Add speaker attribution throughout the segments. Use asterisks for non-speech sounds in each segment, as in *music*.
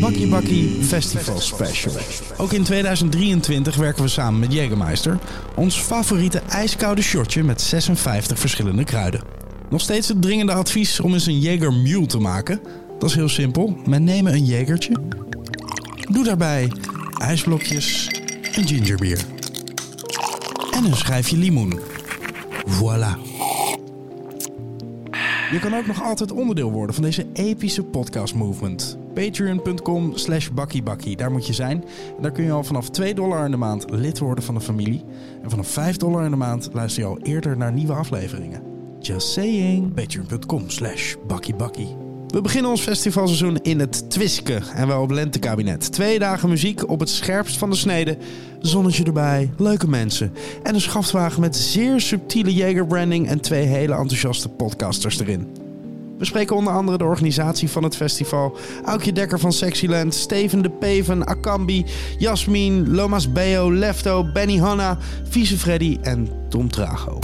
Speaker 1: Bakkie Bakkie Festival Special. Ook in 2023 werken we samen met Jägermeister. Ons favoriete ijskoude shotje met 56 verschillende kruiden. Nog steeds het dringende advies om eens een Jäger Mule te maken. Dat is heel simpel. We nemen een Jägertje. Doe daarbij ijsblokjes, een gingerbier en een schijfje limoen. Voilà. Je kan ook nog altijd onderdeel worden van deze epische podcast movement. Patreon.com slash bakkiebakkie, daar moet je zijn. En daar kun je al vanaf 2 dollar in de maand lid worden van de familie. En vanaf 5 dollar in de maand luister je al eerder naar nieuwe afleveringen. Just saying. Patreon.com slash bakkiebakkie. We beginnen ons festivalseizoen in het Twiske en wel op Lentekabinet. Twee dagen muziek op het scherpst van de snede. Zonnetje erbij, leuke mensen. En een schaftwagen met zeer subtiele Jagerbranding en twee hele enthousiaste podcasters erin. We spreken onder andere de organisatie van het festival. Aukje Dekker van Sexyland, Steven de Peven, Akambi, Jasmin, Lomas Beo, Lefto, Benny Hanna, Vieze Freddy en Tom Trago.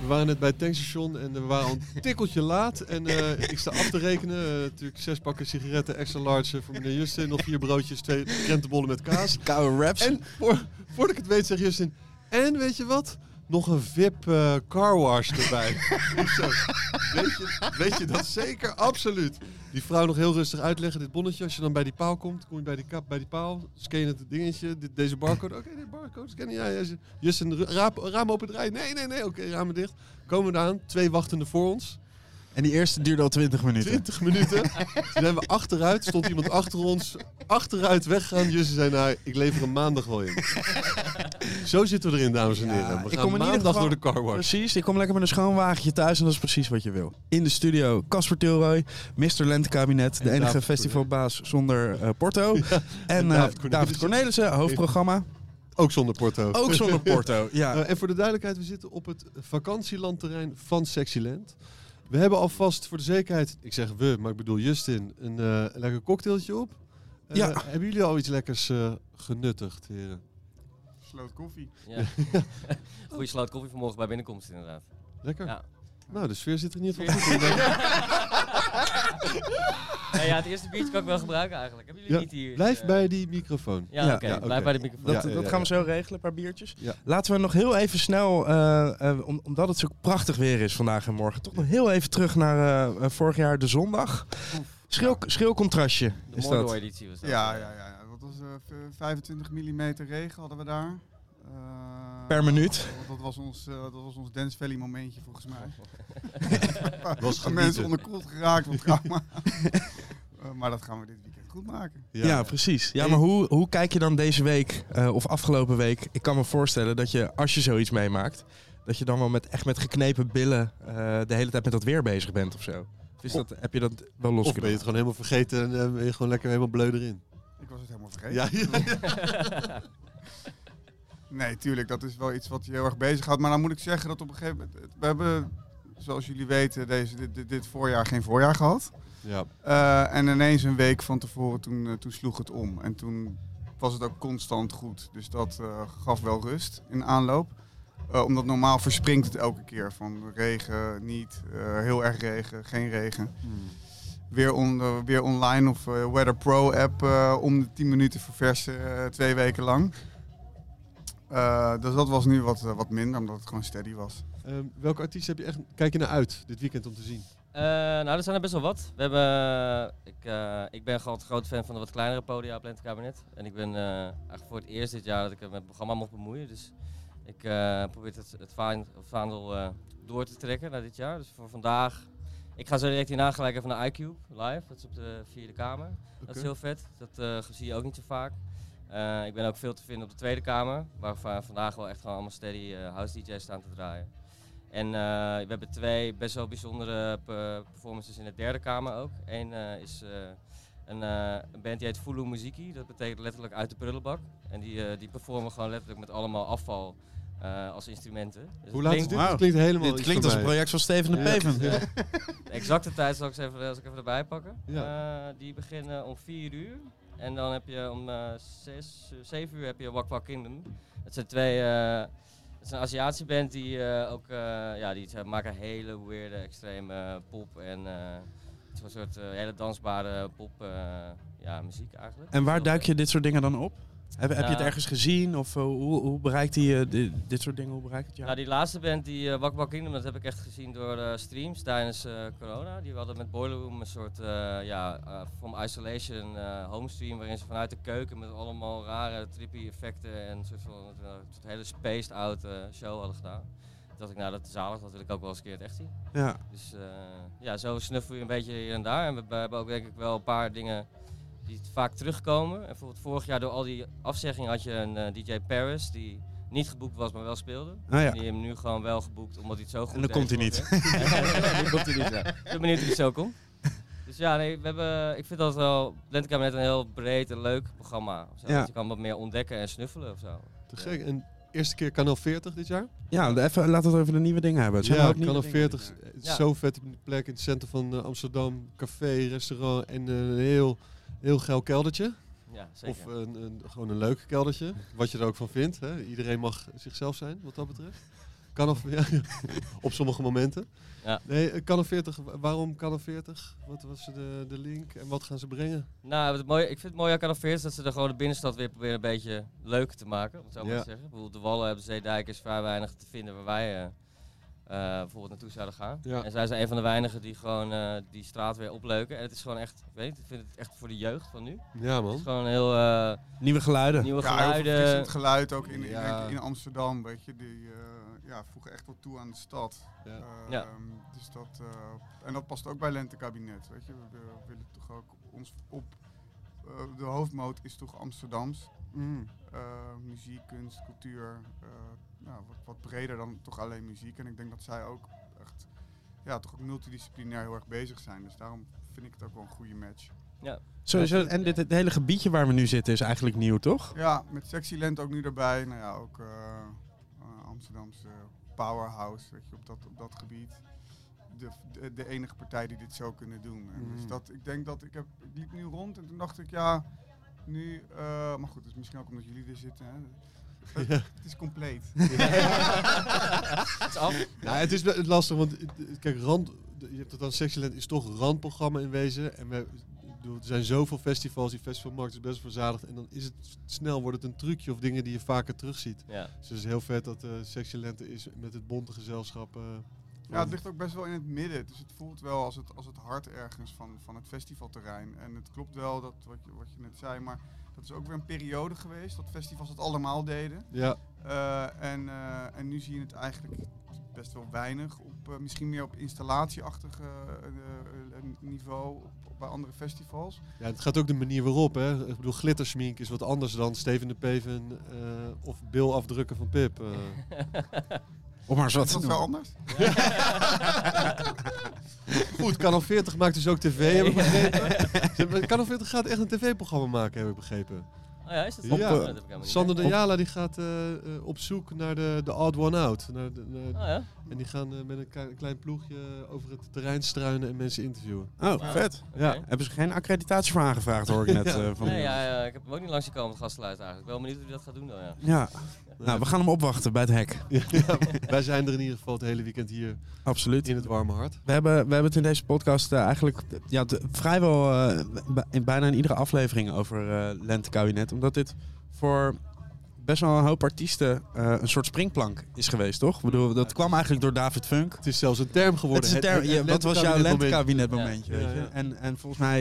Speaker 2: We waren net bij het tankstation en we waren al een tikkeltje laat. En eh, ik sta af te rekenen. eh, natuurlijk zes pakken sigaretten, extra large eh, voor meneer Justin. Nog vier broodjes, twee krentenbollen met kaas.
Speaker 1: Koude raps.
Speaker 2: En voor, voordat ik het weet zegt Justin... En weet je wat? Nog een VIP eh car wash erbij. *laughs* Ik zo, weet, je, weet je dat zeker? Absoluut. Die vrouw nog heel rustig uitleggen, dit bonnetje. Als je dan bij die paal komt, kom je bij die, kap, bij die paal. Scan het dingetje, dit, deze barcode. Oké, dit barcode scannen. Ja, ja. Justin, ru- raap, raam open draaien. Nee, nee, nee. Oké, ramen dicht. Komen we eraan. Twee wachtenden voor ons.
Speaker 3: En die eerste duurde al 20 minuten. *laughs*
Speaker 2: 20 minuten. Toen zijn we achteruit, stond iemand achter ons. Achteruit weggaan. Justin zei, nou, ik lever een maandag wel
Speaker 3: *laughs*
Speaker 2: in. Zo zitten we erin, dames en
Speaker 3: Ja,
Speaker 2: heren. We
Speaker 3: ik
Speaker 2: gaan
Speaker 3: kom in ieder
Speaker 2: maandag
Speaker 3: geval-
Speaker 2: door de car wash.
Speaker 3: Precies, ik kom lekker met een schoon wagentje thuis en dat is precies wat je wil. In de studio Casper Tilroy, Mr. Lentekabinet, de
Speaker 2: David
Speaker 3: enige
Speaker 2: Cornelissen.
Speaker 3: festivalbaas zonder eh,
Speaker 2: *laughs*
Speaker 3: porto. en eh,
Speaker 2: David Cornelissen.
Speaker 3: David Cornelissen, hoofdprogramma,
Speaker 2: Ook zonder porto. *laughs*
Speaker 3: ook zonder porto. Ja,
Speaker 2: Eh, en voor de duidelijkheid, we zitten op het vakantielandterrein van Sexyland. We hebben alvast voor de zekerheid, ik zeg we, maar ik bedoel Justin, een eh, lekker cocktailtje op. Eh,
Speaker 3: Ja.
Speaker 2: Hebben jullie al iets lekkers eh, genuttigd, heren?
Speaker 3: Sloot koffie.
Speaker 4: *laughs*
Speaker 5: Ja. *laughs* Goeie sloot koffie vanmorgen bij binnenkomst inderdaad.
Speaker 2: Lekker?
Speaker 5: Ja.
Speaker 2: Nou, de sfeer zit er niet op. goed.
Speaker 5: Nee, ja, het eerste biertje kan ik wel gebruiken eigenlijk. Hebben *laughs* jullie
Speaker 2: Ja,
Speaker 5: niet hier?
Speaker 2: Blijf
Speaker 5: eh,
Speaker 2: bij die microfoon.
Speaker 5: Ja,
Speaker 3: Ja,
Speaker 5: oké.
Speaker 3: ja,
Speaker 2: oké.
Speaker 5: Blijf bij de microfoon.
Speaker 3: Dat,
Speaker 2: Ja, ja,
Speaker 3: dat
Speaker 2: ja,
Speaker 3: gaan we zo regelen, een paar biertjes.
Speaker 2: Ja.
Speaker 3: Laten we nog heel even snel, eh, eh, om- omdat het zo prachtig weer is vandaag en morgen, toch nog heel even terug naar eh, eh, vorig jaar de zondag. Schil, schil contrastje
Speaker 5: De
Speaker 3: is dat.
Speaker 5: Mordor-editie was dat.
Speaker 4: Ja, ja, ja. ja. Wat was eh, v- 25 mm regen hadden we daar. Eh,
Speaker 3: Per minuut.
Speaker 4: Dat was ons, eh, dat was ons Dance Valley momentje volgens
Speaker 5: *laughs*
Speaker 4: mij. *laughs*
Speaker 2: Was
Speaker 4: Waar mensen onderkoeld geraakt van trauma. *laughs* Eh, maar dat gaan we dit weekend goed maken.
Speaker 3: Ja, precies. Ja, maar hoe, hoe kijk je dan deze week eh, of afgelopen week? Ik kan me voorstellen dat je, als je zoiets meemaakt, dat je dan wel met, echt met geknepen billen eh, de hele tijd met dat weer bezig bent of zo. Of Is dat, heb je dat wel los
Speaker 2: Of ben je het
Speaker 3: kunnen?
Speaker 2: gewoon helemaal vergeten en eh, ben je gewoon lekker helemaal bleu erin.
Speaker 4: Ik was het helemaal
Speaker 2: Ja,
Speaker 4: vergeten.
Speaker 2: ja,
Speaker 4: *laughs* Nee, tuurlijk. Dat is wel iets wat je heel erg bezighoudt. Maar dan moet ik zeggen dat op een gegeven moment... het- We hebben, zoals jullie weten, deze, dit, dit- dit voorjaar geen voorjaar gehad.
Speaker 2: ja.
Speaker 4: Eh, en ineens een week van tevoren, toen, eh, toen sloeg het om. En toen was het ook constant goed. Dus dat eh, gaf wel rust in aanloop. Eh, omdat normaal verspringt het elke keer. Van regen, niet, eh, heel erg regen, geen regen. Weer, on, eh, weer online of eh, Weather Pro app eh, om de 10 minuten verversen, eh, twee weken lang. Eh, dus dat was nu wat, eh, wat minder, omdat het gewoon steady was.
Speaker 2: Ehm, welke artiest heb je echt, kijk je naar uit dit weekend om te zien?
Speaker 5: Eh, nou, er zijn er best wel wat. We hebben, ik, eh, ik ben gewoon een groot fan van de wat kleinere podia op Lente Kabinet. En ik ben eh, eigenlijk voor het eerst dit jaar dat ik me met het programma mocht bemoeien. Dus ik eh, probeer het, het vaan- vaandel eh, door te trekken naar dit jaar. Dus voor vandaag, ik ga zo direct hierna gelijk even naar iCube live. Dat is op de vierde kamer. Dat is
Speaker 2: Oké.
Speaker 5: heel vet. Dat eh, zie je ook niet zo vaak. Eh, ik ben ook veel te vinden op de Tweede Kamer, waar va- vandaag wel echt gewoon allemaal steady eh, house DJ's staan te draaien. En eh, we hebben twee best wel bijzondere pe- performances in de Derde Kamer ook. Eén eh, is eh, een, eh, een band die heet Fulu Muziki, dat betekent letterlijk uit de prullenbak. En die, eh, die performen gewoon letterlijk met allemaal afval eh, als instrumenten. Dus het
Speaker 2: Hoe laat is
Speaker 5: klinkt-
Speaker 2: dit?
Speaker 3: Wauw.
Speaker 2: Het klinkt helemaal
Speaker 3: Dit
Speaker 2: iets
Speaker 3: klinkt
Speaker 2: voor
Speaker 3: als een
Speaker 2: mij.
Speaker 3: project van Steven de
Speaker 2: Ja.
Speaker 3: Peven.
Speaker 2: Ja.
Speaker 5: De exacte tijd zal ik eens even, zal ik even erbij pakken.
Speaker 2: Ja.
Speaker 5: Eh, die beginnen om 4 uur. En dan heb je om eh, zes, 7 uur heb je Wak Wak Kingdom. Dat zijn twee. eh dat is een Aziatische band die eh, ook. eh, ja, die ze maken hele weirde, extreme eh, pop. En eh, het echt een soort eh, hele dansbare pop eh, ja, muziek eigenlijk.
Speaker 3: En waar
Speaker 5: Heel,
Speaker 3: duik je dit soort dingen dan op? Heb, heb je het
Speaker 5: Nou.
Speaker 3: ergens gezien? Of eh, hoe, hoe bereikt die, eh, di- dit soort dingen? Hoe bereikt het jou?
Speaker 5: Nou, die laatste band, die eh Bak Bak Kingdom, dat heb ik echt gezien door eh, streams tijdens eh, corona. Die hadden met Boiler Room een soort, eh, ja, eh, from isolation eh homestream waarin ze vanuit de keuken met allemaal rare trippy effecten en een soort van eh, een soort hele spaced out eh, show hadden gedaan. Toen dacht ik, nou dat is zalig, dat wil ik ook wel eens een keer in het echt zien.
Speaker 3: Ja.
Speaker 5: Dus eh, ja, zo snuffel je een beetje hier en daar. En we, we hebben ook denk ik wel een paar dingen die vaak terugkomen. En bijvoorbeeld vorig jaar door al die afzeggingen had je een eh, DJ Paris die niet geboekt was, maar wel speelde.
Speaker 3: Nou ja.
Speaker 5: Die hem nu gewoon wel geboekt, omdat hij het zo goed
Speaker 3: En dan komt hij niet.
Speaker 6: *laughs*
Speaker 3: *laughs*
Speaker 5: Dan komt hij niet, ja. Ik ben benieuwd of hij zo komt. Dus ja, nee, we hebben, ik vind dat wel, Blendcam net een heel breed en leuk programma. of zo.
Speaker 3: Ja.
Speaker 5: Dat je kan wat meer ontdekken en snuffelen of zo.
Speaker 2: Te gek. En eerste keer Kanaal 40 dit jaar?
Speaker 3: Ja, even, laten we het over de nieuwe dingen hebben. Het zijn
Speaker 2: ja,
Speaker 3: ook nieuwe
Speaker 2: Kanaal
Speaker 3: dingen.
Speaker 2: 40. is
Speaker 5: Ja.
Speaker 2: Zo vet op die plek in het centrum van eh, Amsterdam. Café, restaurant en eh, een heel, heel geil keldertje.
Speaker 5: Ja, zeker.
Speaker 2: Of een, een, gewoon een leuk keldertje. Wat je er ook van vindt. Hè? Iedereen mag zichzelf zijn, wat dat betreft. Kan of, *laughs* ja, op sommige momenten.
Speaker 5: Ja.
Speaker 2: Nee, eh, Kanaal 40. wa- Waarom Kanaal 40? Wat was de, de link en wat gaan ze brengen?
Speaker 5: Nou, het mooie, ik vind het mooie aan Canaveer is dat ze er gewoon de binnenstad weer proberen een beetje leuk te maken. Om het zo maar
Speaker 2: Ja.
Speaker 5: te zeggen. Bijvoorbeeld de Wallen hebben Zeedijk is vrij weinig te vinden waar wij eh, eh, bijvoorbeeld naartoe zouden gaan.
Speaker 2: Ja.
Speaker 5: En zij zijn een van de weinigen die gewoon eh, die straat weer opleuken. En het is gewoon echt, ik weet niet, ik vind het echt voor de jeugd van nu.
Speaker 2: Ja,
Speaker 5: Het is
Speaker 2: man.
Speaker 5: gewoon heel eh,
Speaker 3: Nieuwe geluiden.
Speaker 5: nieuwe
Speaker 4: Ja, heel veel
Speaker 5: geluiden.
Speaker 4: verfrissend geluid ook in, in-
Speaker 2: Ja.
Speaker 4: in Amsterdam, weet je. Die eh, ja, voegen echt wat toe aan de stad.
Speaker 2: Ja.
Speaker 4: Eh,
Speaker 5: Ja.
Speaker 4: Dus dat, eh, en dat past ook bij Lentekabinet, weet je. We, we willen toch ook ons op... eh, de hoofdmoot is toch Amsterdams.
Speaker 2: Mm.
Speaker 4: Eh, muziek, kunst, cultuur. eh, nou, wat, wat breder dan toch alleen muziek. En ik denk dat zij ook echt... Ja, toch ook multidisciplinair heel erg bezig zijn. Dus daarom vind ik het ook wel een goede match.
Speaker 3: Sowieso, en dit, het hele gebiedje waar we nu zitten is eigenlijk nieuw, toch?
Speaker 4: Ja, met Sexy Land ook nu erbij. Nou ja, ook eh, eh, Amsterdamse powerhouse, weet je, op dat, op dat gebied. De, de, de enige partij die dit zou kunnen doen. En Dus
Speaker 5: Mm.
Speaker 2: Mhm.
Speaker 4: dat, ik denk dat, ik, heb, ik liep nu rond en toen dacht ik, ja, nu, eh, maar goed, het is misschien ook omdat jullie er zitten, hè.
Speaker 5: *laughs*
Speaker 4: Het, het is compleet. *laughs*
Speaker 5: Het is af.
Speaker 2: Nou, het is wel lastig, want eh, kijk, rand, je hebt het dan Sexyland is toch een randprogramma in wezen. En we, ik bedoel, er zijn zoveel festivals, die festivalmarkt is best verzadigd. En dan is het snel wordt het een trucje of dingen die je vaker terugziet.
Speaker 5: Ja.
Speaker 2: Dus het is heel vet dat eh Sexyland er is met het bonte gezelschap. eh,
Speaker 4: Ja, het ligt ook best wel in het midden. Dus het voelt wel als het, als het hart ergens van, van het festivalterrein. En het klopt wel dat wat je, wat je net zei, maar dat is ook weer een periode geweest dat festivals dat allemaal deden.
Speaker 2: ja,
Speaker 4: Eh, en, eh, en nu zie je het eigenlijk best wel weinig. Op, eh, misschien meer op installatieachtig eh, eh, eh, niveau op- op- bij andere festivals.
Speaker 2: ja, het gaat ook de manier waarop. Hè. Ik bedoel, glittersmink is wat anders dan Steven de Peven eh, of Bill afdrukken van Pip. eh.
Speaker 3: Om maar eens wat
Speaker 4: Is
Speaker 3: te
Speaker 4: dat
Speaker 3: doen.
Speaker 4: wel anders?
Speaker 2: *laughs* Goed, Kanal 40 maakt dus ook tv, heb ik begrepen. Kanal 40 gaat echt een tv-programma maken, heb ik begrepen.
Speaker 5: Oh ja, is dat
Speaker 2: Ja.
Speaker 5: zo?
Speaker 2: Op, eh,
Speaker 5: Oh, dat heb ik helemaal niet
Speaker 2: Sander de
Speaker 5: door.
Speaker 2: Jala die gaat eh, eh, op zoek naar de, de odd one out. Naar de, naar-
Speaker 5: Oh ja.
Speaker 2: en die gaan eh, met een klein, klein ploegje over het terrein struinen en mensen interviewen.
Speaker 3: Oh, vet.
Speaker 2: Ja.
Speaker 3: Hebben ze geen accreditatie voor aangevraagd, hoor ik net. eh, van
Speaker 5: Nee, ja, ja, ik heb hem ook niet langs gekomen, het gastenlijst eigenlijk. Wel benieuwd hoe hij dat gaat doen dan, ja.
Speaker 3: Ja. Nou, we gaan hem opwachten bij het hek.
Speaker 2: *laughs* Ja, wij zijn er in ieder geval het hele weekend hier
Speaker 3: Absoluut.
Speaker 2: in het warme hart.
Speaker 3: We hebben, we hebben het in deze podcast eh, eigenlijk ja, t- vrijwel eh, b- in bijna in iedere aflevering over eh lentekabinet. Omdat dit voor best wel een hoop artiesten eh, een soort springplank is geweest, toch? Ik bedoel, dat kwam eigenlijk door David Funk.
Speaker 2: Het is zelfs een term geworden.
Speaker 3: Het is een term, ja, wat was jouw
Speaker 2: lentekabinet
Speaker 3: lentekabinet momentje?
Speaker 2: Ja.
Speaker 3: Weet je?
Speaker 2: Ja, ja.
Speaker 3: En, en volgens mij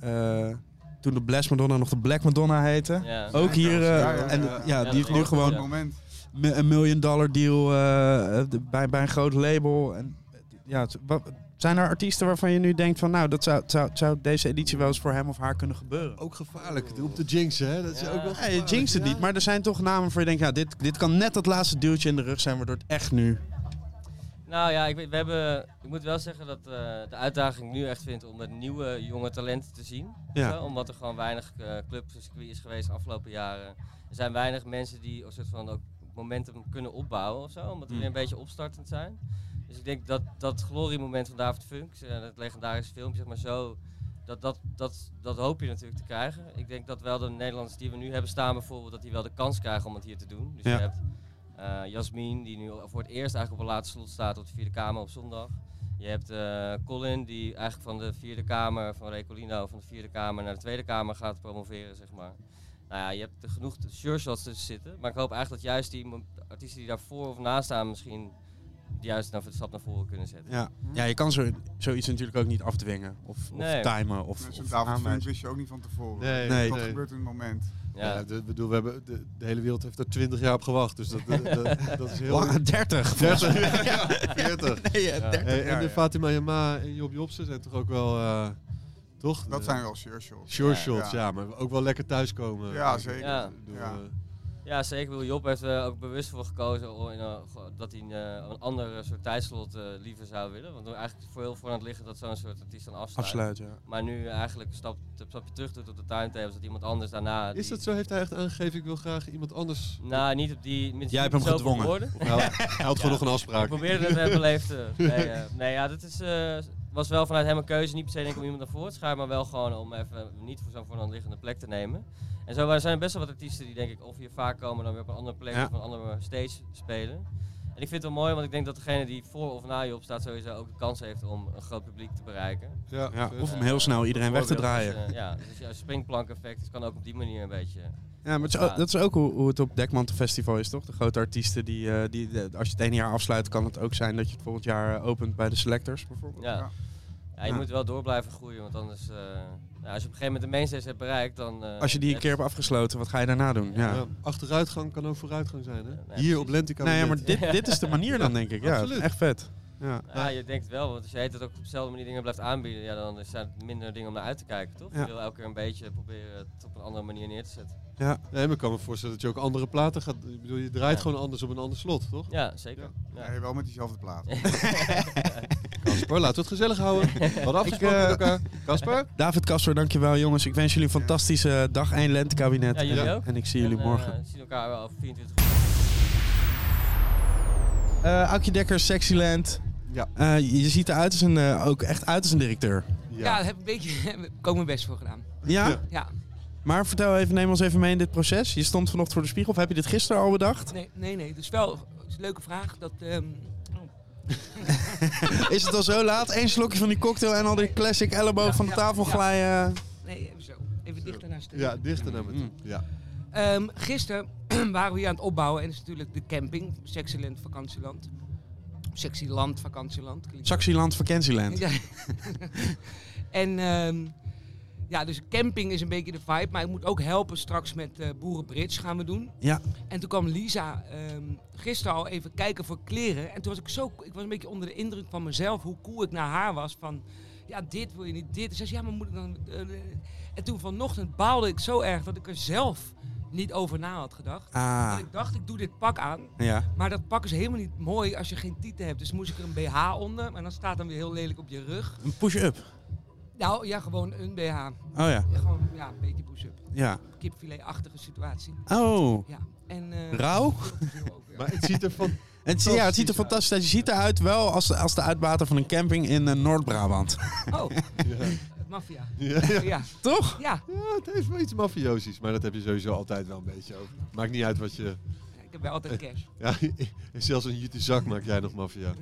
Speaker 3: eh, eh, toen de Bless Madonna nog de Black Madonna heette.
Speaker 5: Ja.
Speaker 3: Ook hier, eh,
Speaker 4: Ja, ja,
Speaker 3: en
Speaker 4: ja.
Speaker 3: ja,
Speaker 5: Ja,
Speaker 3: die heeft nu
Speaker 5: dat-
Speaker 3: gewoon
Speaker 4: Op het moment.
Speaker 3: mi- een million dollar deal eh, eh, de- bij, bij een groot label. En, eh, ja, het- wa- zijn er artiesten waarvan je nu denkt van nou, dat zou, het zou, het zou deze editie wel eens voor hem of haar kunnen gebeuren?
Speaker 2: Ook gevaarlijk, op de jinx hè. Dat is
Speaker 5: Ja.
Speaker 2: ook wel
Speaker 3: Nee, je jinxt het
Speaker 2: ja.
Speaker 3: niet, maar er zijn toch namen voor je denkt, ja, dit, dit kan net dat laatste duwtje in de rug zijn, waardoor het echt nu...
Speaker 5: Nou ja, ik, weet- we hebben, ik moet wel zeggen dat eh, de uitdaging nu echt vindt om het nieuwe jonge talenten te zien.
Speaker 3: Ja.
Speaker 5: Zo, omdat er gewoon weinig eh clubs en circuit is geweest de afgelopen jaren. Er zijn weinig mensen die een soort van ook momentum kunnen opbouwen of zo. Omdat we
Speaker 3: Mm.
Speaker 5: weer een beetje opstartend zijn. Dus ik denk dat dat gloriemoment van David Funk, eh, dat legendarische filmpje, zeg maar zo. Dat, dat, dat, dat hoop je natuurlijk te krijgen. Ik denk dat wel de Nederlanders die we nu hebben staan bijvoorbeeld, dat die wel de kans krijgen om het hier te doen. Dus
Speaker 3: Ja.
Speaker 5: Eh, je hebt eh Jasmin, die nu voor het eerst eigenlijk op een laatste slot staat op de Vierde Kamer op zondag. Je hebt eh, Colin, die eigenlijk van de vierde kamer, van Recolino, van de vierde kamer naar de tweede kamer gaat promoveren, zeg maar. Nou ja, je hebt er genoeg sure shots tussen zitten. Maar ik hoop eigenlijk dat juist die mo- artiesten die daarvoor of naast staan misschien juist naar, de stap naar voren kunnen zetten.
Speaker 3: Ja. ja, je kan zo, zoiets natuurlijk ook niet afdwingen. Of, of
Speaker 5: Nee.
Speaker 3: timen. Of,
Speaker 4: Met
Speaker 3: of
Speaker 4: zo'n tafelfunk
Speaker 3: aanwijzen.
Speaker 4: wist je ook niet van tevoren.
Speaker 2: Nee,
Speaker 3: Nee.
Speaker 4: Dat
Speaker 2: nee.
Speaker 4: gebeurt in het moment.
Speaker 5: Ja.
Speaker 2: Ja, de, bedoel, we hebben, de, de hele wereld heeft er 20 jaar op gewacht. Dus dat, dat,
Speaker 3: *laughs*
Speaker 2: dat- dat is heel...
Speaker 3: Lange 30.
Speaker 2: *laughs*
Speaker 3: *laughs*
Speaker 2: 30, ja, 40.
Speaker 3: Nee, ja,
Speaker 5: Ja.
Speaker 3: 30
Speaker 2: Hey, en
Speaker 3: jaar,
Speaker 2: de
Speaker 3: ja.
Speaker 2: Fatima Yama en Job Jobsen zijn toch ook wel... eh, toch?
Speaker 4: Dat
Speaker 2: De-
Speaker 4: zijn wel sure shots.
Speaker 2: Sure
Speaker 5: Ja.
Speaker 2: shots, ja. Maar ook wel lekker thuiskomen.
Speaker 4: Ja, zeker.
Speaker 5: Ja.
Speaker 2: Ik bedoel,
Speaker 4: Ja.
Speaker 2: eh,
Speaker 5: Ja, zeker. Ik bedoel, Job heeft er ook bewust voor gekozen om in, eh, ge- dat hij eh, een ander soort tijdslot eh, liever zou willen. Want er eigenlijk voor heel voor aan het liggen dat zo'n soort artiest dan afsluit.
Speaker 3: Afsluit, ja.
Speaker 5: Maar nu eigenlijk een stap, een stapje terug doet op de timetables, dat iemand anders daarna...
Speaker 2: Is
Speaker 5: Nou, die-
Speaker 2: dat zo? Heeft hij echt aangegeven, ik wil graag iemand anders...
Speaker 5: Nou, niet op die... minstens
Speaker 3: Jij hebt
Speaker 5: niet
Speaker 3: hem
Speaker 5: op zoveel
Speaker 3: gedwongen.
Speaker 5: *laughs* woorden.
Speaker 2: Of hij had- hij had gewoon nog een
Speaker 5: Ik
Speaker 2: afspraak.
Speaker 5: probeerde het te hebben
Speaker 3: *laughs*
Speaker 5: beleefd. *laughs* eh. Nee, eh, nee ja, dat is, eh, was wel vanuit hem een keuze. Niet per se denk ik om iemand naar voren te schuiven, maar wel gewoon om even niet voor zo'n voorhand liggende plek te nemen. En zo waren- zijn er best wel wat artiesten die denk ik of hier vaak komen dan weer op een andere plek
Speaker 3: Ja.
Speaker 5: of een andere stage spelen. En ik vind het wel mooi, want ik denk dat degene die voor of na je op staat sowieso ook de kans heeft om een groot publiek te bereiken.
Speaker 2: Ja,
Speaker 3: Ja,
Speaker 2: vet.
Speaker 3: of om heel snel iedereen weg te
Speaker 5: Bijvoorbeeld,
Speaker 3: draaien.
Speaker 5: Dus, eh, ja, dus ja, springplank effect dus kan ook op die manier een beetje.
Speaker 3: Ja, maar het is ook- dat is ook hoe, hoe het op Dekmantel Festival is, toch? De grote artiesten, die, eh, die, de- als je het ene jaar afsluit, kan het ook zijn dat je het volgend jaar eh, opent bij de selectors, bijvoorbeeld.
Speaker 5: Ja.
Speaker 4: Ja.
Speaker 5: Ja. je
Speaker 3: Ja.
Speaker 5: moet wel door blijven groeien, want anders, eh, nou, als je op een gegeven moment de mainstage hebt bereikt, dan... eh,
Speaker 3: Als je die een
Speaker 5: heb-
Speaker 3: keer hebt afgesloten, wat ga je daarna doen? Ja.
Speaker 2: Ja, Achteruitgang kan ook vooruitgang zijn, hè?
Speaker 5: Ja, nee,
Speaker 2: Hier op
Speaker 5: precies.
Speaker 2: Lentica.
Speaker 3: Nee, ja,
Speaker 2: met
Speaker 3: maar
Speaker 2: dit.
Speaker 3: dit, dit is de manier dan, denk ik. Ja,
Speaker 2: absoluut.
Speaker 3: echt vet. Ja.
Speaker 5: Ja, je denkt wel, want als je heet het ook op dezelfde manier dingen blijft aanbieden, ja, dan zijn het minder dingen om naar uit te kijken, toch?
Speaker 3: Ja.
Speaker 5: Je wil elke keer een beetje proberen het op een andere manier neer te zetten.
Speaker 2: Nee, maar ik kan me voorstellen dat je ook andere platen gaat... Ik bedoel, je draait
Speaker 5: Ja.
Speaker 2: gewoon anders op een ander slot, toch?
Speaker 5: Ja, zeker. Ja.
Speaker 4: Nee, wel met diezelfde
Speaker 5: *laughs*
Speaker 4: plaat.
Speaker 2: Kasper, laten we het gezellig houden. We hadden afgesproken
Speaker 3: eh,
Speaker 2: met elkaar. Kasper?
Speaker 3: *laughs* David Kasper, dankjewel jongens. Ik wens jullie een fantastische dag 1 lentekabinet.
Speaker 5: Ja, jullie
Speaker 3: en,
Speaker 5: ook.
Speaker 3: en ik zie jullie
Speaker 5: En, eh,
Speaker 3: morgen.
Speaker 5: we zien elkaar wel over 24 uur.
Speaker 3: Eh Aukje Dekker, Sexyland.
Speaker 2: Ja.
Speaker 3: Eh, je je ziet eruit als een, eh, ook echt uit als een directeur.
Speaker 6: Ja, daar heb ik een beetje *laughs* heb ik ook mijn best voor gedaan.
Speaker 3: Ja?
Speaker 2: Ja.
Speaker 6: Ja,
Speaker 3: Maar vertel even, neem ons even mee in dit proces. Je stond vanochtend voor de spiegel. Of heb je dit gisteren al bedacht?
Speaker 6: nee, nee, nee. Dus wel, het is een leuke vraag. Dat, ehm, oh,
Speaker 3: *laughs* Is het al zo laat? Eén slokje van die cocktail en al die classic elleboog
Speaker 6: Ja,
Speaker 3: van de
Speaker 6: ja,
Speaker 3: tafel
Speaker 6: ja.
Speaker 3: glijden. Mm.
Speaker 6: nee, even zo. Even dichter naar stuk.
Speaker 2: Ja, dichter naar me toe. Ja.
Speaker 6: Ehm, gisteren *clears throat* waren we hier aan het opbouwen en dat is natuurlijk de camping, Sexyland vakantieland. Sexyland vakantieland. klinkt-
Speaker 3: Saxieland, vakantieland.
Speaker 6: *laughs* Ja. *laughs* en ehm, ja, dus camping is een beetje de vibe, maar ik moet ook helpen straks met eh boerenbrits gaan we doen.
Speaker 3: Ja.
Speaker 6: En toen kwam Lisa ehm, gisteren al even kijken voor kleren. En toen was ik zo, ik was een beetje onder de indruk van mezelf, hoe cool ik naar haar was. Van, ja, dit wil je niet, dit. En ze zei, ja, maar moet ik dan... eh, eh?" en toen vanochtend baalde ik zo erg dat ik er zelf niet over na had gedacht.
Speaker 3: Ah,
Speaker 6: Want ik dacht, ik doe dit pak aan.
Speaker 3: ja.
Speaker 6: Maar dat pak is helemaal niet mooi als je geen tieten hebt. Dus moest ik er een BH onder. Maar dan staat dan weer heel lelijk op je rug.
Speaker 3: Een push-up.
Speaker 6: Nou ja, gewoon een BH. Ja,
Speaker 3: Oh ja,
Speaker 6: gewoon ja, een beetje push-up.
Speaker 3: ja.
Speaker 6: Kipfilet-achtige situatie.
Speaker 3: Oh,
Speaker 6: Ja. En, eh,
Speaker 3: rauw?
Speaker 6: veel ook, ja.
Speaker 2: Maar het ziet er van...
Speaker 3: *laughs* Het, ja, het ziet
Speaker 2: Fantastisch
Speaker 3: er fantastisch uit. Je ziet eruit wel als, als de uitbater van een camping in eh, Noord-Brabant.
Speaker 6: Oh,
Speaker 2: *laughs* Ja.
Speaker 6: maffia.
Speaker 2: Ja, ja.
Speaker 6: Ja.
Speaker 3: Toch?
Speaker 6: ja,
Speaker 2: Ja, het heeft wel iets mafiosies, maar dat heb je sowieso altijd wel een beetje over. Maakt niet uit wat je...
Speaker 6: ik heb wel altijd cash.
Speaker 2: *laughs* Ja, zelfs een jute zak maak jij nog maffia.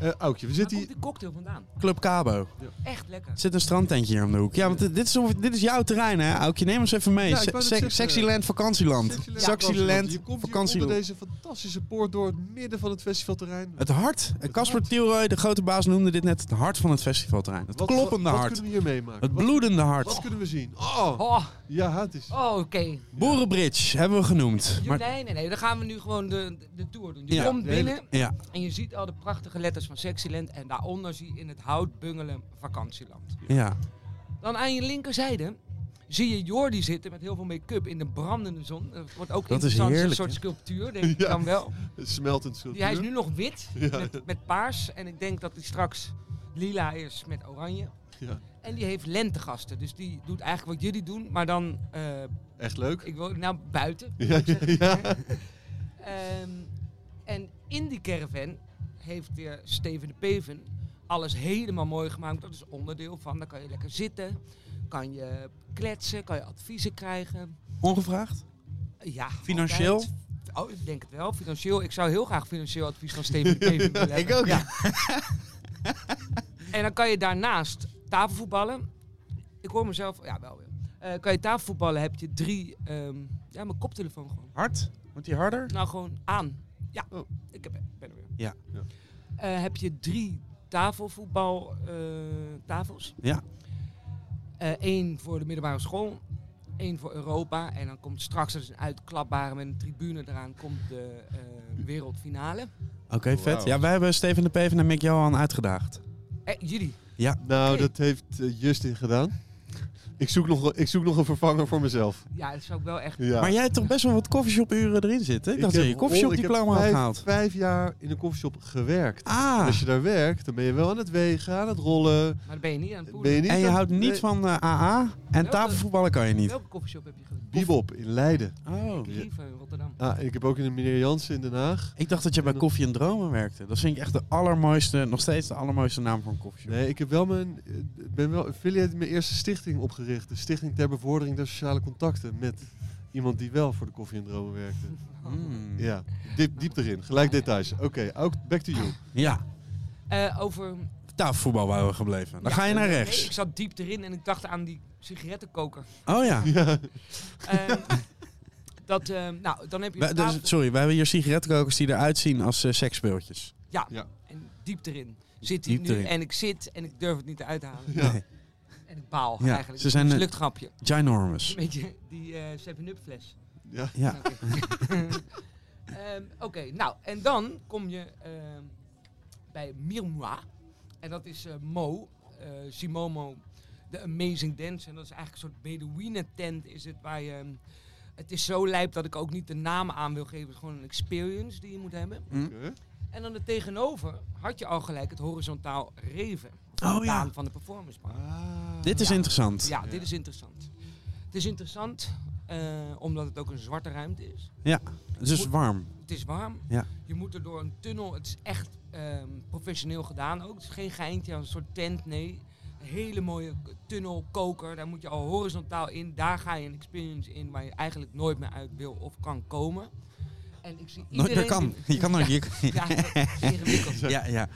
Speaker 2: Eh Aukje, we
Speaker 6: Waar
Speaker 2: zitten
Speaker 6: komt
Speaker 2: hier...
Speaker 6: die *laughs* cocktail vandaan?
Speaker 3: Club Cabo.
Speaker 6: Echt lekker.
Speaker 3: Er zit een strandtentje hier om de hoek. Ja, want dit dit is, ongeveer- dit is jouw terrein, hè? Aukje, neem ons even mee.
Speaker 2: Ja, ik
Speaker 3: Se-
Speaker 2: wou net
Speaker 3: se-
Speaker 2: zeggen.
Speaker 3: Sexyland, vakantieland.
Speaker 2: Sexyland vakantieland. Je
Speaker 3: Sexyland,
Speaker 2: komt hier onder
Speaker 3: vakantieland.
Speaker 2: deze fantastische poort door het midden van het festivalterrein.
Speaker 3: Het hart. En Casper
Speaker 2: hart.
Speaker 3: Tilroy, de grote baas, noemde dit net het hart van het festivalterrein. Het
Speaker 2: Wat- wat,
Speaker 3: kloppende
Speaker 2: wat
Speaker 3: hart.
Speaker 2: kunnen we hier meemaken?
Speaker 3: Het
Speaker 2: Wat-
Speaker 3: bloedende hart.
Speaker 2: Wat, kunnen we zien? Oh,
Speaker 6: Oh,
Speaker 2: ja, het is...
Speaker 6: oh oké.
Speaker 3: Boerenbridge hebben we genoemd.
Speaker 6: Jo,
Speaker 3: Maar,
Speaker 6: Nee, nee, nee. Dan gaan we nu gewoon de, de tour doen. Je
Speaker 3: Ja.
Speaker 6: komt binnen
Speaker 3: ja,
Speaker 6: en je ziet al de prachtige letters van Sexyland. En daaronder zie je in het hout bungelen vakantieland.
Speaker 3: ja.
Speaker 6: Dan aan je linkerzijde zie je Jordi zitten met heel veel make-up in de brandende zon. Dat wordt ook
Speaker 3: is
Speaker 6: interessant, een
Speaker 3: heerlijk,
Speaker 6: soort
Speaker 3: hè? *laughs*
Speaker 6: sculptuur,
Speaker 2: *laughs*
Speaker 6: denk ik
Speaker 2: Ja.
Speaker 6: dan wel.
Speaker 2: Het smeltend cultuur.
Speaker 6: Die, hij is nu nog wit
Speaker 2: *laughs* Ja.
Speaker 6: met, met paars en ik denk dat hij straks lila is met oranje.
Speaker 2: Ja.
Speaker 6: En die heeft lentegasten, dus die doet eigenlijk wat jullie doen, maar dan, eh,
Speaker 2: Echt leuk.
Speaker 6: ik wil, nou, buiten.
Speaker 2: Ja, ja, ja.
Speaker 6: *laughs* Ehm, en in die caravan heeft de Steven de Peven alles helemaal mooi gemaakt. Dat is onderdeel van, daar kan je lekker zitten, kan je kletsen, kan je adviezen krijgen.
Speaker 3: Ongevraagd?
Speaker 6: Ja,
Speaker 3: Financieel?
Speaker 6: altijd. Oh,
Speaker 3: *laughs*
Speaker 6: ik denk het wel. Financieel. Ik zou heel graag financieel advies van Steven de Peven willen hebben.
Speaker 3: ook.
Speaker 6: Ja. En dan kan je daarnaast tafelvoetballen. Ik hoor mezelf, ja wel weer. Eh, kan je tafelvoetballen, heb je drie, ehm, ja mijn koptelefoon gewoon.
Speaker 3: Hard? Moet die harder?
Speaker 6: Nou gewoon aan. Ja,
Speaker 2: Oh.
Speaker 6: ik heb, ben er weer.
Speaker 3: Ja.
Speaker 2: Ja.
Speaker 6: Eh, heb je drie tafelvoetbal eh, tafels.
Speaker 3: Ja.
Speaker 6: Eén voor de middelbare school, één voor Europa. En dan komt straks als een uitklapbare met een tribune eraan, komt de eh, wereldfinale.
Speaker 3: Oké, vet.
Speaker 2: Wauw.
Speaker 3: Ja, wij hebben Steven de Peven en Mick Johan uitgedaagd.
Speaker 6: Eh, jullie.
Speaker 2: Nou,
Speaker 6: Oké.
Speaker 2: dat heeft eh, Justin gedaan. Ik zoek, nog, ik zoek nog een vervanger voor mezelf.
Speaker 6: Ja, dat zou ik wel echt.
Speaker 2: Ja.
Speaker 3: Maar jij hebt toch best wel wat koffieshopuren erin zitten? Ik dacht dat je je
Speaker 2: heb on-
Speaker 3: koffieshopdiploma
Speaker 2: ik
Speaker 3: had
Speaker 2: heb
Speaker 3: gehaald.
Speaker 2: vijf, vijf jaar in een koffieshop gewerkt. En
Speaker 3: Ah,
Speaker 2: als je daar werkt, dan ben je wel aan het wegen, aan het rollen.
Speaker 6: Maar dan ben je niet aan het
Speaker 2: Ben
Speaker 6: poelen.
Speaker 2: je niet
Speaker 3: en je
Speaker 2: aan-
Speaker 3: houdt niet
Speaker 2: Nee,
Speaker 3: van eh, AA en
Speaker 6: Welke-
Speaker 3: tafelvoetballen kan je niet.
Speaker 6: Welke koffieshop heb je gedaan?
Speaker 2: Bebop in Leiden.
Speaker 3: Oh.
Speaker 6: Lieve in Rotterdam.
Speaker 2: Ah, en ik heb ook in de meneer Jansen in Den Haag.
Speaker 3: Ik dacht dat je bij Koffie en Dromen werkte. Dat vind ik echt de allermooiste, nog steeds de allermooiste naam voor een koffieshop.
Speaker 2: Nee, ik heb wel mijn, eh, ben wel affiliate mijn eerste stichting opgericht. De Stichting ter Bevordering der Sociale Contacten. Met iemand die wel voor de koffie en dromen werkte.
Speaker 3: Mm.
Speaker 2: Ja, diep, diep erin. Gelijk details. Oké, ook back to you.
Speaker 3: Ja,
Speaker 6: Eh, over.
Speaker 3: tafelvoetbal waren we gebleven. Dan
Speaker 6: Ja,
Speaker 3: ga je naar
Speaker 6: nee,
Speaker 3: rechts.
Speaker 6: ik zat diep erin en ik dacht aan die sigarettenkoker.
Speaker 3: Oh ja.
Speaker 2: Ja.
Speaker 3: *laughs*
Speaker 6: Ehm, dat, ehm, nou, dan heb je.
Speaker 3: Wij-
Speaker 6: de
Speaker 3: dus-
Speaker 6: tafel-
Speaker 3: sorry, wij hebben hier sigarettenkokers die eruit zien als eh, seksspeeltjes.
Speaker 6: Ja.
Speaker 2: Ja.
Speaker 6: En diep erin zit hij
Speaker 3: Diep
Speaker 6: nu.
Speaker 3: erin.
Speaker 6: En ik zit en ik durf het niet uit te halen.
Speaker 2: Ja.
Speaker 3: Nee.
Speaker 6: En ik baal
Speaker 3: Ja,
Speaker 6: eigenlijk.
Speaker 3: ze zijn,
Speaker 6: een
Speaker 3: eh,
Speaker 6: lukt grapje.
Speaker 3: Ginormous.
Speaker 6: Weet je, die eh 7-up fles.
Speaker 2: ja.
Speaker 3: Ja.
Speaker 6: Oké, *laughs* Ehm, oké, nou, en dan kom je ehm, bij Mirmois. En dat is eh, Mo, eh, Simomo, de Amazing Dance. En dat is eigenlijk een soort Bedouinen-tent is het waar je... ehm, het is zo lijp dat ik ook niet de naam aan wil geven. Het is gewoon een experience die je moet hebben.
Speaker 3: Mm. Hm?
Speaker 2: Oké.
Speaker 6: En dan er tegenover had je al gelijk het horizontaal reven. Of
Speaker 3: Oh,
Speaker 6: de
Speaker 3: ja. Ah.
Speaker 6: baan van de performance bar.
Speaker 3: Dit is
Speaker 6: Ah, Ja.
Speaker 3: interessant.
Speaker 6: Ja, dit is interessant. Het is interessant eh, omdat het ook een zwarte ruimte is.
Speaker 3: Het is warm.
Speaker 6: Het is warm.
Speaker 3: Ja.
Speaker 6: Je moet er door een tunnel. Het is echt ehm, professioneel gedaan ook. Het is geen geintje, een soort tent, nee. Een hele mooie k- tunnelkoker. Daar moet je al horizontaal in. Daar ga je een experience in waar je eigenlijk nooit meer uit wil of kan komen. En ik zie
Speaker 3: Nooit
Speaker 6: iedereen...
Speaker 3: meer kan.
Speaker 6: die-
Speaker 3: Je kan nooit. je-
Speaker 6: *laughs* Ja, dat is ingewikkeld.
Speaker 3: *laughs* Ja, ja.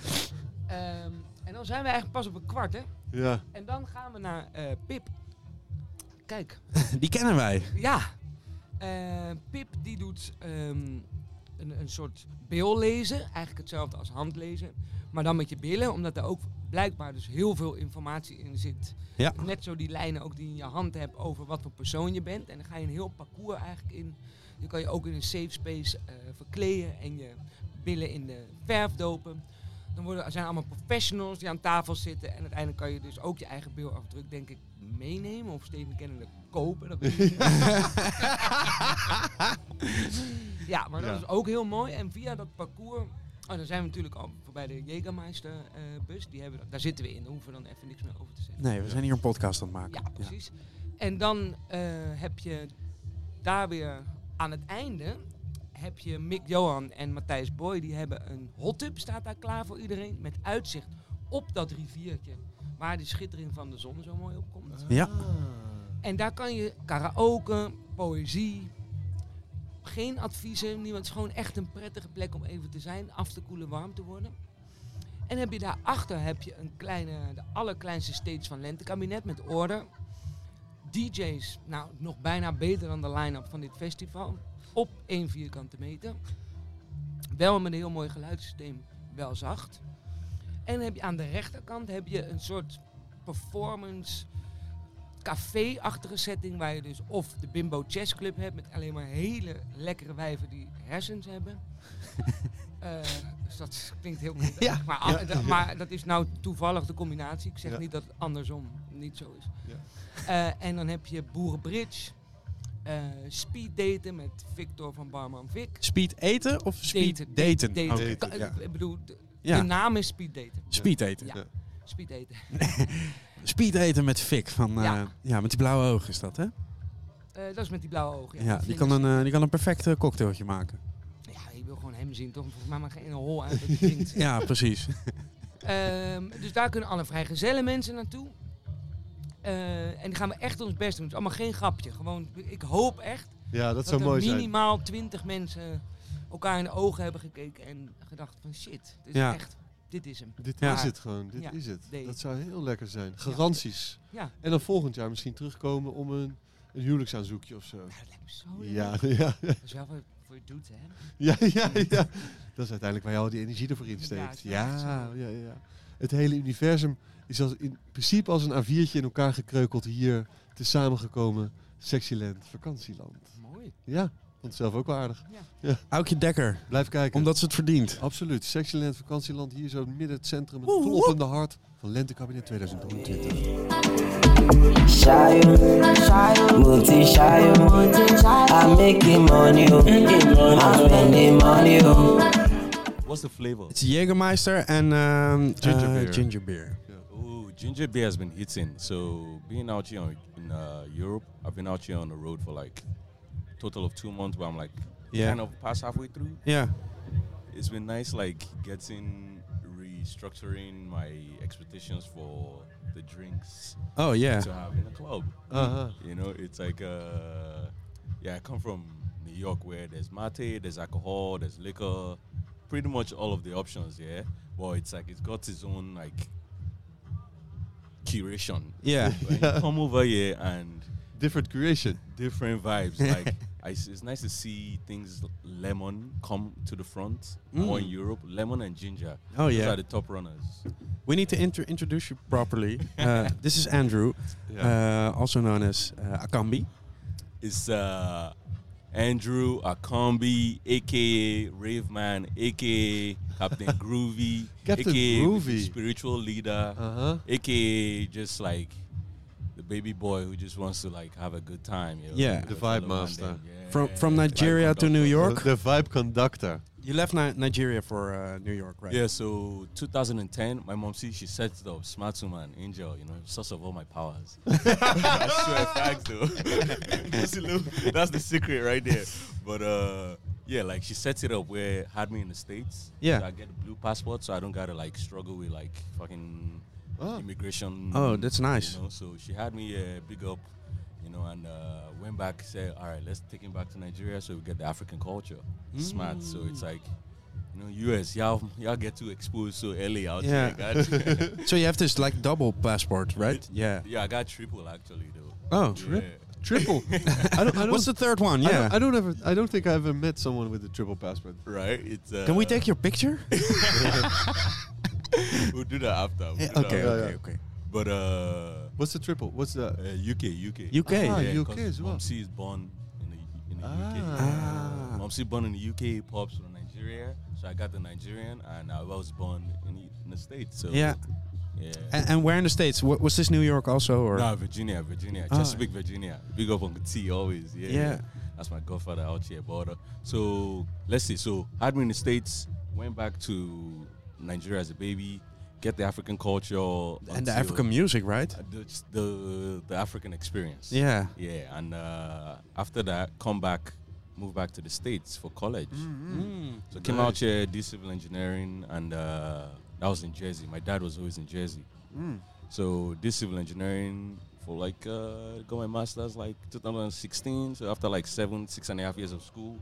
Speaker 6: Ehm, en dan zijn we eigenlijk pas op een kwart, hè.
Speaker 2: Ja.
Speaker 6: En dan gaan we naar eh, Pip. Kijk,
Speaker 3: *laughs* Die kennen wij.
Speaker 6: ja. Eh, Pip die doet ehm, een, een soort beellezen. Eigenlijk hetzelfde als handlezen. Maar dan met je billen, omdat er ook blijkbaar dus heel veel informatie in zit.
Speaker 3: Ja.
Speaker 6: Net zo die lijnen ook die je in je hand hebt over wat voor persoon je bent. En dan ga je een heel parcours eigenlijk in. Je kan je ook in een safe space eh, verkleden en je billen in de verf dopen. Dan worden, er zijn allemaal professionals die aan tafel zitten. En uiteindelijk kan je dus ook je eigen beeldafdruk, denk ik, meenemen. Of Steven kennelijk kopen. Dat weet ik niet. ja, maar dat
Speaker 2: Ja.
Speaker 6: is ook heel mooi. En via dat parcours. Oh, dan zijn we natuurlijk al voorbij de Jägermeister-bus. die hebben, daar zitten we in. Daar hoeven we dan even niks meer over te zeggen.
Speaker 3: Nee, we zijn hier een podcast aan het maken.
Speaker 6: Ja, precies. En dan eh, heb je daar weer aan het einde heb je Mick Johan en Matthijs Boy. Die hebben een hot tub, staat daar klaar voor iedereen. Met uitzicht op dat riviertje waar de schittering van de zon zo mooi op komt.
Speaker 3: Ja.
Speaker 6: En daar kan je karaoke, poëzie, geen adviezen. Niemand, het is gewoon echt een prettige plek om even te zijn, af te koelen, warm te worden. En heb je daarachter heb je een kleine, de allerkleinste stage van Lentekabinet met orde. DJ's, nou nog bijna beter dan de line-up van dit festival. Op één vierkante meter. Wel met een heel mooi geluidssysteem, wel zacht. En heb je aan de rechterkant heb je een soort performance café-achtige setting waar je dus of de Bimbo Chess Club hebt met alleen maar hele lekkere wijven die hersens
Speaker 3: *laughs*
Speaker 6: hebben. Eh, dus dat klinkt heel goed.
Speaker 3: Ja.
Speaker 6: Maar, a- da- maar dat is nou toevallig de combinatie. Ik zeg
Speaker 2: Ja.
Speaker 6: niet dat het andersom niet zo is. Eh, en dan heb je Boerenbridge, eh speed daten met Victor van Barman Vic.
Speaker 3: Speed eten of speed
Speaker 6: Daten,
Speaker 3: daten?
Speaker 6: daten.
Speaker 3: Oké,
Speaker 2: Daten,
Speaker 3: ja.
Speaker 6: Ik bedoel, de,
Speaker 3: Ja.
Speaker 6: de naam is speed daten.
Speaker 3: Speed eten.
Speaker 6: Ja. Speed
Speaker 3: *laughs*
Speaker 6: daten.
Speaker 3: Speed eten met Fik van... eh, ja.
Speaker 6: Ja.
Speaker 3: met die blauwe ogen is dat, hè?
Speaker 6: Eh, dat is met die blauwe ogen.
Speaker 3: Ja, die, kan een, eh, die kan een perfect eh, cocktailtje maken.
Speaker 6: Ja, je wil gewoon hem zien, toch? Volgens mij maakt geen hol uit dat het drinkt.
Speaker 3: *laughs* Ja,
Speaker 6: *laughs*
Speaker 3: precies.
Speaker 6: Ehm, dus daar kunnen alle vrijgezelle mensen naartoe. Eh, en die gaan we echt ons best doen. Het is allemaal geen grapje. Gewoon, ik hoop echt
Speaker 2: Ja, dat
Speaker 6: dat
Speaker 2: zou
Speaker 6: er
Speaker 2: mooi zijn.
Speaker 6: minimaal 20 mensen elkaar in de ogen hebben gekeken en gedacht van shit, dit is
Speaker 3: Ja.
Speaker 6: echt dit is hem.
Speaker 2: Dit
Speaker 4: Ja.
Speaker 2: is het gewoon, dit
Speaker 6: Ja,
Speaker 2: is het.
Speaker 6: nee.
Speaker 2: Dat zou heel lekker zijn. Garanties.
Speaker 6: Ja.
Speaker 2: En dan volgend jaar misschien terugkomen om een, een huwelijksaanzoekje of zo.
Speaker 6: Nou, dat lijkt me zo leuk.
Speaker 2: Ja, *laughs* ja,
Speaker 6: Dat is wel voor, voor je doet, hè?
Speaker 2: ja,
Speaker 7: *laughs*
Speaker 2: ja, ja. Dat is uiteindelijk waar je al die energie ervoor
Speaker 6: Ja,
Speaker 2: insteekt.
Speaker 6: het is
Speaker 2: Ja,
Speaker 6: echt zo.
Speaker 2: ja, ja, Het hele universum is als, in principe als een A4'tje in elkaar gekreukeld hier. te samengekomen. Sexyland, vakantieland.
Speaker 6: Mooi.
Speaker 2: Ja, vond het zelf ook wel aardig.
Speaker 3: Aukje Dekker,
Speaker 2: Blijf kijken.
Speaker 3: omdat ze het verdient.
Speaker 2: Absoluut. Sexyland, vakantieland, hier zo midden het centrum. Het kloppende hart van Lentekabinet 2023.
Speaker 7: Shy, multi shy, I'm making money, oh. I'm spending money. oh.
Speaker 8: What's the flavor?
Speaker 3: Het is Jägermeister en ehm,
Speaker 2: Ginger
Speaker 3: eh,
Speaker 2: beer.
Speaker 3: ginger beer.
Speaker 8: Ooh, ginger beer has been hitting. So being out here on, in uh, Europe, I've been out here on the road for like total of two months, where I'm like
Speaker 3: Yeah.
Speaker 8: kind of past halfway through.
Speaker 3: Ja.
Speaker 8: It's been nice, like getting restructuring my expectations for the drinks
Speaker 3: Oh yeah.
Speaker 8: to have in a club.
Speaker 3: Uh-huh.
Speaker 2: Aha.
Speaker 8: You know, it's like uh, yeah, I come from New York where there's mate, there's alcohol, there's liquor, pretty much all of the options. Yeah, but it's like it's got its own like curation.
Speaker 3: Yeah.
Speaker 8: When you come over here and
Speaker 2: Different creation.
Speaker 8: *laughs*
Speaker 3: *laughs*
Speaker 8: different vibes. like I s it's nice to see things l- lemon come to the front more in Europe. Lemon and ginger.
Speaker 3: Mm. Oh
Speaker 8: Those
Speaker 3: yeah.
Speaker 8: are the top runners.
Speaker 3: We need to intro- introduce you
Speaker 8: *laughs*
Speaker 3: properly. Uh, this is Andrew, uh, also known as uh, Akambi.
Speaker 8: It's uh, Andrew Akombi, aka Rave Man, aka
Speaker 2: *laughs*
Speaker 8: Captain Groovy,
Speaker 2: Captain
Speaker 8: aka
Speaker 2: Groovy.
Speaker 8: spiritual leader,
Speaker 2: Uh-huh.
Speaker 8: aka just like the baby boy who just wants to like have a good time. You know,
Speaker 3: Yeah.
Speaker 8: with
Speaker 2: The vibe
Speaker 8: fellow man
Speaker 2: master.
Speaker 8: then. Yeah.
Speaker 3: From from Nigeria to New
Speaker 2: De
Speaker 3: York.
Speaker 2: de vibe conductor.
Speaker 3: You left Ni- Nigeria for uh, New York, right?
Speaker 8: Yeah, so 2010, my mom see she set it up, smart woman, angel, you know, source of all my
Speaker 3: *laughs*
Speaker 8: powers. I swear, facts though. that's, a little- *laughs* that's the secret right there. But uh, yeah, like she set it up where had me in the states.
Speaker 3: Yeah.
Speaker 8: so I get a blue passport, so I don't gotta like struggle with like fucking
Speaker 2: Ah.
Speaker 8: immigration.
Speaker 3: Oh, that's nice.
Speaker 8: You know? So she had me uh, big up, you know, and uh, went back said, all right, let's take him back to Nigeria so we get the African culture. Smart. So it's
Speaker 3: Mm.
Speaker 8: like, you know, US, y'all, y'all get too exposed so early out
Speaker 3: Yeah.
Speaker 8: here. God.
Speaker 3: *laughs* So you have this like double passport, right? Yeah.
Speaker 8: *laughs* yeah, I got triple actually though.
Speaker 3: Oh.
Speaker 8: Yeah. *laughs*
Speaker 2: Triple. I don't, I don't,
Speaker 3: *laughs* What's the third one?
Speaker 2: I don't-
Speaker 3: Yeah.
Speaker 2: I don't ever. I don't think I ever met someone with a triple passport.
Speaker 8: Right? It's, uh,
Speaker 3: Can we take your
Speaker 8: *laughs*
Speaker 3: picture?
Speaker 8: We'll do that after. We'll
Speaker 3: Eh,
Speaker 8: do that
Speaker 3: okay,
Speaker 8: after.
Speaker 3: okay, okay.
Speaker 8: But uh,
Speaker 2: What's the triple? What's the?
Speaker 8: uh, UK, UK.
Speaker 3: UK.
Speaker 2: Ah,
Speaker 8: Yeah,
Speaker 2: UK
Speaker 8: 'cause
Speaker 2: as well.
Speaker 8: Mom C is born in the, in the
Speaker 2: Ah.
Speaker 8: UK. Mom C born in the UK, pops from Nigeria. So I got the Nigerian, and I was born in the, in the States. So
Speaker 3: Yeah.
Speaker 8: yeah.
Speaker 3: And, and where in the states? Wa- was this New York also, or
Speaker 8: Nah, Virginia, Virginia,
Speaker 3: Ah.
Speaker 8: Chesapeake, Virginia. Big up on T always. Yeah,
Speaker 3: Yeah.
Speaker 8: That's my godfather out here, border. So let's see. So had me in the states, went back to Nigeria as a baby, get the African culture
Speaker 3: and the
Speaker 8: until- Uh,
Speaker 3: African music, right?
Speaker 8: the, the the African experience.
Speaker 3: Yeah.
Speaker 8: Yeah, and uh, after that, come back, move back to the states for college.
Speaker 3: Mm-hmm.
Speaker 8: Mm.
Speaker 3: Mm.
Speaker 8: So came out here, did civil engineering, and uh, that was in Jersey. My dad was always in Jersey,
Speaker 3: Mm.
Speaker 8: so did civil engineering for like uh, got my master's like 2016. So after like seven, six and a half years of school,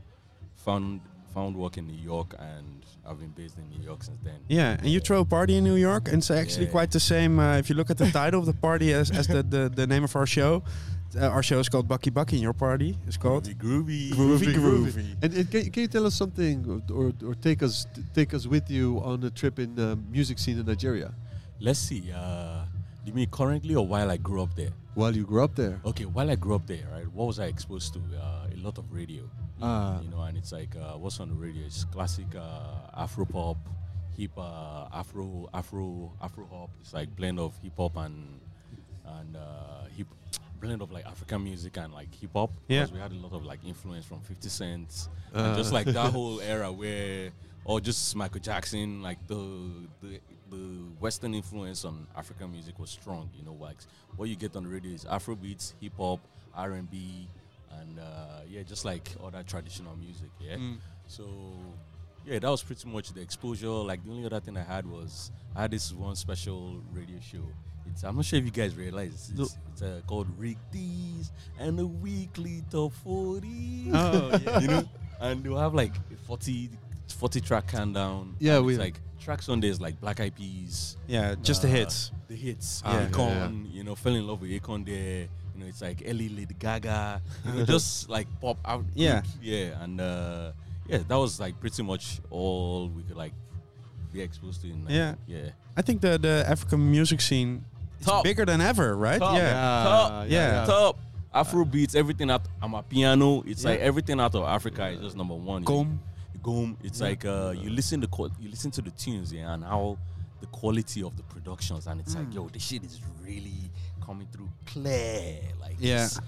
Speaker 8: found found work in New York, and I've been based in New York since then.
Speaker 3: Yeah, and you throw a party in New York, and it's actually
Speaker 8: Yeah.
Speaker 3: quite the same. Uh, if you look at
Speaker 8: *laughs*
Speaker 3: the title of the party as, as the, the, the name of our show, uh, our show is called Bucky Bucky, and your party is called
Speaker 8: Groovy, groovy.
Speaker 3: Groovy Groovy.
Speaker 2: And, and can, can you tell us something, or, or, or take us take us with you on a trip in the music scene in Nigeria
Speaker 8: Let's see. Uh, you mean currently or while I grew up there?
Speaker 2: while you grew up there?
Speaker 8: Okay, while I grew up there, right? What was I exposed to? Uh, a lot of radio,
Speaker 2: Ah.
Speaker 8: you know, and it's like uh, what's on the radio? It's classic uh, Afro pop, hip, uh, Afro, Afro, Afro hop. It's like blend of hip hop and and uh, hip blend of like African music and like hip hop.
Speaker 3: Yeah.
Speaker 8: 'cause we had a lot of like influence from Fifty Cent,
Speaker 2: Ah.
Speaker 8: and just like that whole era where, or just Michael Jackson, like the the the Western influence on African music was strong. You know, like what you get on the radio is Afro beats, hip hop, R and B, and uh, yeah, just like all that traditional music. Yeah, so. Yeah, that was pretty much the exposure. Like the only other thing I had was I had this one special radio show. It's I'm not sure if you guys realize it's,
Speaker 2: No.
Speaker 8: it's uh, called Rick D's and the Weekly Top 40
Speaker 3: Oh, yeah.
Speaker 8: you know, and they'll have like 40 40 track countdown.
Speaker 2: Yeah,
Speaker 8: and
Speaker 2: we-
Speaker 8: it's like tracks on there's like Black Eyed Peas,
Speaker 3: Yeah, just the
Speaker 8: Uh,
Speaker 3: hits. Ah,
Speaker 8: the hits,
Speaker 3: Yeah.
Speaker 8: Akon, you know, fell in love with Akon there. You know, it's like Ellie Lady Gaga, you
Speaker 3: *laughs*
Speaker 8: know, just like pop out.
Speaker 3: Yeah.
Speaker 8: yeah, and uh, yeah, that was like pretty much all we could like be exposed to. In, like,
Speaker 3: Yeah.
Speaker 8: yeah,
Speaker 3: I think the the African music scene is
Speaker 8: Top.
Speaker 3: bigger than ever, right?
Speaker 8: Top.
Speaker 3: Yeah.
Speaker 8: Top.
Speaker 3: Yeah.
Speaker 8: top. Afro beats, everything out. I'm a piano. It's like *laughs*
Speaker 3: Yeah.
Speaker 8: everything out of Africa is just number one.
Speaker 3: Gom.
Speaker 8: Gom. It's like uh, you listen to qual- you listen to the tunes yeah, and how the quality of the productions and it's
Speaker 3: Mm.
Speaker 8: like yo, the shit is really coming through clear. Like
Speaker 3: Yeah.
Speaker 8: it's,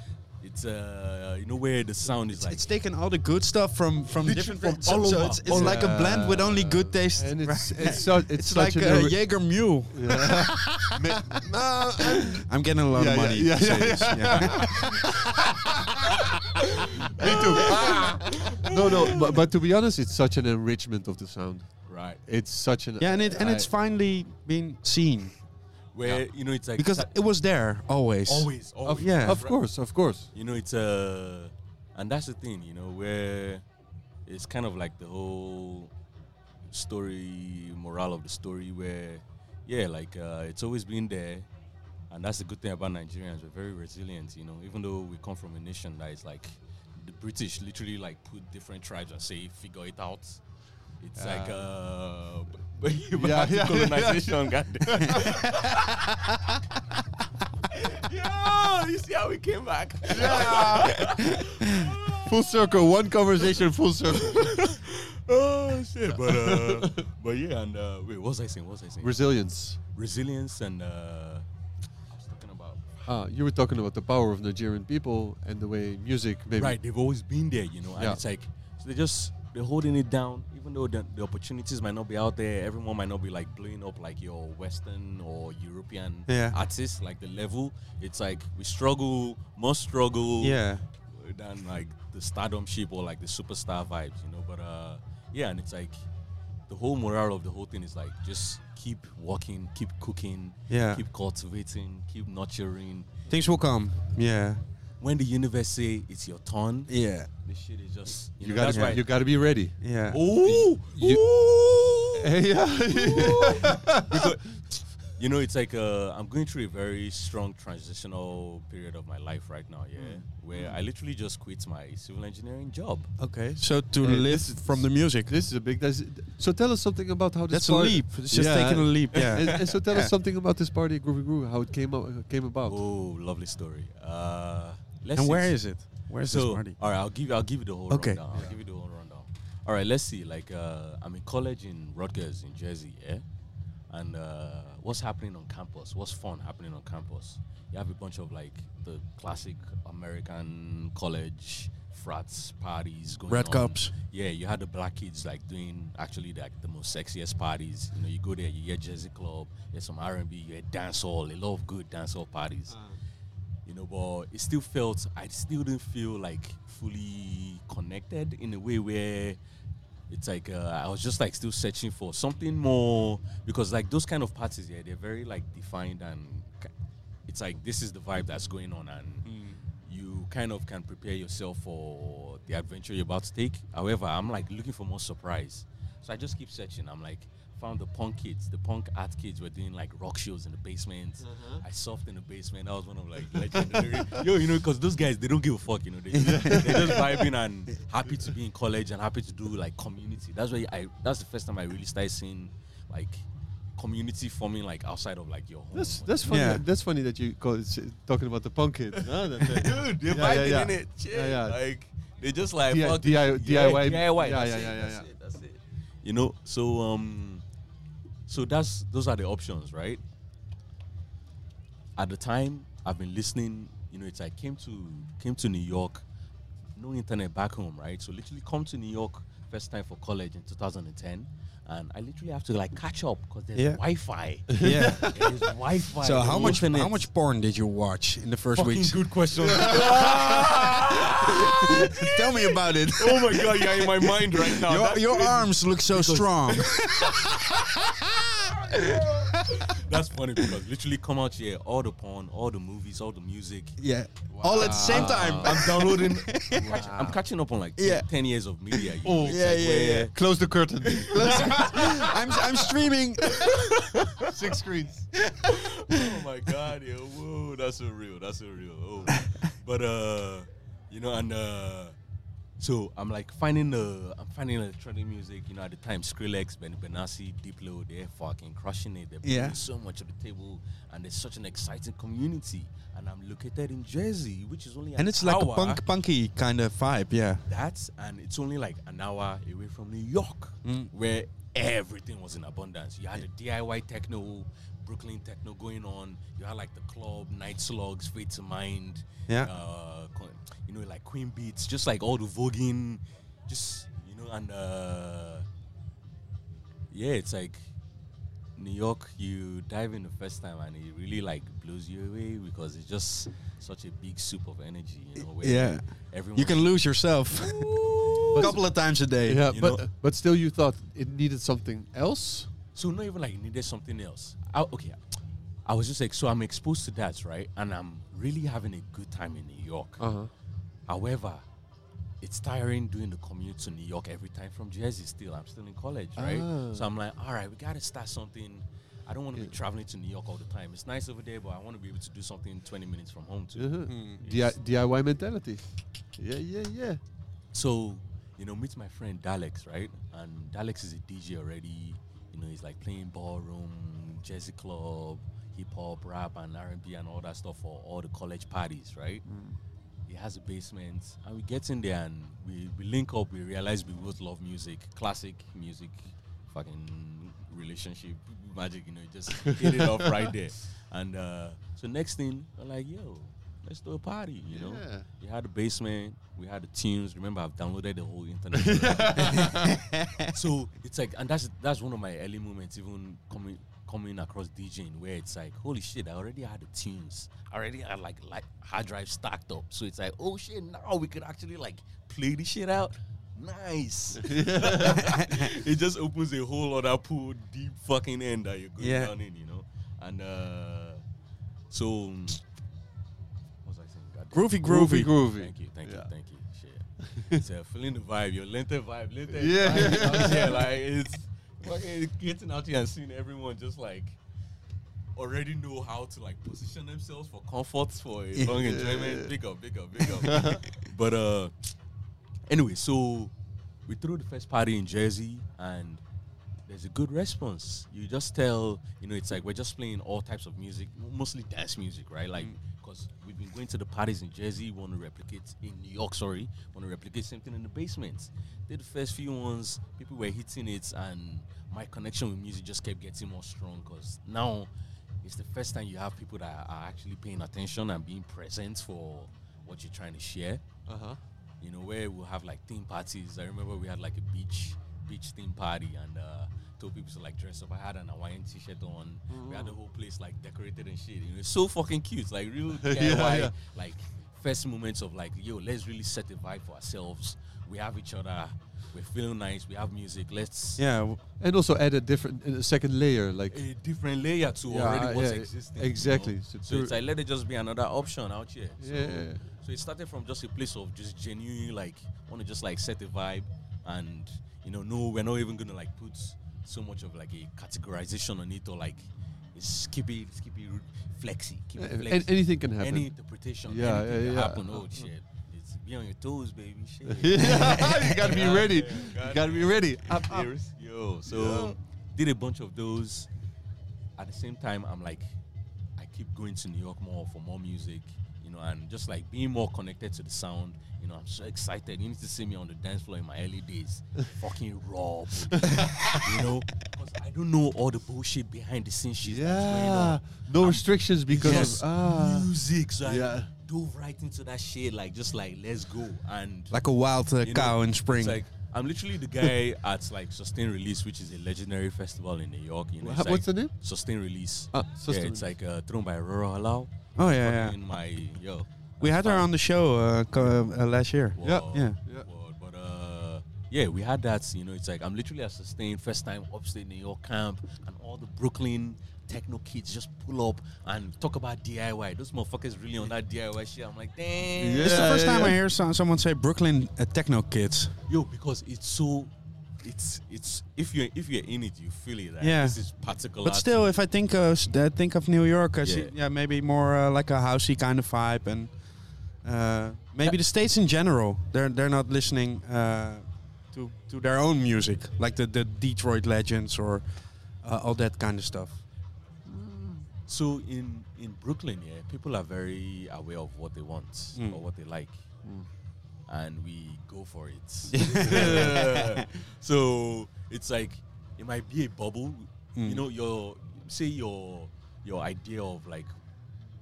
Speaker 8: it's uh you know where the sound is like
Speaker 3: It's taken all the good stuff from from different
Speaker 2: from
Speaker 3: so-
Speaker 2: all
Speaker 3: so
Speaker 2: over.
Speaker 3: it's, it's
Speaker 2: All
Speaker 3: like a blend with only good taste.
Speaker 2: And it's
Speaker 3: right?
Speaker 2: it's so it's,
Speaker 3: It's
Speaker 2: such
Speaker 3: like
Speaker 2: an
Speaker 3: a
Speaker 2: ori-
Speaker 3: Jaeger Mule.
Speaker 2: *laughs* No, I'm-
Speaker 3: *laughs* I'm getting a lot
Speaker 2: Yeah,
Speaker 3: of
Speaker 2: yeah,
Speaker 3: money.
Speaker 2: yeah,
Speaker 3: to say
Speaker 2: yeah,
Speaker 3: this, yeah.
Speaker 2: me too. *laughs*
Speaker 3: Ah.
Speaker 2: no, no, but, but to be honest, it's such an enrichment of the sound.
Speaker 8: right
Speaker 2: It's such an
Speaker 3: Yeah, and it and it's finally been seen
Speaker 8: where you know it's like
Speaker 3: because it was there always.
Speaker 8: always always
Speaker 3: yeah.
Speaker 2: Of course, of course.
Speaker 8: you know it's uh and that's the thing you know where it's kind of like the whole story morale of the story where yeah like uh, it's always been there and that's the good thing about nigerians we're very resilient you know even though we come from a nation that is like the british literally like put different tribes and say figure it out it's like uh *laughs* but
Speaker 2: Yeah, yeah, yeah, yeah.
Speaker 8: colonization goddamn *laughs* Yo, you see how we came back
Speaker 2: Full circle,
Speaker 4: *laughs*
Speaker 2: one conversation, full circle.
Speaker 8: *laughs*
Speaker 2: *laughs*
Speaker 8: oh shit! But uh, but yeah, and uh, wait, what was I saying? What was I saying?
Speaker 2: Resilience.
Speaker 8: Resilience and uh, I was talking about
Speaker 2: Ah, you were talking about the power of Nigerian people and the way music maybe.
Speaker 8: right. They've always been there, you know, and
Speaker 2: Yeah.
Speaker 8: it's like so they just they're holding it down, even though the, the opportunities might not be out there. Everyone might not be like blowing up like your Western or European
Speaker 3: Yeah.
Speaker 8: artists, like the level. It's like we struggle, more struggle,
Speaker 3: Yeah.
Speaker 8: than like the stardom ship or like the superstar vibes, you know. But uh, yeah, and it's like the whole morale of the whole thing is like just keep walking, keep cooking,
Speaker 3: Yeah.
Speaker 8: keep cultivating, keep nurturing.
Speaker 3: Things will come. Yeah.
Speaker 8: When the universe say it's your turn,
Speaker 3: Yeah.
Speaker 8: the shit is just you,
Speaker 2: You,
Speaker 8: know,
Speaker 2: gotta,
Speaker 8: that's
Speaker 2: be,
Speaker 8: why.
Speaker 2: you gotta be ready.
Speaker 3: Yeah.
Speaker 8: Ooh,
Speaker 2: *laughs*
Speaker 8: ooh.
Speaker 2: Hey, yeah.
Speaker 8: Because- you know, it's like uh, I'm going through a very strong transitional period of my life right now. Yeah,
Speaker 2: Mm.
Speaker 8: where I literally just quit my civil engineering job.
Speaker 3: Okay. So to
Speaker 2: Hey,
Speaker 3: live
Speaker 2: this is-
Speaker 3: from the music.
Speaker 2: this is a big. That's, so tell us something about how this
Speaker 3: That's a
Speaker 2: party-
Speaker 3: leap. It's just
Speaker 2: Yeah.
Speaker 3: taking a leap.
Speaker 2: And,
Speaker 3: Yeah.
Speaker 2: and
Speaker 3: *laughs*
Speaker 2: so tell us something about this party, at Groovy Groove, how it came up, came about.
Speaker 8: Oh, lovely story. Uh, let's
Speaker 3: and
Speaker 8: see.
Speaker 3: where is it? Where's
Speaker 8: so,
Speaker 3: this party?
Speaker 8: All right, I'll give you. I'll give you the whole
Speaker 3: Okay.
Speaker 8: rundown. I'll give you the whole rundown. All right, let's see. Like, uh, I'm in college in Rutgers in Jersey, yeah. And uh, what's happening on campus? What's fun happening on campus? You have a bunch of like the classic American college frats parties going
Speaker 3: Red
Speaker 8: on.
Speaker 3: cups.
Speaker 8: Yeah, you had the black kids like doing actually like the most sexiest parties. You know, you go there, you hear Jersey club, there's some R and B, you hear dancehall, a lot of good dancehall parties you know but it still felt i still didn't feel like fully connected in a way where it's like uh, i was just like still searching for something more because like those kind of parties yeah they're very like defined and ki- it's like this is the vibe that's going on and you kind of can prepare yourself for the adventure you're about to take however i'm like looking for more surprise so i just keep searching i'm like found the punk kids the punk art kids were doing like rock shows in the basement i surfed in the basement that was one of like legendary *laughs* yo you know because those guys they don't give a fuck you know they just, they're just vibing and happy to be in college and happy to do like community that's why i that's the first time i really started seeing like community forming like outside of like your home
Speaker 2: That's that's funny.
Speaker 3: Yeah.
Speaker 2: That's funny that you call it, sh- talking about the punk kid. *laughs* huh? That- that-
Speaker 8: *laughs* dude, they're
Speaker 2: Yeah, yeah,
Speaker 8: vibing
Speaker 2: yeah.
Speaker 8: in it. Shit.
Speaker 2: Yeah, yeah.
Speaker 8: Like they just like
Speaker 2: DI-
Speaker 8: fuck
Speaker 2: DIY.
Speaker 8: it. Yeah, DIY. that's
Speaker 2: Yeah, yeah,
Speaker 8: it,
Speaker 2: yeah, yeah,
Speaker 8: that's
Speaker 2: yeah.
Speaker 8: it, that's it. You know, so um, so that's those are the options, right? At the time, I've been listening. You know, it's I came to came to New York, no internet back home, right? So literally come to New York first time for college in 2010. And I literally have to like catch up because there's
Speaker 3: Yeah. *laughs*
Speaker 2: *laughs*
Speaker 8: Wi-Fi.
Speaker 3: Yeah.
Speaker 8: There's Wi-Fi.
Speaker 3: So how
Speaker 8: there's
Speaker 3: much
Speaker 8: internet.
Speaker 3: how much porn did you watch in the first
Speaker 8: fucking
Speaker 3: weeks? *laughs*
Speaker 8: good question? *laughs*
Speaker 3: Tell me about it.
Speaker 8: Oh my god, you're in my mind right now.
Speaker 3: your
Speaker 8: That's *laughs*
Speaker 3: your
Speaker 8: crazy.
Speaker 3: arms look so strong. *laughs*
Speaker 8: That's funny because literally come out here, all the porn, all the movies, all the music.
Speaker 3: Yeah. All at the same time. *laughs*
Speaker 2: I'm downloading.
Speaker 8: I'm catching up on like
Speaker 3: Yeah.
Speaker 8: 10 years of media. you know,
Speaker 2: Oh,
Speaker 8: it's
Speaker 3: yeah,
Speaker 8: like
Speaker 3: yeah,
Speaker 8: where-
Speaker 3: yeah.
Speaker 2: Close
Speaker 3: *laughs*
Speaker 2: the curtain.
Speaker 3: I'm, I'm
Speaker 2: *laughs*
Speaker 3: streaming.
Speaker 2: Six screens.
Speaker 8: oh my god, yo, whoa, that's so real, that's so real. Oh, but uh, you know, and uh, so I'm like finding the, I'm finding electronic music. You know, at the time, Skrillex, Ben Benassi, Diplo, they're fucking crushing it. They're bringing
Speaker 3: Yeah.
Speaker 8: so much to the table, and there's such an exciting community. And I'm located in Jersey, which is only an
Speaker 3: And it's like
Speaker 8: hour.
Speaker 3: a punk, punky kind of vibe, yeah.
Speaker 8: That and it's only like an hour away from New York,
Speaker 3: Mm.
Speaker 8: where everything was in abundance. You had the DIY techno, Brooklyn techno going on. You had like the club, Night Slugs, Fate to Mind.
Speaker 3: Yeah.
Speaker 8: Uh, co- you know, like Queen Beats, just like all the voguing, just you know, and uh, yeah, it's like New York. You dive in the first time and it really like blows you away because it's just such a big soup of energy. You know, where
Speaker 3: Yeah.
Speaker 8: everyone
Speaker 3: You can lose yourself *laughs* a couple of times a day.
Speaker 2: Yeah,
Speaker 8: You
Speaker 2: but
Speaker 8: know-
Speaker 2: but still, you thought it needed something else.
Speaker 8: So not even like needed something else. I, okay, I was just like, so I'm exposed to that, right? And I'm really having a good time in New York.
Speaker 2: Uh-huh.
Speaker 8: However, it's tiring doing the commute to New York every time from Jersey. Still, I'm still in college, right?
Speaker 2: Ah.
Speaker 8: So I'm like, all right, we gotta start something. I don't want to be traveling to New York all the time. It's nice over there, but I want to be able to do something 20 minutes from home too.
Speaker 2: Uh-huh. Di- DIY mentality. Yeah, yeah, yeah.
Speaker 8: So, you know, meet my friend Dalex, right? And Dalex is a DJ already. You know, he's like playing ballroom, jazzy club, hip hop, rap, and R and B, and all that stuff for all the college parties, right? He has a basement, and we get in there and we, we link up. We realize we both love music, classic music, fucking relationship magic. You know, just hit it off right there. And uh, so next thing, we're like, yo, let's do a party. You know,
Speaker 2: Yeah.
Speaker 8: you had the basement, we had the teams. Remember, I've downloaded the whole internet. so it's like, and that's that's one of my early moments, even coming coming across DJing, where it's like, holy shit, I already had the tunes, I already had like like hard drive stacked up. So it's like, oh shit, now we could actually like play this shit out. *laughs*
Speaker 7: *laughs*
Speaker 8: Nice. it just opens a whole other pool, deep fucking end that you're going
Speaker 3: Yeah.
Speaker 8: down in, you know. And uh so, what was I saying? God damn.
Speaker 3: Groovy, groovy.
Speaker 2: groovy.
Speaker 8: Thank you, thank
Speaker 2: Yeah.
Speaker 8: you, thank you. Shit. it's uh, feeling the vibe, your lengthy vibe, lengthy
Speaker 2: Yeah.
Speaker 8: vibe. out here, like it's fucking getting out here and seeing *laughs* everyone just like already know how to like position themselves for comfort, for a long enjoyment. Big up, big up, big up. but uh, anyway, so we threw the first party in Jersey and there's a good response. You just tell, you know, it's like we're just playing all types of music, m- mostly dance music, right? Like, because we've been going to the parties in Jersey, want to replicate in New York, sorry, want to replicate something in the basement. Did the first few ones, people were hitting it, and my connection with music just kept getting more strong because now it's the first time you have people that are actually paying attention and being present for what you're trying to share
Speaker 2: Uh huh.
Speaker 8: you know, where we'll have like theme parties. I remember we had like a beach beach theme party and uh told people to like dress up. I had an Hawaiian t shirt on. We
Speaker 2: Mm.
Speaker 8: had the whole place like decorated and shit. It was so fucking cute. Like real DIY
Speaker 2: *laughs* yeah.
Speaker 8: like first moments of like, yo, let's really set the vibe for ourselves. We have each other, we're feeling nice, we have music, let's
Speaker 3: Yeah. w-
Speaker 2: And also add a different, a second layer, like
Speaker 8: a different layer to
Speaker 2: Yeah,
Speaker 8: already what's
Speaker 2: yeah,
Speaker 8: existing.
Speaker 2: exactly.
Speaker 8: you know?
Speaker 2: So
Speaker 8: So,
Speaker 2: to-
Speaker 8: it's like let it just be another option out here. So,
Speaker 2: Yeah.
Speaker 8: so it started from just a place of just genuinely like want to just like set the vibe and you know, no, we're not even gonna like put so much of like a categorization on it or like it's keep it, it's keep it flexy, keep it flexy.
Speaker 2: an- anything can happen.
Speaker 8: Any interpretation,
Speaker 2: Yeah,
Speaker 8: anything
Speaker 2: yeah,
Speaker 8: can
Speaker 2: yeah.
Speaker 8: happen. Oh shit. It's be on your toes, baby. Shit.
Speaker 2: you
Speaker 8: *laughs*
Speaker 2: gotta be ready. You gotta be ready. Up, up.
Speaker 8: Years. Yo, so did a bunch of those. At the same time, I'm like, I keep going to New York more for more music, you know, and just like being more connected to the sound. You know, I'm so excited. You need to see me on the dance floor in my early
Speaker 2: *laughs*
Speaker 8: days, fucking raw, baby. you know, because I don't know all the bullshit behind the scenes shit that's going
Speaker 2: Yeah.
Speaker 8: on.
Speaker 2: *laughs* No restrictions because
Speaker 8: Yes.
Speaker 2: of ah.
Speaker 8: Music, so
Speaker 2: Yeah.
Speaker 8: I dove right into that shit, like just like let's go and
Speaker 3: Like a wild uh,
Speaker 8: you know,
Speaker 3: cow in spring.
Speaker 8: It's like I'm literally the guy *laughs* at like Sustain Release, which is a legendary festival in New York. You know,
Speaker 2: Wha-
Speaker 8: it's
Speaker 2: what's
Speaker 8: like
Speaker 2: the name?
Speaker 8: Sustain Release.
Speaker 2: Ah,
Speaker 8: yeah,
Speaker 2: Sustain
Speaker 8: it's like uh, thrown by Roro Halal.
Speaker 3: oh, yeah, yeah.
Speaker 8: In my yo,
Speaker 3: We had her on the show uh, co- uh, last year.
Speaker 8: Word,
Speaker 3: Yeah.
Speaker 8: word. But uh, yeah, we had that. You know, it's like I'm literally a sustained first time upstate New York camp, and all the Brooklyn techno kids just pull up and talk about DIY. Those motherfuckers really on that DIY shit. I'm like, damn.
Speaker 3: This is the first time I hear so- someone say Brooklyn uh, Techno Kids.
Speaker 8: Yo, because it's so, it's it's if you are if you're in it, you feel it. Right?
Speaker 3: Yeah.
Speaker 8: This is particular.
Speaker 3: But still, if I think uh, s- I think of New York, I see
Speaker 8: Yeah.
Speaker 3: yeah maybe more uh, like a housey kind of vibe, and uh, maybe the states in general they're they're not listening uh, to to their own music like the the Detroit Legends or uh, all that kind of stuff.
Speaker 8: So in in Brooklyn, yeah, people are very aware of what they want
Speaker 3: Hmm.
Speaker 8: or what they like, and we go
Speaker 3: *laughs*
Speaker 8: for it. *laughs* so it's like it might be a bubble,
Speaker 3: Hmm.
Speaker 8: you know. Your say your your idea of like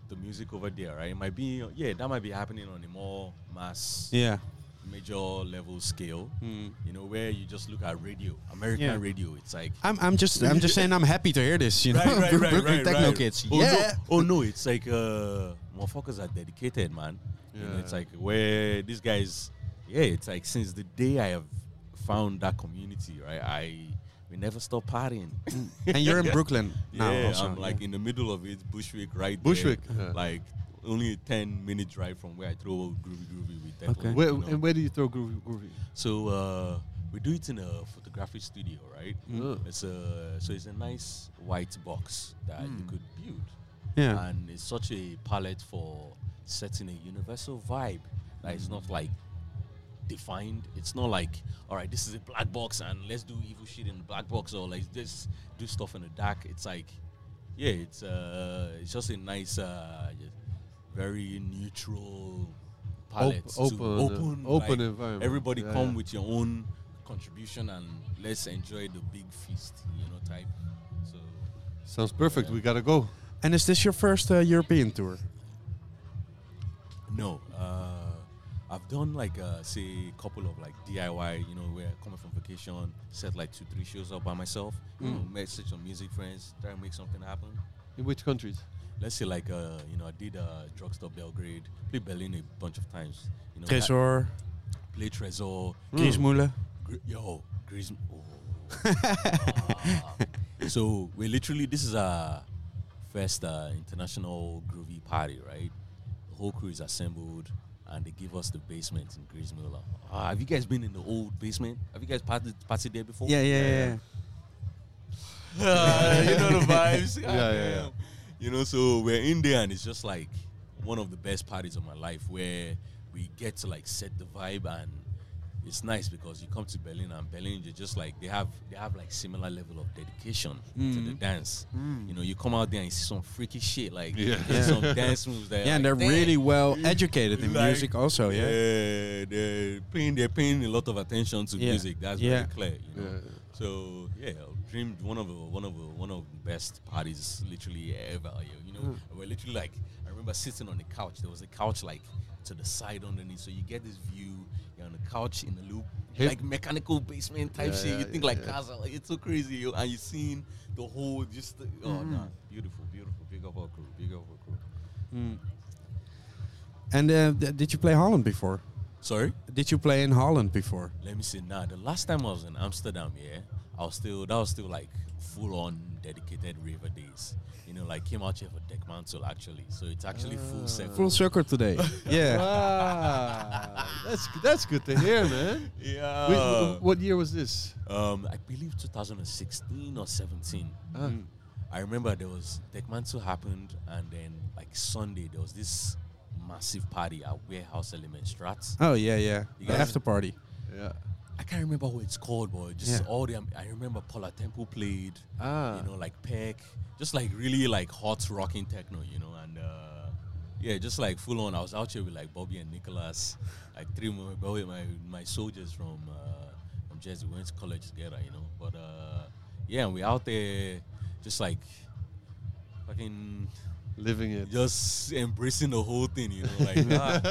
Speaker 8: the music over there, right? It might be yeah, that might be happening on a more mass
Speaker 3: Yeah, Hmm.
Speaker 8: major level scale. You know where you just look at radio, American
Speaker 3: Yeah.
Speaker 8: radio. It's like
Speaker 3: I'm I'm just I'm just
Speaker 8: *laughs*
Speaker 3: saying I'm happy to hear this. You know, *laughs* Brooklyn Techno Kids.
Speaker 8: Oh,
Speaker 3: yeah.
Speaker 8: No. Oh no, it's like uh, motherfuckers are dedicated, man. You know, it's like where these guys. Yeah, it's like since the day I have found that community, right? I we never stop partying.
Speaker 3: *laughs* and you're in Brooklyn now.
Speaker 8: yeah,
Speaker 3: also,
Speaker 8: I'm like
Speaker 3: yeah.
Speaker 8: in the middle of it, Bushwick, right?
Speaker 2: Bushwick,
Speaker 8: there,
Speaker 2: yeah.
Speaker 8: like only a ten minute drive from where I throw groovy groovy with. Declan,
Speaker 3: Okay.
Speaker 8: you
Speaker 2: Where,
Speaker 8: know?
Speaker 2: And where do you throw groovy? groovy?
Speaker 8: So uh, we do it in a photographic studio, right? It's a so it's a nice white box that you could build,
Speaker 3: yeah.
Speaker 8: and it's such a palette for setting a universal vibe that is not like defined. It's not like all right, this is a black box, and let's do evil shit in the black box, or like this do stuff in the dark. It's like yeah, it's uh, it's just a nice, uh, very neutral palette, to
Speaker 2: open, uh,
Speaker 8: open,
Speaker 2: open
Speaker 8: like,
Speaker 2: environment.
Speaker 8: Everybody
Speaker 2: Yeah,
Speaker 8: come
Speaker 2: yeah.
Speaker 8: with your own contribution and let's enjoy the big feast, you know, type. So
Speaker 2: Sounds perfect. We gotta go.
Speaker 3: And is this your first uh, European tour?
Speaker 8: no, uh, I've done like uh, say a couple of like DIY, you know, where coming from vacation, set like two three shows up by myself, you
Speaker 2: Mm.
Speaker 8: know, message some music friends, try and make something happen.
Speaker 2: In which countries?
Speaker 8: let's say like uh you know I did uh drugstore Belgrade, played Berlin a bunch of times. You know,
Speaker 3: Tresor,
Speaker 8: that- played Trezor,
Speaker 3: Griesmoelen.
Speaker 8: Mm. Gr- yo, oh. Grism. so we literally this is our first uh, international groovy party, right? The whole crew is assembled. And they give us the basement in Griezmüller. Uh, have you guys been in the old basement? Have you guys partied, partied there before?
Speaker 3: Yeah, yeah, yeah.
Speaker 8: Uh, *laughs* you know the vibes. God
Speaker 2: Yeah, yeah, yeah.
Speaker 8: damn. You know, so we're in there, and it's just like one of the best parties of my life where we get to like set the vibe, and it's nice because you come to Berlin, and Berlin, you're just like they have they have like similar level of dedication to
Speaker 3: Mm.
Speaker 8: the dance. You know, you come out there and see some freaky shit, like
Speaker 2: *laughs*
Speaker 8: some dance moves that.
Speaker 3: Yeah, and they're
Speaker 8: like, damn.
Speaker 3: really well educated in
Speaker 8: Like,
Speaker 3: music, also. Yeah.
Speaker 8: Yeah, they're paying they're paying a lot of attention to
Speaker 3: Yeah.
Speaker 8: music. That's
Speaker 3: Yeah.
Speaker 8: very clear. You know?
Speaker 2: Yeah.
Speaker 8: So yeah, I dreamed one of the one of the one of the best parties literally ever. You, you know,
Speaker 2: Hmm.
Speaker 8: we're literally like I remember sitting on the couch. There was a couch like to the side underneath, so you get this view. You're on the couch in the loop,
Speaker 2: Hey.
Speaker 8: like mechanical basement type
Speaker 2: Yeah,
Speaker 8: shit.
Speaker 2: yeah,
Speaker 8: you think
Speaker 2: yeah,
Speaker 8: like
Speaker 2: yeah.
Speaker 8: cars are like it's so crazy, yo, and you're seeing the whole just the, oh
Speaker 2: Mm-hmm.
Speaker 8: nah, beautiful, beautiful, big up our crew, big up our crew.
Speaker 3: Mm. And uh, th- did you play Holland before?
Speaker 8: Sorry.
Speaker 3: Did you play in Holland before?
Speaker 8: Let me see now. The last time I was in Amsterdam, yeah, I was still that was still like full on dedicated river days. You know, like came out here for Deckmantle actually. So it's actually full circle.
Speaker 3: Full circle
Speaker 2: *laughs*
Speaker 3: today. yeah.
Speaker 2: Ah, *laughs* that's that's good to hear, man. Wait,
Speaker 8: Yeah.
Speaker 2: wh- what year was this?
Speaker 8: um, I believe 2016 or 17.
Speaker 2: Ah.
Speaker 8: I remember there was Deckmantle happened, and then like Sunday there was this massive party at Warehouse Element Strat.
Speaker 3: Oh yeah, yeah. The
Speaker 8: guys-
Speaker 3: after party.
Speaker 2: Yeah.
Speaker 8: I can't remember what it's called, but just
Speaker 3: Yeah.
Speaker 8: all the I remember Paula Temple played.
Speaker 2: Ah.
Speaker 8: you know, like Peck, just like really like hot rocking techno, you know, and uh, yeah, just like full on. I was out here with like Bobby and Nicholas, like three of my Bobby, my my soldiers from uh, from Jersey. We went to college together, you know. But uh, yeah, we out there, just like fucking,
Speaker 2: Living it.
Speaker 8: just embracing the whole thing, you know.
Speaker 2: *laughs*
Speaker 8: Like, ah,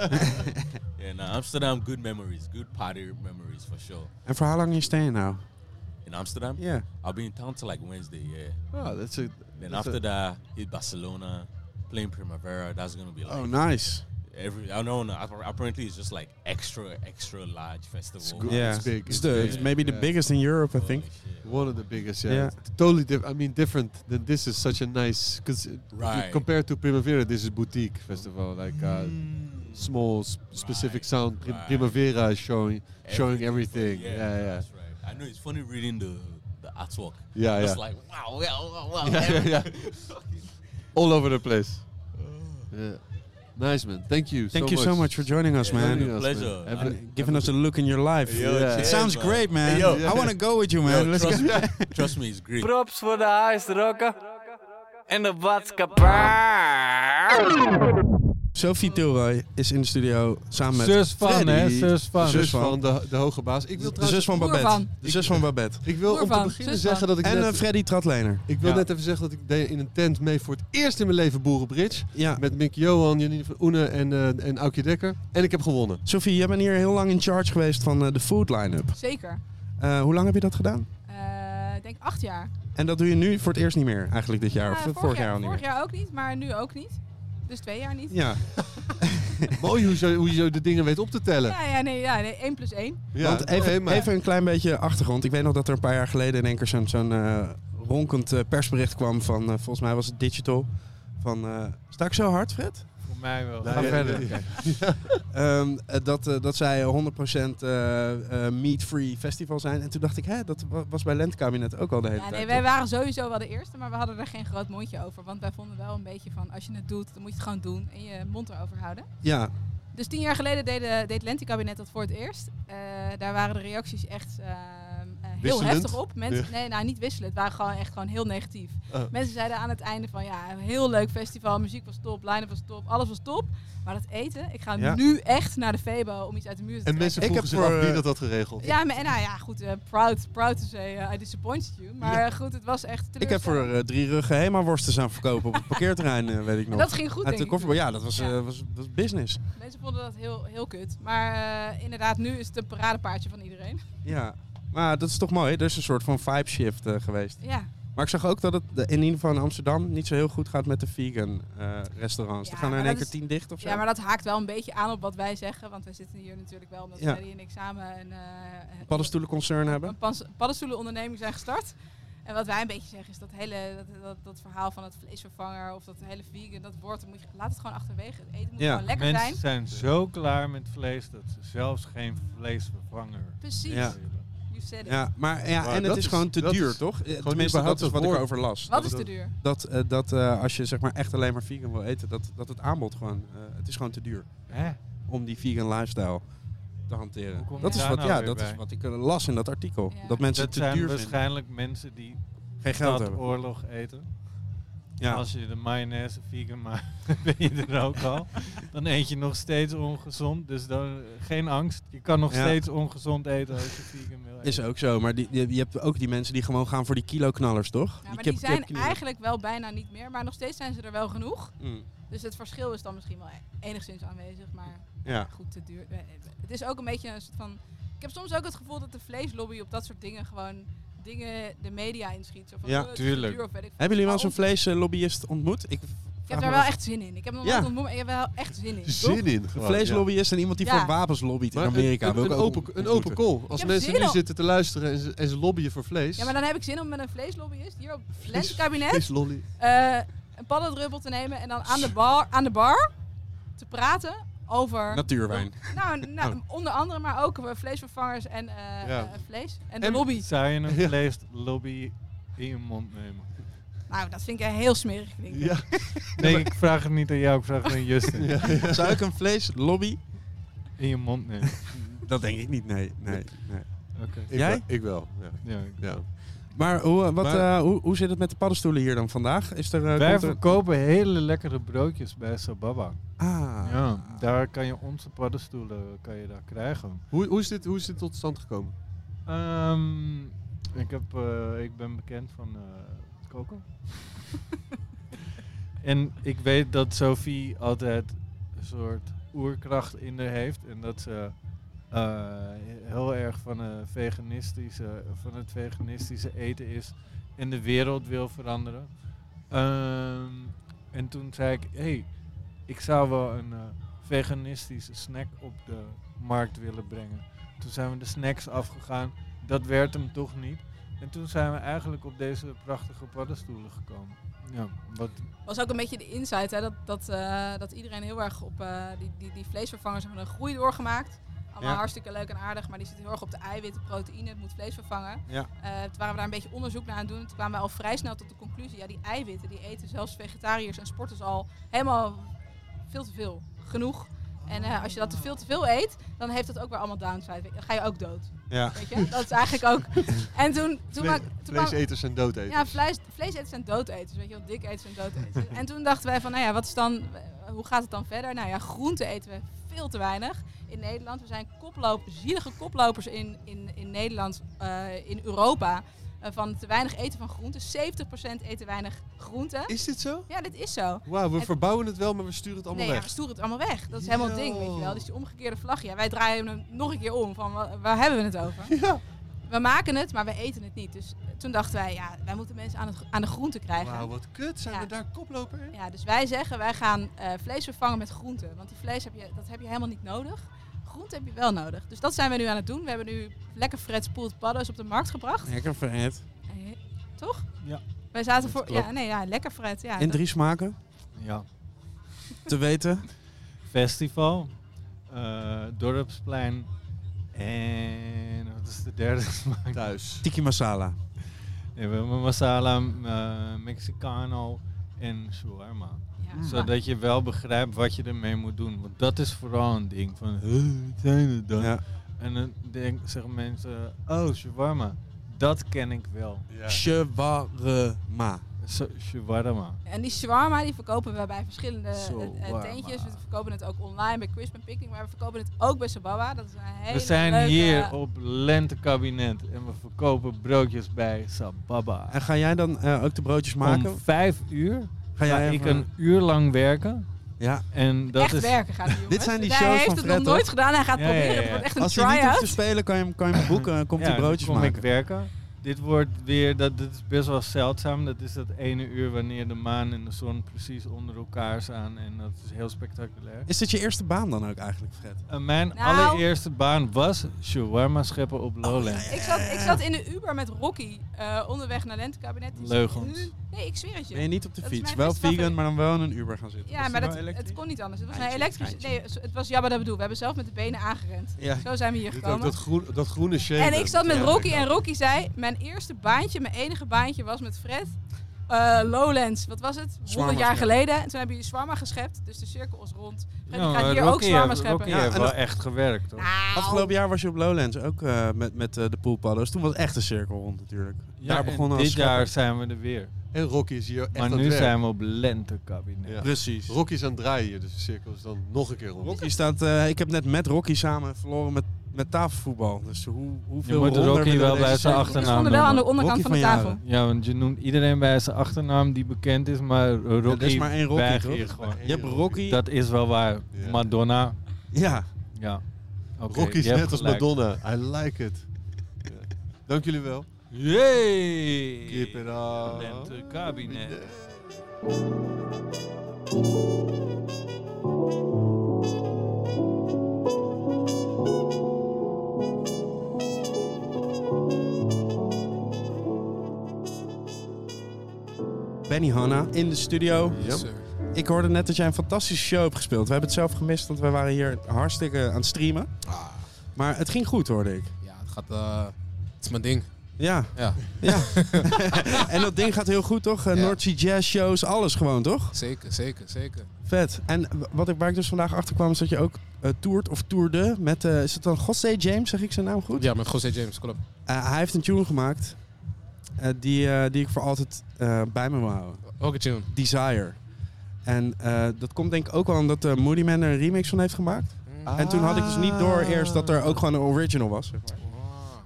Speaker 8: yeah, nah, Amsterdam, good memories, good party memories for sure.
Speaker 3: And for how long are you staying now?
Speaker 8: In Amsterdam,
Speaker 3: Yeah.
Speaker 8: I'll be in town till like Wednesday, yeah.
Speaker 2: Oh, that's a.
Speaker 8: Then
Speaker 2: that's
Speaker 8: after
Speaker 2: a-
Speaker 8: that, hit Barcelona, playing Primavera. That's gonna be like,
Speaker 3: Oh, nice.
Speaker 8: yeah, Every I don't know. app- Apparently, it's just like extra, extra large festival.
Speaker 2: It's good.
Speaker 3: Yeah.
Speaker 2: It's big.
Speaker 3: It's the, it's maybe the
Speaker 2: Yeah.
Speaker 3: biggest in Europe, I
Speaker 8: Holy
Speaker 3: think.
Speaker 8: shit.
Speaker 2: One of the biggest, yeah.
Speaker 3: Yeah.
Speaker 2: It's Totally different. I mean, different than this is such a nice because
Speaker 8: Right.
Speaker 2: compared to Primavera, this is boutique festival, like uh, small s- specific
Speaker 8: Mm. Right.
Speaker 2: sound. Pri-
Speaker 8: Right.
Speaker 2: Primavera is showing showing everything.
Speaker 8: Everything.
Speaker 2: Yeah, yeah, yeah,
Speaker 8: That's right. I know it's funny reading the the artwork.
Speaker 2: yeah.
Speaker 8: It's like wow, wow, wow, wow.
Speaker 2: *laughs* Yeah, yeah, yeah.
Speaker 8: *laughs*
Speaker 2: All over the place.
Speaker 8: Oh.
Speaker 2: Yeah. Nice man. Thank you.
Speaker 3: Thank
Speaker 2: so
Speaker 3: you
Speaker 2: much.
Speaker 3: so much for joining us, man.
Speaker 2: Joining us, man.
Speaker 8: Pleasure. I-
Speaker 2: Have a-
Speaker 3: And giving us a look in your life.
Speaker 8: Yo,
Speaker 2: Yeah.
Speaker 3: It
Speaker 8: cheers,
Speaker 3: sounds
Speaker 8: man.
Speaker 3: great, man.
Speaker 8: Yo.
Speaker 3: I want to go with you,
Speaker 8: Yo,
Speaker 3: man. Let's
Speaker 8: trust,
Speaker 3: go. *laughs*
Speaker 8: me, trust me, it's great.
Speaker 9: Props voor de huisrokken en de badskapaar.
Speaker 3: Sophie Tilroy is in de studio samen met
Speaker 10: Zus van,
Speaker 3: Freddy.
Speaker 10: hè? Zus van.
Speaker 3: De
Speaker 2: Zus
Speaker 3: zus van.
Speaker 2: van de, de hoge baas. Ik wil
Speaker 3: De
Speaker 2: trouwens.
Speaker 3: zus van
Speaker 10: Broer
Speaker 3: Babette.
Speaker 10: van.
Speaker 3: De zus van Babette.
Speaker 2: Ik wil om te
Speaker 10: Broervan,
Speaker 2: beginnen
Speaker 10: zus van.
Speaker 2: zeggen dat ik
Speaker 3: En
Speaker 2: net,
Speaker 3: eh, Freddy Tratlener.
Speaker 2: ik wil
Speaker 3: ja.
Speaker 2: net even zeggen dat ik deed in een tent mee voor het eerst in mijn leven Boerenbridge.
Speaker 3: Ja.
Speaker 2: Met Mick Johan, Janine van Oene en, eh en Aukje Dekker. En ik heb gewonnen.
Speaker 3: Sophie, jij bent hier heel lang in charge geweest van eh, de food line-up.
Speaker 10: Zeker.
Speaker 3: Eh, hoe lang heb je dat gedaan?
Speaker 10: Eh, ik denk acht jaar.
Speaker 3: En dat doe je nu voor het eerst niet meer, eigenlijk dit jaar.
Speaker 10: Ja,
Speaker 3: of eh, vorig jaar al niet
Speaker 10: Vorig
Speaker 3: meer.
Speaker 10: jaar ook niet, maar nu ook niet. Dus twee jaar niet.
Speaker 3: Ja, *laughs*
Speaker 2: Mooi hoe je, zo- hoe je zo de dingen weet op te tellen.
Speaker 10: Ja, ja, nee, ja, nee, één plus één.
Speaker 2: Ja,
Speaker 3: want even, even een klein beetje achtergrond. Ik weet nog dat er een paar jaar geleden in één keer zo'n zo'n, eh, ronkend eh, persbericht kwam van, eh, volgens mij was het Digital, van, eh sta ik zo hard, Fred?
Speaker 10: Voor mij wel.
Speaker 2: Nou, ja, ja, ja.
Speaker 3: *laughs* Ehm, eh, dat, eh, dat zij 100% eh, eh, meat-free festival zijn. En toen dacht ik, hè, dat wa- was bij Lentekabinet ook al de hele
Speaker 10: Ja,
Speaker 3: tijd.
Speaker 10: nee, wij waren sowieso wel de eerste, maar we hadden er geen groot mondje over. Want wij vonden wel een beetje van, als je het doet, dan moet je het gewoon doen en je mond erover houden.
Speaker 3: Ja,
Speaker 10: Dus tien jaar geleden deed, eh, deed Lenti-kabinet dat voor het eerst. Eh, daar waren de reacties echt ehm, eh, heel
Speaker 2: Wisselend?
Speaker 10: heftig op. Mensen, Nee, nou niet wisselen. Het waren gewoon echt gewoon heel negatief.
Speaker 2: Oh.
Speaker 10: Mensen zeiden aan het einde van, ja, een heel leuk festival. Muziek was top, line-up was top, alles was top. Maar dat eten, ik ga
Speaker 3: Ja.
Speaker 10: nu echt naar de Febo om iets uit de muur te
Speaker 2: En
Speaker 10: trekken.
Speaker 2: mensen
Speaker 3: Ik
Speaker 2: vroegen
Speaker 3: heb
Speaker 2: zich
Speaker 3: voor,
Speaker 2: af wie
Speaker 3: eh,
Speaker 2: dat had geregeld.
Speaker 10: Ja, maar, en nou ja, goed, eh, proud, proud to say eh, I disappointed you. Maar eh, goed, het was echt
Speaker 3: ik heb voor
Speaker 10: teleurstellend.
Speaker 3: eh, drie ruggen Hema-worsten aan verkopen op het parkeerterrein, eh, weet ik nog.
Speaker 10: En *laughs* dat ging goed,
Speaker 3: Uit
Speaker 10: denk
Speaker 3: de
Speaker 10: ik.
Speaker 3: kofferbak. Ja, dat was,
Speaker 10: Ja.
Speaker 3: eh, was, was business.
Speaker 10: Mensen vonden dat heel, heel kut. Maar eh, inderdaad, nu is het een paradepaardje van iedereen.
Speaker 3: Ja, maar dat is toch mooi. Er is een soort van vibe shift eh, geweest.
Speaker 10: Ja,
Speaker 3: Maar ik zag ook dat het de- in ieder geval in Amsterdam niet zo heel goed gaat met de vegan eh, restaurants.
Speaker 10: Ja,
Speaker 3: er gaan er in
Speaker 10: maar
Speaker 3: één
Speaker 10: dat
Speaker 3: keer
Speaker 10: is-
Speaker 3: tien dicht of zo.
Speaker 10: ja, maar dat haakt wel een beetje aan op wat wij zeggen. Want wij zitten hier natuurlijk wel omdat
Speaker 3: Ja.
Speaker 10: Freddy en ik samen een, eh,
Speaker 3: Paddenstoelenconcern hebben.
Speaker 10: een pans- paddenstoelenonderneming zijn gestart. En wat wij een beetje zeggen is dat hele dat, dat, dat verhaal van het vleesvervanger of dat hele vegan, dat wordt, moet je, laat het gewoon achterwege. Het eten moet
Speaker 3: Ja.
Speaker 10: gewoon lekker
Speaker 11: Mensen
Speaker 10: zijn.
Speaker 11: zijn zo klaar met vlees dat ze zelfs geen vleesvervanger
Speaker 10: Precies,
Speaker 3: Ja.
Speaker 11: willen.
Speaker 10: you said it.
Speaker 3: Ja, maar ja,
Speaker 2: Maar
Speaker 3: en het
Speaker 2: dat
Speaker 3: is
Speaker 2: is-
Speaker 3: gewoon te
Speaker 2: dat
Speaker 3: duur,
Speaker 2: is-
Speaker 3: toch? Eh,
Speaker 2: is
Speaker 3: Tenminste,
Speaker 2: dat
Speaker 3: dat is
Speaker 2: het
Speaker 3: wat ik
Speaker 2: woord.
Speaker 3: over las.
Speaker 10: Wat is te duur?
Speaker 3: Dat, eh, dat eh, als je zeg maar echt alleen maar vegan wil eten, dat, dat het aanbod gewoon, eh, het is gewoon te duur
Speaker 11: Hè?
Speaker 3: om die vegan lifestyle te hanteren.
Speaker 11: Hoe kom je
Speaker 3: Dat, is
Speaker 11: daar
Speaker 3: wat,
Speaker 11: nou
Speaker 3: ja,
Speaker 11: weer
Speaker 3: dat
Speaker 11: bij?
Speaker 3: is wat ik eh, las in dat artikel.
Speaker 10: Ja.
Speaker 3: Dat mensen
Speaker 11: Dat
Speaker 3: het te
Speaker 11: zijn
Speaker 3: duur vinden.
Speaker 11: waarschijnlijk mensen die
Speaker 3: Geen geld
Speaker 11: dat
Speaker 3: hebben.
Speaker 11: oorlog eten.
Speaker 3: Ja.
Speaker 11: Als je de mayonaise *laughs* vegan maakt, ben je er ook al. Dan eet je nog steeds ongezond, dus dan, geen angst. Je kan nog
Speaker 3: Ja.
Speaker 11: steeds ongezond eten als je vegan wil eten.
Speaker 3: Is ook zo, maar die, die- je hebt ook die mensen die gewoon gaan voor die kiloknallers, toch?
Speaker 10: Ja, maar
Speaker 3: kip-
Speaker 10: die zijn
Speaker 3: kipknallen.
Speaker 10: eigenlijk wel bijna niet meer, maar nog steeds zijn ze er wel genoeg.
Speaker 3: Mm,
Speaker 10: Dus het verschil is dan misschien wel e- enigszins aanwezig, maar
Speaker 3: ja.
Speaker 10: goed, te duur. Het is ook een beetje een soort van... Ik heb soms ook het gevoel dat de vleeslobby op dat soort dingen gewoon dingen de media inschiet. Zo van,
Speaker 3: Ja,
Speaker 10: "Oh, het is te
Speaker 11: tuurlijk.
Speaker 10: duur of weet ik veel.
Speaker 3: Hebben jullie wel eens
Speaker 10: Maar
Speaker 3: een vleeslobbyist ontmoet? Ik,
Speaker 10: Ik heb daar wel echt zin in. Ik heb nog
Speaker 3: Ja.
Speaker 10: nooit ontmoet, maar ik heb wel echt zin in.
Speaker 2: Zin in.
Speaker 3: Een
Speaker 2: gewoon,
Speaker 3: vleeslobbyist en iemand die
Speaker 10: Ja.
Speaker 3: voor wapens lobbyt in
Speaker 2: Maar een-
Speaker 3: Amerika.
Speaker 2: Een,
Speaker 3: wil ik
Speaker 2: een
Speaker 3: ook
Speaker 2: open, een
Speaker 3: ontmoeten.
Speaker 2: open call. Als
Speaker 10: heb
Speaker 2: mensen
Speaker 10: zin
Speaker 2: nu
Speaker 10: om-
Speaker 2: zitten te luisteren en ze, en ze lobbyen voor vlees.
Speaker 10: Ja, maar dan heb ik zin om met een vleeslobbyist hier op het
Speaker 2: Vlees-
Speaker 10: lentekabinet
Speaker 2: Vleeslolly.
Speaker 10: eh een paddendruppel te nemen en dan aan de bar, aan de bar te praten over...
Speaker 3: Natuurwijn.
Speaker 10: Nou, nou, onder andere, maar ook eh, vleesvervangers en eh,
Speaker 2: Ja.
Speaker 10: eh, vlees. En de
Speaker 2: En-
Speaker 10: lobby.
Speaker 11: Zou je een
Speaker 2: Ja.
Speaker 11: vleeslobby in je mond nemen?
Speaker 10: Nou, dat vind ik eh, heel smerig klinken. *laughs*
Speaker 2: Ja.
Speaker 11: Nee, ik vraag het niet aan jou, ik vraag het aan Justin.
Speaker 3: Zou ik een vleeslobby?
Speaker 11: In je mond nemen.
Speaker 3: *laughs* Dat denk ik niet, nee. nee, nee.
Speaker 11: Oké.
Speaker 2: Ik
Speaker 3: Jij?
Speaker 2: wel- Ik wel. Ja.
Speaker 11: Ja.
Speaker 2: Ja.
Speaker 3: Maar, hoe, eh, wat,
Speaker 2: Maar-
Speaker 3: eh, hoe, hoe zit het met de paddenstoelen hier dan vandaag? Is er, eh,
Speaker 11: Wij
Speaker 3: komt er-
Speaker 11: verkopen hele lekkere broodjes bij Sababa.
Speaker 3: Ah,
Speaker 11: Ja, daar kan je onze paddenstoelen kan je daar krijgen.
Speaker 2: Hoe, hoe, is dit, hoe is dit tot stand gekomen?
Speaker 11: Ehm, ik, heb, eh, ik ben bekend van eh, het koken. en ik weet dat Sophie altijd een soort oerkracht in haar heeft. En dat ze eh, heel erg van, eh, veganistische, van het veganistische eten is. En de wereld wil veranderen. Ehm, en toen zei ik, hé, hey, ik zou wel een eh, veganistische snack op de markt willen brengen. Toen zijn we de snacks afgegaan. Dat werd hem toch niet. En toen zijn we eigenlijk op deze prachtige paddenstoelen gekomen. Ja, wat,
Speaker 10: was ook een beetje de insight, hè, dat, dat, eh, dat iedereen heel erg op eh, die, die, die vleesvervangers hebben een groei doorgemaakt. Allemaal
Speaker 3: Ja.
Speaker 10: hartstikke leuk en aardig, maar die zitten heel erg op de eiwitten, proteïne, het moet vlees vervangen.
Speaker 3: Ja.
Speaker 10: Eh, toen waren we daar een beetje onderzoek naar aan het doen. Toen kwamen we al vrij snel tot de conclusie, ja die eiwitten, die eten zelfs vegetariërs en sporters al helemaal veel te veel, genoeg. En eh, als je dat te veel te veel eet, dan heeft dat ook weer allemaal downside. Dan ga je ook dood.
Speaker 2: Ja.
Speaker 10: Weet je? Dat is eigenlijk ook. En toen, toen, maak- toen kwamen-
Speaker 2: Vleeseters en doodeters.
Speaker 10: ja, vlees, vleeseters en doodeters. Weet je wel, diketers en doodeters. en toen dachten wij van, nou ja, wat is dan, eh, hoe gaat het dan verder? Nou ja, groente eten we veel te weinig in Nederland. We zijn koploop, zielige koplopers in, in, in Nederland, eh, in Europa, eh, van te weinig eten van groenten. 70% eten weinig groenten.
Speaker 2: Is dit zo?
Speaker 10: Ja, dit is zo.
Speaker 2: Wauw, we
Speaker 10: Het-
Speaker 2: verbouwen het wel, maar we sturen het allemaal
Speaker 10: nee, ja,
Speaker 2: weg.
Speaker 10: we stoeren het allemaal weg. Dat is helemaal het ding, weet je wel. Dus die omgekeerde vlag. Ja, wij draaien hem nog een keer om. Van, wa- waar hebben we het over? We maken het, maar we eten het niet. Dus toen dachten wij, ja, wij moeten mensen aan, het, aan de groente krijgen.
Speaker 2: Wauw, wat kut. Zijn
Speaker 10: Ja.
Speaker 2: we daar koploper in?
Speaker 10: Ja, dus wij zeggen, wij gaan eh, vlees vervangen met groenten. Want die vlees heb je, dat heb je helemaal niet nodig. Groente heb je wel nodig. Dus dat zijn we nu aan het doen. We hebben nu lekker Fred's Pooled Paddo's op de markt gebracht.
Speaker 3: Lekker vet.
Speaker 10: Eh, Toch?
Speaker 11: Ja.
Speaker 10: Wij zaten voor...
Speaker 3: klopt.
Speaker 10: Ja, nee, ja, lekker Fred. Ja,
Speaker 3: En
Speaker 10: dat-
Speaker 3: drie smaken?
Speaker 11: ja.
Speaker 3: Te weten.
Speaker 11: Festival, eh, Dorpsplein en wat is de derde *laughs* smaak?
Speaker 2: Thuis.
Speaker 3: Tiki masala.
Speaker 11: Ja, we hebben masala, eh, Mexicano en shawarma.
Speaker 3: Mm.
Speaker 10: ja.
Speaker 11: Zodat je wel begrijpt wat je ermee moet doen. Want dat is vooral een ding van, "Huh, wat zijn het dan?
Speaker 3: Ja.
Speaker 11: En dan denk, zeggen mensen, oh shawarma, dat ken ik wel.
Speaker 3: Shawarma.
Speaker 11: So, shawarma.
Speaker 10: En die shawarma die verkopen we bij verschillende
Speaker 11: Zo,
Speaker 10: eh, eh,
Speaker 11: warma.
Speaker 10: tentjes. We verkopen het ook online bij Crisp en Picnic, maar we verkopen het ook bij Sababa. Dat is een hele
Speaker 11: We zijn
Speaker 10: leuke- eh,
Speaker 11: hier op Lentekabinet en we verkopen broodjes bij Sababa.
Speaker 3: En ga jij dan eh, ook de broodjes maken?
Speaker 11: Om vijf uur
Speaker 3: Ga
Speaker 11: ga
Speaker 3: jij
Speaker 11: ik
Speaker 3: even-
Speaker 11: een uur lang werken.
Speaker 3: Ja.
Speaker 11: En dat
Speaker 10: echt
Speaker 11: is
Speaker 10: werken gaat die jongens.
Speaker 3: zijn die
Speaker 10: hij
Speaker 3: shows
Speaker 10: heeft
Speaker 3: van
Speaker 10: het
Speaker 3: Fred,
Speaker 10: nog
Speaker 3: hoor.
Speaker 10: nooit gedaan. Hij gaat
Speaker 11: Ja, ja,
Speaker 10: proberen.
Speaker 11: ja, ja.
Speaker 10: Het wordt echt een
Speaker 3: Als hij niet hoeft te
Speaker 10: try-out.
Speaker 3: spelen, kan je hem, kan je hem boeken en komt
Speaker 11: ja,
Speaker 3: hij broodjes
Speaker 11: dan kom
Speaker 3: maken.
Speaker 11: ik werken. Dit wordt weer, dat, dit is best wel zeldzaam. Dat is dat ene uur wanneer de maan en de zon precies onder elkaar staan. En dat is heel spectaculair.
Speaker 3: Is dit je eerste baan dan ook eigenlijk, Fred?
Speaker 11: En mijn
Speaker 10: Nou.
Speaker 11: allereerste baan was shawarma scheppen
Speaker 3: Oh,
Speaker 11: op Lowlands.
Speaker 10: Ik zat, ik zat in de Uber met Rocky eh, onderweg naar Lentekabinet. Die zat-
Speaker 11: Leugens.
Speaker 10: Nee, ik zweer het je.
Speaker 3: Ben je niet op de
Speaker 10: Dat is
Speaker 3: fiets?
Speaker 10: mijn
Speaker 3: Wel
Speaker 10: beste
Speaker 3: vegan,
Speaker 10: favoriet.
Speaker 3: maar dan wel in een Uber gaan zitten.
Speaker 10: Ja,
Speaker 3: Was
Speaker 10: maar
Speaker 3: die
Speaker 10: dat,
Speaker 3: wel elektrisch?
Speaker 10: het kon niet anders. Het was een
Speaker 3: Eitje,
Speaker 10: elektrische.
Speaker 3: eitje.
Speaker 10: Nee, het was jammer dat bedoel. We hebben zelf met de benen aangerend.
Speaker 3: Ja.
Speaker 10: Zo zijn we hier
Speaker 2: Dit ook
Speaker 10: gekomen.
Speaker 2: dat, groen, dat groene shade.
Speaker 10: En ik zat met Rocky en Rocky zei: Mijn eerste baantje, mijn enige baantje was met Fred. eh, Lowlands, wat was het? 100 jaar geleden. En toen hebben jullie zwarma geschept, dus de cirkel is rond. Fred, die
Speaker 11: Nou,
Speaker 10: gaat hier
Speaker 11: Rocky
Speaker 10: ook zwarma
Speaker 11: heeft-
Speaker 10: scheppen.
Speaker 11: Rocky
Speaker 3: Ja,
Speaker 11: heeft
Speaker 3: en
Speaker 11: wel
Speaker 3: dat-
Speaker 11: echt gewerkt hoor.
Speaker 10: Nou,
Speaker 3: Afgelopen jaar was je op Lowlands ook eh, met, met eh, de poolpaddo's. Toen was echt een cirkel rond natuurlijk.
Speaker 11: Ja,
Speaker 3: Daar
Speaker 11: en
Speaker 3: begonnen we
Speaker 11: dit
Speaker 3: als schepper.
Speaker 11: jaar zijn we er weer.
Speaker 2: En Rocky is hier echt
Speaker 11: Maar
Speaker 2: aan
Speaker 11: nu
Speaker 2: het werk.
Speaker 11: zijn we op lentekabinet.
Speaker 2: Ja.
Speaker 3: Precies.
Speaker 2: Rocky is aan het draaien hier, dus de cirkel is dan nog een keer rond.
Speaker 3: Rocky staat, eh, ik heb net met Rocky samen verloren met, met tafelvoetbal. Dus hoe,
Speaker 11: Je
Speaker 3: hoeveel
Speaker 11: moet
Speaker 3: ronder
Speaker 11: Rocky
Speaker 3: willen
Speaker 11: wel
Speaker 3: deze
Speaker 11: bij zijn
Speaker 3: cirkel-
Speaker 10: we
Speaker 11: achternaam
Speaker 10: stonden wel aan de
Speaker 11: noemen.
Speaker 10: onderkant
Speaker 3: Rocky
Speaker 10: van de
Speaker 3: van
Speaker 10: tafel.
Speaker 3: Jaren.
Speaker 11: Ja, want je noemt iedereen bij zijn achternaam die bekend is, maar Rocky
Speaker 3: er is maar één Rocky,
Speaker 11: weigert
Speaker 3: toch?
Speaker 11: hier gewoon.
Speaker 3: Je hebt Rocky.
Speaker 11: Dat is wel waar.
Speaker 2: Ja.
Speaker 11: Madonna.
Speaker 3: Ja,
Speaker 11: Ja. Oké,
Speaker 2: Rocky is
Speaker 11: je hebt
Speaker 2: net als
Speaker 11: gelijk.
Speaker 2: Madonna. I like it. Ja. Dank jullie wel.
Speaker 11: Yay!
Speaker 2: Keep it up.
Speaker 11: Lentekabinet.
Speaker 3: Benny Hanna in de studio. Ik hoorde net dat jij een fantastische show hebt gespeeld. We hebben het zelf gemist, want wij waren hier hartstikke aan het streamen.
Speaker 12: Ah,
Speaker 3: Maar het ging goed, hoorde ik.
Speaker 12: ja, het gaat. eh, het is mijn ding.
Speaker 3: Ja.
Speaker 12: Ja.
Speaker 3: *laughs* ja. en dat ding gaat heel goed, toch? Eh,
Speaker 12: Ja.
Speaker 3: North Sea Jazz shows, alles gewoon, toch?
Speaker 12: Zeker, zeker, zeker.
Speaker 3: Vet. En w- wat ik, waar ik dus vandaag achter kwam, is dat je ook eh, toert of toerde met... eh, is het dan José James, zeg ik zijn naam goed?
Speaker 12: Ja, met José James, klopt.
Speaker 3: Eh, hij heeft een tune gemaakt eh, die, eh, die ik voor altijd eh, bij me wil houden.
Speaker 12: Ook een tune.
Speaker 3: Desire. En eh, dat komt denk ik ook wel omdat eh, Moody Man er een remix van heeft gemaakt. En toen had ik dus niet door eerst dat er ook gewoon een original was. Zeg maar.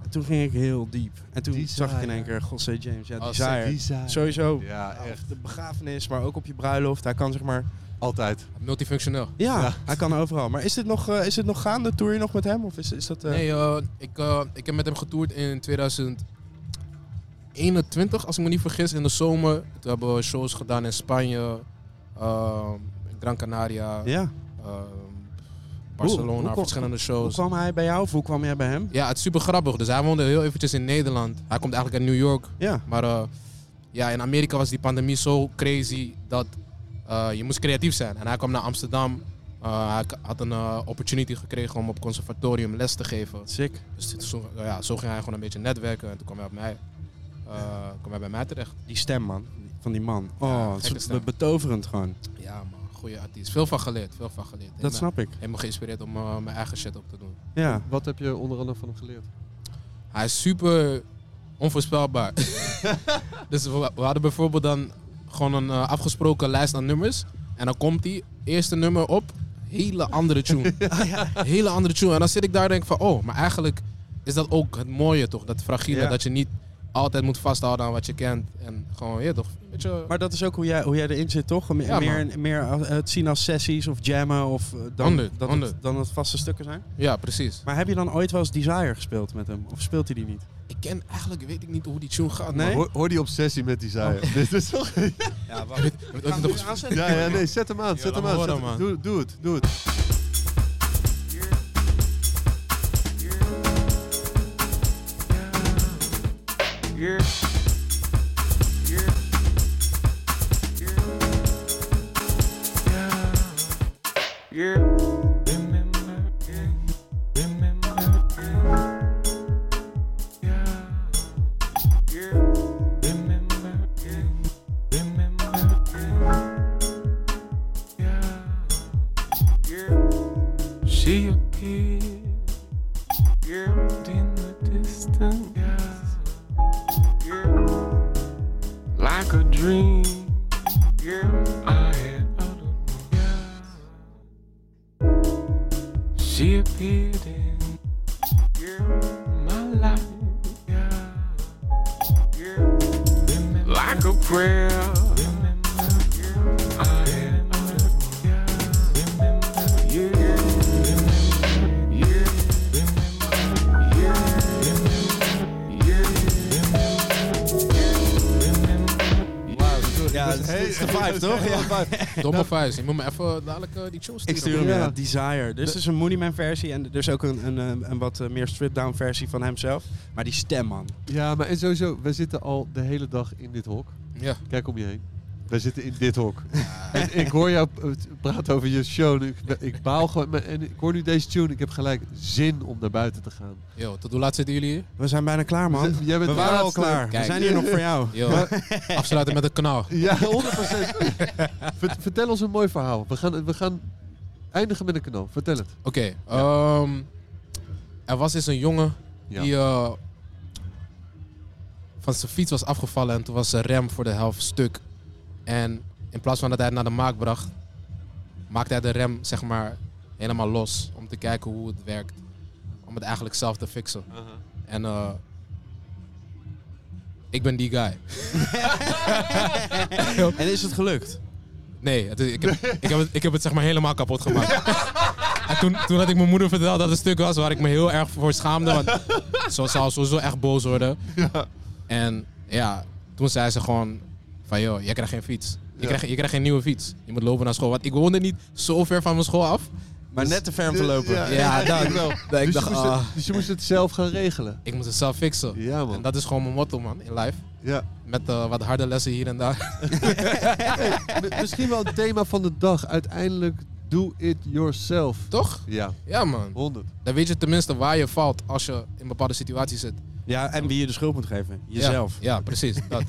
Speaker 3: En toen ging ik heel diep. En toen zag ik in één keer José James. Ja,
Speaker 12: Oh,
Speaker 3: Desire.
Speaker 2: Design.
Speaker 3: Sowieso.
Speaker 2: Ja,
Speaker 3: Of
Speaker 2: echt.
Speaker 3: Nou, de begrafenis, maar ook op je bruiloft. Hij kan zeg maar...
Speaker 2: Altijd.
Speaker 12: Multifunctioneel.
Speaker 3: Ja, hij kan overal. Maar is dit nog, eh, is dit nog gaande? Tour je nog met hem? Of is, is dat... eh,
Speaker 12: Nee, eh, ik, eh, ik heb met hem getoerd in 2021, als ik me niet vergis, in de zomer. Toen hebben we shows gedaan in Spanje, ehm, in Gran eh, Canaria,
Speaker 3: Ja.
Speaker 12: ehm, Barcelona,
Speaker 3: Hoe- hoe kwam-
Speaker 12: verschillende shows.
Speaker 3: Hoe kwam hij bij jou of hoe kwam jij bij hem?
Speaker 12: Ja, het is super grappig. Dus hij woonde heel eventjes in Nederland. Hij komt eigenlijk uit New York.
Speaker 3: Ja.
Speaker 12: Maar eh, ja, in Amerika was die pandemie zo crazy dat eh, je moest creatief zijn. En hij kwam naar Amsterdam. Eh, hij k- had een eh, opportunity gekregen om op conservatorium les te geven.
Speaker 3: Sick.
Speaker 12: Dus dit- zo, ja, zo ging hij gewoon een beetje netwerken. En toen kwam hij, op mij, eh, kwam hij bij mij terecht.
Speaker 3: Die stem, man. Van die man. Oh, het is
Speaker 12: gekke stem.
Speaker 3: betoverend gewoon.
Speaker 12: Ja, man. Goede artiest. Veel van geleerd. Veel van geleerd.
Speaker 3: Dat snap ik.
Speaker 12: Helemaal geïnspireerd om eh, mijn eigen shit op te doen.
Speaker 3: Ja.
Speaker 2: Wat heb je onder andere van hem geleerd?
Speaker 12: Hij is super onvoorspelbaar. *laughs* dus we, we hadden bijvoorbeeld dan gewoon een eh, afgesproken lijst aan nummers. En dan komt die eerste nummer op, hele andere tune.
Speaker 3: *laughs*
Speaker 12: Ah, Hele andere tune. En dan zit ik daar en denk van, oh, maar eigenlijk is dat ook het mooie toch? Dat fragiele,
Speaker 3: Ja.
Speaker 12: dat je niet altijd moet vasthouden aan wat je kent. En gewoon, ja toch, een beetje...
Speaker 3: Maar dat is ook hoe jij, hoe jij erin zit, toch? Om
Speaker 12: Ja,
Speaker 3: meer, meer eh, het zien als sessies of jammen of eh, dan,
Speaker 12: Honderd,
Speaker 3: dat
Speaker 12: honderd.
Speaker 3: Het, dan het vaste stukken zijn.
Speaker 12: Ja, precies.
Speaker 3: Maar heb je dan ooit wel eens Desire gespeeld met hem? Of speelt hij die niet?
Speaker 12: Ik ken eigenlijk, weet ik niet hoe die tune
Speaker 11: Ah,
Speaker 12: gaat.
Speaker 3: Nee?
Speaker 12: man.
Speaker 2: Hoor, hoor die obsessie met die zaaien. *laughs*
Speaker 11: Oh.
Speaker 2: Dit is toch...
Speaker 3: Ja,
Speaker 11: *laughs*
Speaker 12: Ik weet- ik weet niet of-
Speaker 2: ja, ja, nee, zet hem aan,
Speaker 12: Ja,
Speaker 2: zet
Speaker 12: laat
Speaker 2: hem
Speaker 12: me
Speaker 2: aan.
Speaker 12: horen,
Speaker 2: zet hem-
Speaker 12: man.
Speaker 2: Doe, doe het, doe het.
Speaker 9: She appeared in the distance like a dream I had uttermost. She appeared in my life like a prayer. I had uttermost. Yeah.
Speaker 3: Ja, dat is, dit is de vibe, toch? Ja.
Speaker 12: Domme vuist. Je moet me *laughs* even dadelijk eh, die tune sturen.
Speaker 3: Ik stuur hem
Speaker 12: man.
Speaker 3: ja. Desire. Dus het is een Mooneyman versie en er is ook een, een, een, een wat eh, meer stripped-down versie van hemzelf. Maar die stem, man.
Speaker 2: Ja, maar en sowieso, wij zitten al de hele dag in dit hok.
Speaker 12: Ja.
Speaker 2: Kijk om je heen. Wij zitten in dit hok. *laughs* En ik hoor jou eh, praten over je show. en Ik, ik baal gewoon. maar- En ik hoor nu deze tune. Ik heb gelijk zin om naar buiten te gaan.
Speaker 12: Yo, tot hoe laat zitten jullie hier?
Speaker 3: We zijn bijna klaar, man.
Speaker 2: Z- Jij bent
Speaker 3: We
Speaker 2: de
Speaker 3: waren al
Speaker 2: laatste.
Speaker 3: klaar.
Speaker 12: Kijk.
Speaker 3: We zijn hier nog voor jou.
Speaker 12: Yo, *laughs* afsluiten met een knal.
Speaker 3: *laughs*
Speaker 2: Ja, 100%. Vert- Vertel ons een mooi verhaal. We gaan, we gaan eindigen met een knal. Vertel het.
Speaker 12: Oké, ehm, er was eens een jongen
Speaker 2: Ja.
Speaker 12: die eh, van zijn fiets was afgevallen en toen was zijn rem voor de helft stuk. En in plaats van dat hij het naar de maak bracht, maakte hij de rem zeg maar helemaal los om te kijken hoe het werkt. Om het eigenlijk zelf te fixen.
Speaker 3: Uh-huh.
Speaker 12: En eh, ik ben die guy.
Speaker 3: *laughs* En is het gelukt?
Speaker 12: Nee, het is- ik, heb, ik, heb het, ik heb het zeg maar helemaal kapot gemaakt.
Speaker 3: *laughs*
Speaker 12: En toen, toen had ik mijn moeder verteld dat het een stuk was waar ik me heel erg voor schaamde. Want ze zou sowieso echt boos worden. En ja, toen zei ze gewoon van joh, jij krijgt geen fiets. Je, krijgt, je krijgt geen nieuwe fiets. Je moet lopen naar school. Want ik woonde niet zo ver van mijn school af. dus
Speaker 3: Maar net te ver om te lopen.
Speaker 12: Ja, dat,
Speaker 2: wel.
Speaker 12: dat ik
Speaker 2: Dus je,
Speaker 12: dacht,
Speaker 2: moest
Speaker 12: ah,
Speaker 2: het, dus je moest het zelf gaan regelen.
Speaker 12: ik moet het zelf fixen.
Speaker 2: Ja, man.
Speaker 12: En dat is gewoon mijn motto man, in life.
Speaker 2: Ja.
Speaker 12: Met eh, wat harde lessen hier en
Speaker 2: *laughs*
Speaker 12: daar.
Speaker 2: Mi- Misschien wel het thema van de dag. Uiteindelijk, do it yourself.
Speaker 12: Toch?
Speaker 2: Ja,
Speaker 12: Ja man.
Speaker 2: 100.
Speaker 12: Dan weet je tenminste waar je valt als je in een bepaalde situatie zit.
Speaker 3: Ja, en wie je de schuld moet geven. Jezelf.
Speaker 12: Ja, ja, precies. Dat.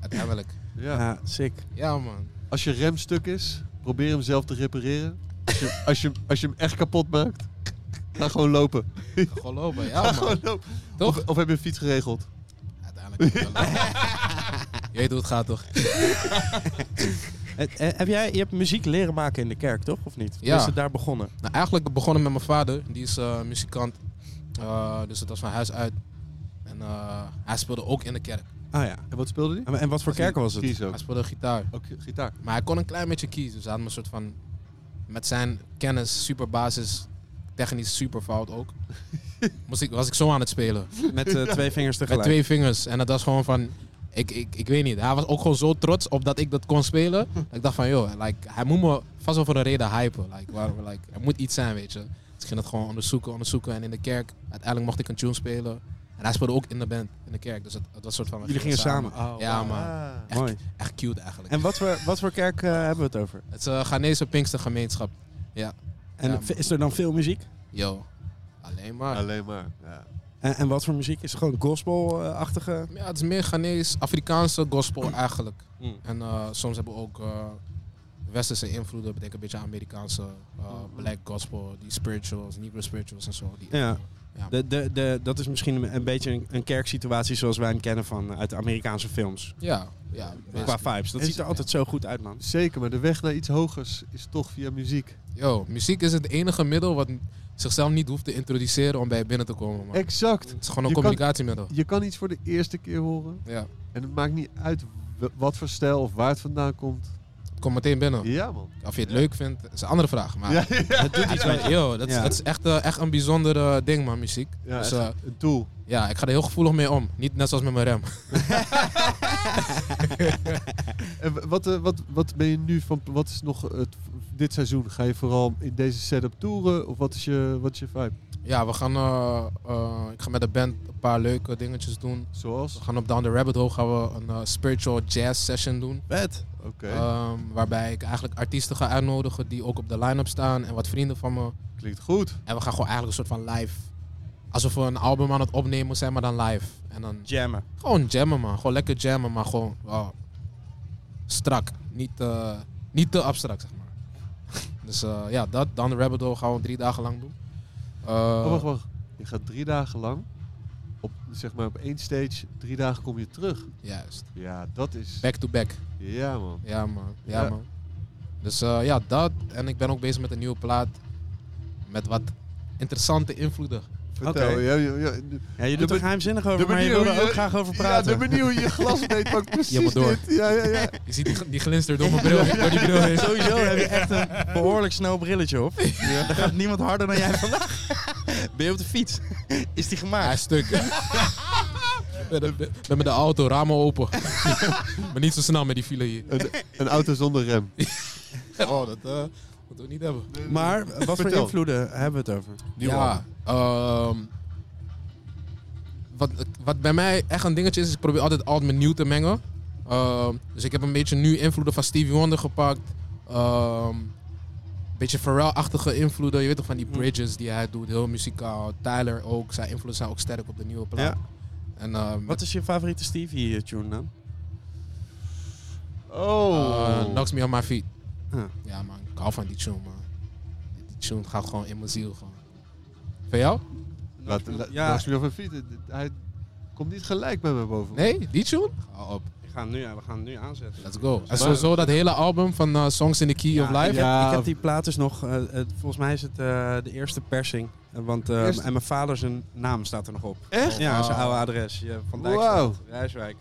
Speaker 12: Uiteindelijk.
Speaker 2: Ja.
Speaker 3: Ja, sick.
Speaker 12: Ja, man.
Speaker 2: Als je rem stuk is, probeer hem zelf te repareren. Als je, als je, als je hem echt kapot maakt, ga gewoon lopen.
Speaker 12: Gewoon lopen. Ja, man.
Speaker 2: Gewoon lopen.
Speaker 12: Toch?
Speaker 2: Of, of heb je een fiets geregeld?
Speaker 12: Uiteindelijk. wel lopen.
Speaker 3: *laughs*
Speaker 12: Je weet hoe het gaat, toch?
Speaker 3: Eh, eh, heb jij, je hebt muziek leren maken in de kerk, toch? Of niet?
Speaker 12: Ja.
Speaker 3: Is het daar begonnen?
Speaker 12: Nou, eigenlijk begonnen met mijn vader. Die is eh, muzikant. Eh, dus het was van huis uit. En eh, hij speelde ook in de kerk.
Speaker 3: Ah ja.
Speaker 2: En wat speelde die?
Speaker 3: En- En wat voor kerk was het?
Speaker 2: Kies ook.
Speaker 12: Hij speelde gitaar.
Speaker 2: Ook gitaar.
Speaker 12: Maar hij kon een klein beetje kiezen. Dus hij had me een soort van... Met zijn kennis, super basis, technisch super fout
Speaker 2: *laughs*
Speaker 12: ook. Moest ik, was ik zo aan het spelen.
Speaker 3: Met eh, twee vingers
Speaker 12: Met
Speaker 3: tegelijk.
Speaker 12: twee vingers. En dat was gewoon van... Ik, ik, ik weet niet. Hij was ook gewoon zo trots op dat ik dat kon spelen.
Speaker 3: Hm.
Speaker 12: dat ik dacht van, joh, like, hij moet me vast wel voor een reden hypen. Like, waarom, like, er moet iets zijn, weet je. Dus ik ging dat gewoon onderzoeken, onderzoeken. En in de kerk, uiteindelijk mocht ik een tune spelen. En hij speelde ook in de band, in de kerk. Dus het, het was soort van... we
Speaker 3: Jullie gingen samen. Oh, Ah.
Speaker 12: Ja, man. Echt,
Speaker 3: Mooi.
Speaker 12: echt cute eigenlijk.
Speaker 3: En wat voor, wat voor kerk eh, hebben we het over?
Speaker 12: Het is een Ghanese Pinkstergemeenschap. Ja,
Speaker 3: En
Speaker 12: Ja,
Speaker 3: v- is er dan veel muziek?
Speaker 12: yo. Alleen maar.
Speaker 2: Alleen maar. Ja.
Speaker 3: En, en wat voor muziek? Is het gewoon gospel-achtige?
Speaker 12: Ja, het is meer Ghanese, Afrikaanse gospel eigenlijk.
Speaker 13: Mm.
Speaker 12: En eh, soms hebben we ook eh, westerse invloeden, betekent een beetje Amerikaanse eh,
Speaker 2: Mm.
Speaker 12: black gospel, die spirituals, negro spirituals en zo. Die,
Speaker 3: Ja.
Speaker 12: Ja.
Speaker 3: De, de, de, dat is misschien een, een beetje een, een kerksituatie zoals wij hem kennen van eh, uit de Amerikaanse films.
Speaker 12: ja, ja,
Speaker 3: Qua
Speaker 12: basically.
Speaker 3: vibes. Dat
Speaker 2: Is-
Speaker 3: ziet er altijd zo goed uit, man.
Speaker 2: Zeker, maar de weg naar iets hogers is toch via muziek.
Speaker 12: Yo, muziek is het enige middel wat zichzelf niet hoeft te introduceren om bij je binnen te komen. man.
Speaker 2: Exact.
Speaker 12: Het is gewoon een
Speaker 2: Je kan-
Speaker 12: communicatiemiddel.
Speaker 2: Je kan iets voor de eerste keer horen.
Speaker 12: Ja,
Speaker 2: En het maakt niet uit w- wat voor stijl of waar het vandaan komt.
Speaker 12: het komt meteen binnen.
Speaker 2: Ja, man.
Speaker 12: Of je het leuk vindt, is een andere vraag. Maar
Speaker 2: Ja, ja.
Speaker 12: het doet iets met je. Yo, dat, is-
Speaker 3: Ja.
Speaker 12: dat is echt, eh, echt een bijzonder eh, ding, man, muziek.
Speaker 2: Ja,
Speaker 12: dus
Speaker 2: echt
Speaker 12: eh,
Speaker 2: een tool.
Speaker 12: ja, ik ga er heel gevoelig mee om. Niet net zoals met mijn
Speaker 2: *laughs*
Speaker 12: rem.
Speaker 2: En w- wat, eh, wat, wat ben je nu van. Wat is nog het, dit seizoen? Ga je vooral in deze setup toeren? Of wat is je, wat is je vibe?
Speaker 12: Ja, we gaan. eh, eh, ik ga met de band een paar leuke dingetjes doen.
Speaker 2: Zoals?
Speaker 12: We gaan op Down the Rabbit Hole gaan we een eh, spiritual jazz session doen.
Speaker 3: Vet.
Speaker 2: Oké.
Speaker 12: Ehm, waarbij ik eigenlijk artiesten ga uitnodigen die ook op de line-up staan en wat vrienden van me.
Speaker 2: Klinkt goed.
Speaker 12: En we gaan gewoon eigenlijk een soort van live. Alsof we een album aan het opnemen zijn, maar dan live. En dan
Speaker 3: Jammen.
Speaker 12: gewoon jammen, man. Gewoon lekker jammen, maar gewoon wow, strak. Niet, eh, niet te abstract, zeg maar. *laughs* Dus eh, ja, dat. Down the Rabbit Hole gaan we drie dagen lang doen. Eh,
Speaker 2: Oh, wacht, wacht. Je gaat drie dagen lang. Op, zeg maar op één stage, drie dagen kom je terug.
Speaker 12: Juist.
Speaker 2: Ja, dat is.
Speaker 12: Back to back.
Speaker 2: Ja, man.
Speaker 12: Ja, man. Ja,
Speaker 2: Ja.
Speaker 12: man. Dus eh, ja, dat. En ik ben ook bezig met een nieuwe plaat. Met wat interessante invloeden.
Speaker 2: Vertel.
Speaker 3: Oké.
Speaker 2: Ja, ja, ja.
Speaker 3: Ja, je
Speaker 2: De
Speaker 3: doet er
Speaker 2: be-
Speaker 3: geheimzinnig over, maar je
Speaker 2: manier hoe
Speaker 3: wil er
Speaker 2: je-
Speaker 3: ook graag over
Speaker 2: Ja,
Speaker 3: praten.
Speaker 2: de manier hoe je glas deed,
Speaker 3: *laughs*
Speaker 2: maar
Speaker 12: Je
Speaker 2: precies
Speaker 12: moet door.
Speaker 2: dit. Ja, ja, ja.
Speaker 12: Je ziet die, die glinstert door mijn bril. Door die bril heen.
Speaker 3: Sowieso heb je echt
Speaker 12: *laughs*
Speaker 3: een behoorlijk snel brilletje op. Daar gaat niemand harder dan jij vandaag. *laughs* Ben je op de fiets? *laughs* Is die
Speaker 12: Hij
Speaker 3: gemaakt?
Speaker 12: is
Speaker 3: *laughs*
Speaker 12: stuk. ben, ben- ben met de auto, ramen
Speaker 3: *laughs*
Speaker 12: open. *laughs* *laughs* maar niet zo snel met die file hier.
Speaker 2: Een, een auto
Speaker 12: *laughs*
Speaker 2: zonder rem.
Speaker 12: Oh, dat eh, moeten we niet hebben.
Speaker 3: Maar eh, wat voor
Speaker 2: Vertel.
Speaker 3: invloeden hebben we het over?
Speaker 12: ja, ehm, wat, wat bij mij echt een dingetje is, is ik probeer altijd alt met nieuw te mengen. Ehm, dus ik heb een beetje nu invloeden van Stevie Wonder gepakt. Ehm beetje Pharrell-achtige invloeden. Je weet toch van die
Speaker 3: Hm.
Speaker 12: bridges die hij doet, heel muzikaal. Tyler ook, zijn invloeden zijn ook sterk op de nieuwe plaat.
Speaker 3: Ja.
Speaker 12: En, ehm,
Speaker 3: Wat is je favoriete Stevie-tune dan?
Speaker 12: eh,
Speaker 2: *laughs*
Speaker 8: Uh,
Speaker 2: Oh.
Speaker 12: Knocks Me On My Feet.
Speaker 3: Huh.
Speaker 12: Ja man, ik hou van die tune man. Die tune gaat gewoon in mijn ziel. Gewoon. Van jou?
Speaker 2: laat, laat,
Speaker 3: Ja.
Speaker 2: laat me over fietsen. Hij komt niet gelijk bij mij boven.
Speaker 12: Nee, die tune? Hou op.
Speaker 3: We gaan nu, we gaan nu aanzetten.
Speaker 12: Let's go. En sowieso dat hele album van eh, Songs in the Key of Life.
Speaker 3: ik, heb, ik heb die plaat dus nog. eh, eh, volgens mij is het eh, de eerste persing. Eh, want, eh,
Speaker 2: Eerste-
Speaker 3: En mijn vader zijn naam staat er nog op.
Speaker 2: Echt?
Speaker 3: Ja,
Speaker 12: Wauw.
Speaker 3: zijn oude adres. ja, Van
Speaker 2: Wauw.
Speaker 3: Dijkstraat, Rijswijk.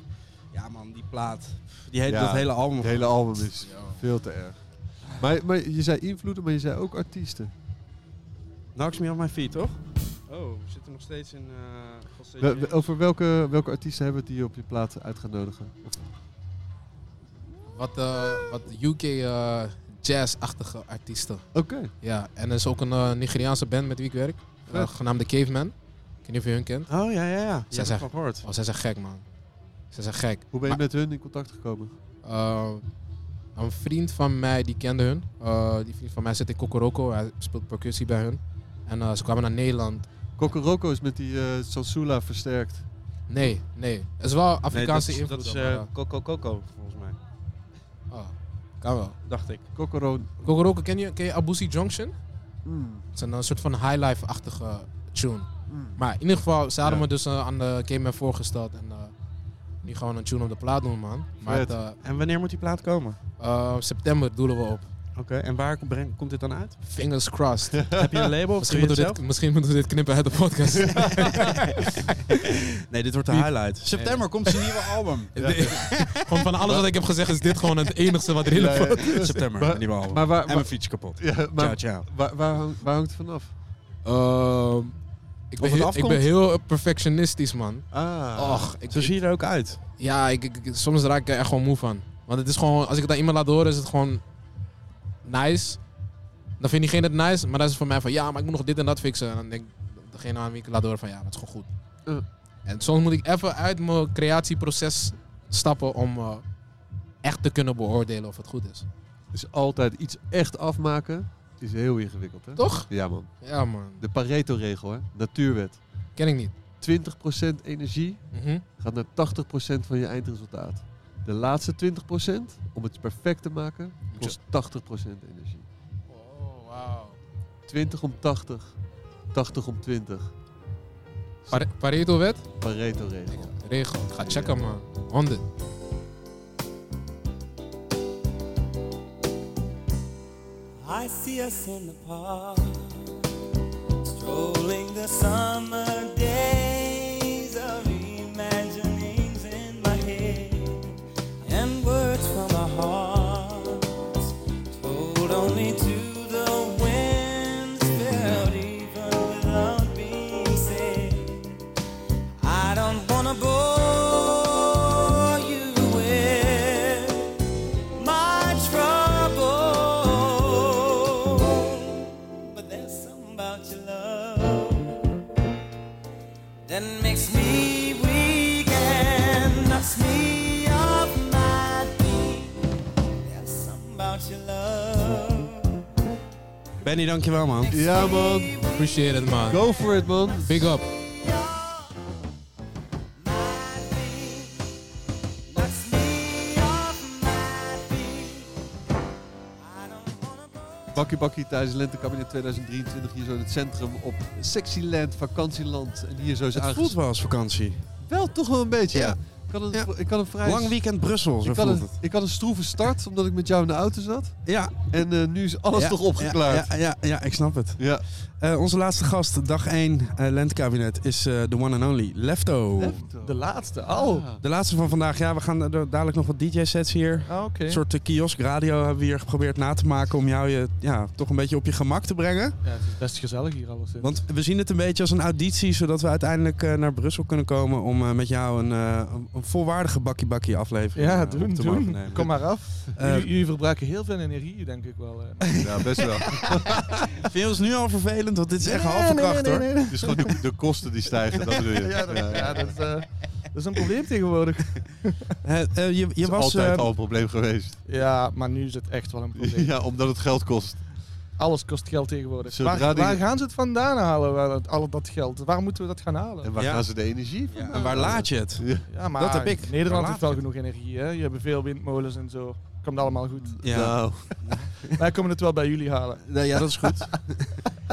Speaker 3: Ja man, die plaat. Die hele,
Speaker 2: Ja,
Speaker 3: dat hele album.
Speaker 2: Het hele album is veel te erg. Maar, maar je zei invloeden, maar je zei ook artiesten.
Speaker 3: Knocks me on my feet, toch? Oh, we zitten nog steeds in... eh, nog steeds
Speaker 2: We-
Speaker 3: in-
Speaker 2: we- over welke, welke artiesten hebben we het die je op je plaat uit gaat nodigen?
Speaker 12: Wat, eh, wat UK eh, jazz-achtige artiesten.
Speaker 2: Oké.
Speaker 12: Ja, en er is ook een eh, Nigeriaanse band met wie ik werk. eh,
Speaker 2: Vet.
Speaker 12: genaamd The Caveman. Ik weet niet of je hun kent.
Speaker 3: Oh ja, ja, ja. Je hebt
Speaker 12: zeggen-
Speaker 3: het van gehoord.
Speaker 12: Oh, zij zijn gek man. Zij zijn gek.
Speaker 2: Hoe ben je
Speaker 12: Maar-
Speaker 2: met hun in contact gekomen?
Speaker 12: Eh, een vriend van mij die kende hun. Eh, die vriend van mij zit in Kokoroko. Hij speelt percussie bij hun. En eh, ze kwamen naar Nederland.
Speaker 2: Kokoroko is met die eh, Sansula versterkt.
Speaker 12: Nee, nee. Het is wel Afrikaanse
Speaker 3: nee, dat,
Speaker 12: invloed.
Speaker 3: is- dat is
Speaker 12: maar,
Speaker 3: eh, Coco Coco, volgens mij.
Speaker 12: eh, oh, kan wel.
Speaker 3: Dacht ik.
Speaker 2: Kokoro.
Speaker 12: Kokoroko, ken je, ken je Abusi Junction?
Speaker 2: Mm,
Speaker 12: Het is een, eh, soort van highlife-achtige eh, tune.
Speaker 2: mm.
Speaker 12: Maar in ieder geval, ze hadden
Speaker 2: Ja.
Speaker 12: me dus eh, aan de Game Man voorgesteld. En eh, nu gewoon een tune op de plaat doen, man. Maar
Speaker 2: Vet.
Speaker 12: het, eh,
Speaker 3: En wanneer moet die plaat komen?
Speaker 12: eh, september doelen we op.
Speaker 3: Oké, en waar breng- komt dit dan uit?
Speaker 12: Fingers crossed.
Speaker 3: *laughs* *laughs* Heb je een label? of
Speaker 12: Misschien
Speaker 3: doe je
Speaker 12: moeten, we
Speaker 3: het
Speaker 12: dit, misschien moeten we dit knippen uit de podcast.
Speaker 3: *laughs*
Speaker 12: *laughs*
Speaker 3: zelf? Nee, dit wordt de
Speaker 12: Piep.
Speaker 3: highlight. *laughs* September komt zijn nieuwe album.
Speaker 12: Nee. Gewoon van alles wat ik heb gezegd is dit gewoon het enigste wat relevant is.
Speaker 3: *laughs* September,
Speaker 2: Maar-
Speaker 3: een nieuwe album.
Speaker 2: Maar waar,
Speaker 3: en
Speaker 2: waar,
Speaker 3: mijn fiets kapot.
Speaker 2: ja,
Speaker 3: Ciao,
Speaker 2: maar
Speaker 3: ciao.
Speaker 2: waar, waar, hangt, waar hangt het vanaf?
Speaker 12: Ehm, Ik
Speaker 3: Of
Speaker 12: ben,
Speaker 3: het
Speaker 12: heel, ik
Speaker 3: afkomt?
Speaker 12: ben heel perfectionistisch, man.
Speaker 3: Ah.
Speaker 12: Och, ik,
Speaker 3: Zo zie je er ook uit.
Speaker 12: ja, ik, ik- ik- soms raak ik er echt gewoon moe van. Want het is gewoon, als ik het aan iemand laat horen, is het gewoon nice. Dan vindt diegene het nice, maar dan is het voor mij van ja, maar ik moet nog dit en dat fixen. En dan denk degene aan wie ik het laat horen van ja, dat is gewoon goed. En soms moet ik even uit mijn creatieproces stappen om eh, echt te kunnen beoordelen of het goed is.
Speaker 2: Dus altijd iets echt afmaken is heel ingewikkeld, hè?
Speaker 12: Toch?
Speaker 2: Ja, man.
Speaker 12: Ja, man.
Speaker 2: De Pareto-regel, hè? Natuurwet.
Speaker 12: Ken ik niet.
Speaker 2: 20% energie
Speaker 12: Mhm.
Speaker 2: gaat naar 80% van je eindresultaat. De laatste 20%, om het perfect te maken, kost 80% energie.
Speaker 12: Oh, wauw.
Speaker 2: 20 om 80, 80 om 20.
Speaker 12: Pare- Pareto-wet?
Speaker 2: Pareto-regel.
Speaker 12: Regel. Ga checken, man. 100.
Speaker 7: I see us in the park, strolling the summer days of imaginings in my head, and words from our hearts told only to the winds, felt even without being said. I don't wanna bore you with my trouble. But there's something about your love that makes me weak and knocks me off my feet. There's something about your love.
Speaker 14: Benny, dankjewel man.
Speaker 2: Ja, man.
Speaker 12: Appreciate it, man.
Speaker 2: Go for it, man.
Speaker 12: Big up.
Speaker 7: Knocks me off my feet. I don't wanna go.
Speaker 2: Bakkie Bakkie tijdens het Lentekabinet 2023 hier zo in het centrum op Sexyland, vakantieland. En hier zo is
Speaker 3: Het
Speaker 2: aangesloten.
Speaker 3: voelt wel als vakantie.
Speaker 2: Wel toch wel een beetje, ja.
Speaker 3: Ja.
Speaker 2: Ik had een,
Speaker 3: Ja.
Speaker 2: ik had een vrij...
Speaker 3: Lang weekend Brussel, zo
Speaker 2: ik, had
Speaker 3: voelt
Speaker 2: een,
Speaker 3: het.
Speaker 2: ik had een stroeve start, omdat ik met jou in de auto zat.
Speaker 3: Ja,
Speaker 2: En eh, nu is alles
Speaker 3: ja,
Speaker 2: toch opgeklaard.
Speaker 3: Ja, ja, ja, ja, ik snap het.
Speaker 2: Ja.
Speaker 3: Eh, onze laatste gast, dag 1 lentekabinet, is eh de one and only Lefto.
Speaker 2: De laatste. Oh.
Speaker 8: Ah.
Speaker 3: De laatste van vandaag. Ja, we gaan eh, dadelijk nog wat DJ-sets hier.
Speaker 15: Ah, oké.
Speaker 3: Een soort eh, kiosk radio hebben we hier geprobeerd na te maken om jou je, ja, toch een beetje op je gemak te brengen.
Speaker 15: Ja, het is best gezellig hier alles. hè.
Speaker 3: Want we zien het een beetje als een auditie, zodat we uiteindelijk eh, naar Brussel kunnen komen om eh, met jou een, eh, een- een volwaardige bakkie bakkie aflevering
Speaker 15: ja,
Speaker 3: eh,
Speaker 15: doen,
Speaker 3: op te mogen
Speaker 15: doen.
Speaker 3: nemen.
Speaker 15: Kom maar af.
Speaker 3: Eh,
Speaker 15: jullie, jullie verbruiken heel veel energie, denk ik wel. eh.
Speaker 2: *laughs* Ja,
Speaker 15: *laughs*
Speaker 2: best wel. Eh,
Speaker 3: vind je ons nu al vervelend? Want dit is echt halve kracht hoor.
Speaker 2: Het is gewoon de, de kosten die stijgen, dat bedoel je.
Speaker 15: ja, dat, ja, dat, is, eh, dat is een probleem tegenwoordig.
Speaker 2: *laughs*
Speaker 3: Eh, eh, je je
Speaker 2: is
Speaker 3: was
Speaker 2: altijd
Speaker 3: eh,
Speaker 2: al een probleem geweest.
Speaker 15: Ja, maar nu is het echt wel een
Speaker 3: *laughs*
Speaker 15: probleem.
Speaker 2: Ja, omdat het geld kost.
Speaker 15: Alles kost geld tegenwoordig.
Speaker 2: Zodra
Speaker 15: waar,
Speaker 2: die-
Speaker 15: waar gaan ze het vandaan halen, waar, dat- al dat geld? Waar moeten we dat gaan halen?
Speaker 2: En waar
Speaker 3: Ja.
Speaker 2: gaan ze de energie van?
Speaker 3: en waar laat je het?
Speaker 15: Ja, maar
Speaker 3: dat heb ik. Waar
Speaker 15: Nederland
Speaker 3: laat
Speaker 15: heeft wel
Speaker 3: het?
Speaker 15: genoeg energie. Hè? Je hebt veel windmolens en zo. Komt allemaal goed.
Speaker 3: Ja.
Speaker 2: Nou,
Speaker 15: *laughs* Wij komen het wel bij jullie halen.
Speaker 3: Nou ja, dat is goed.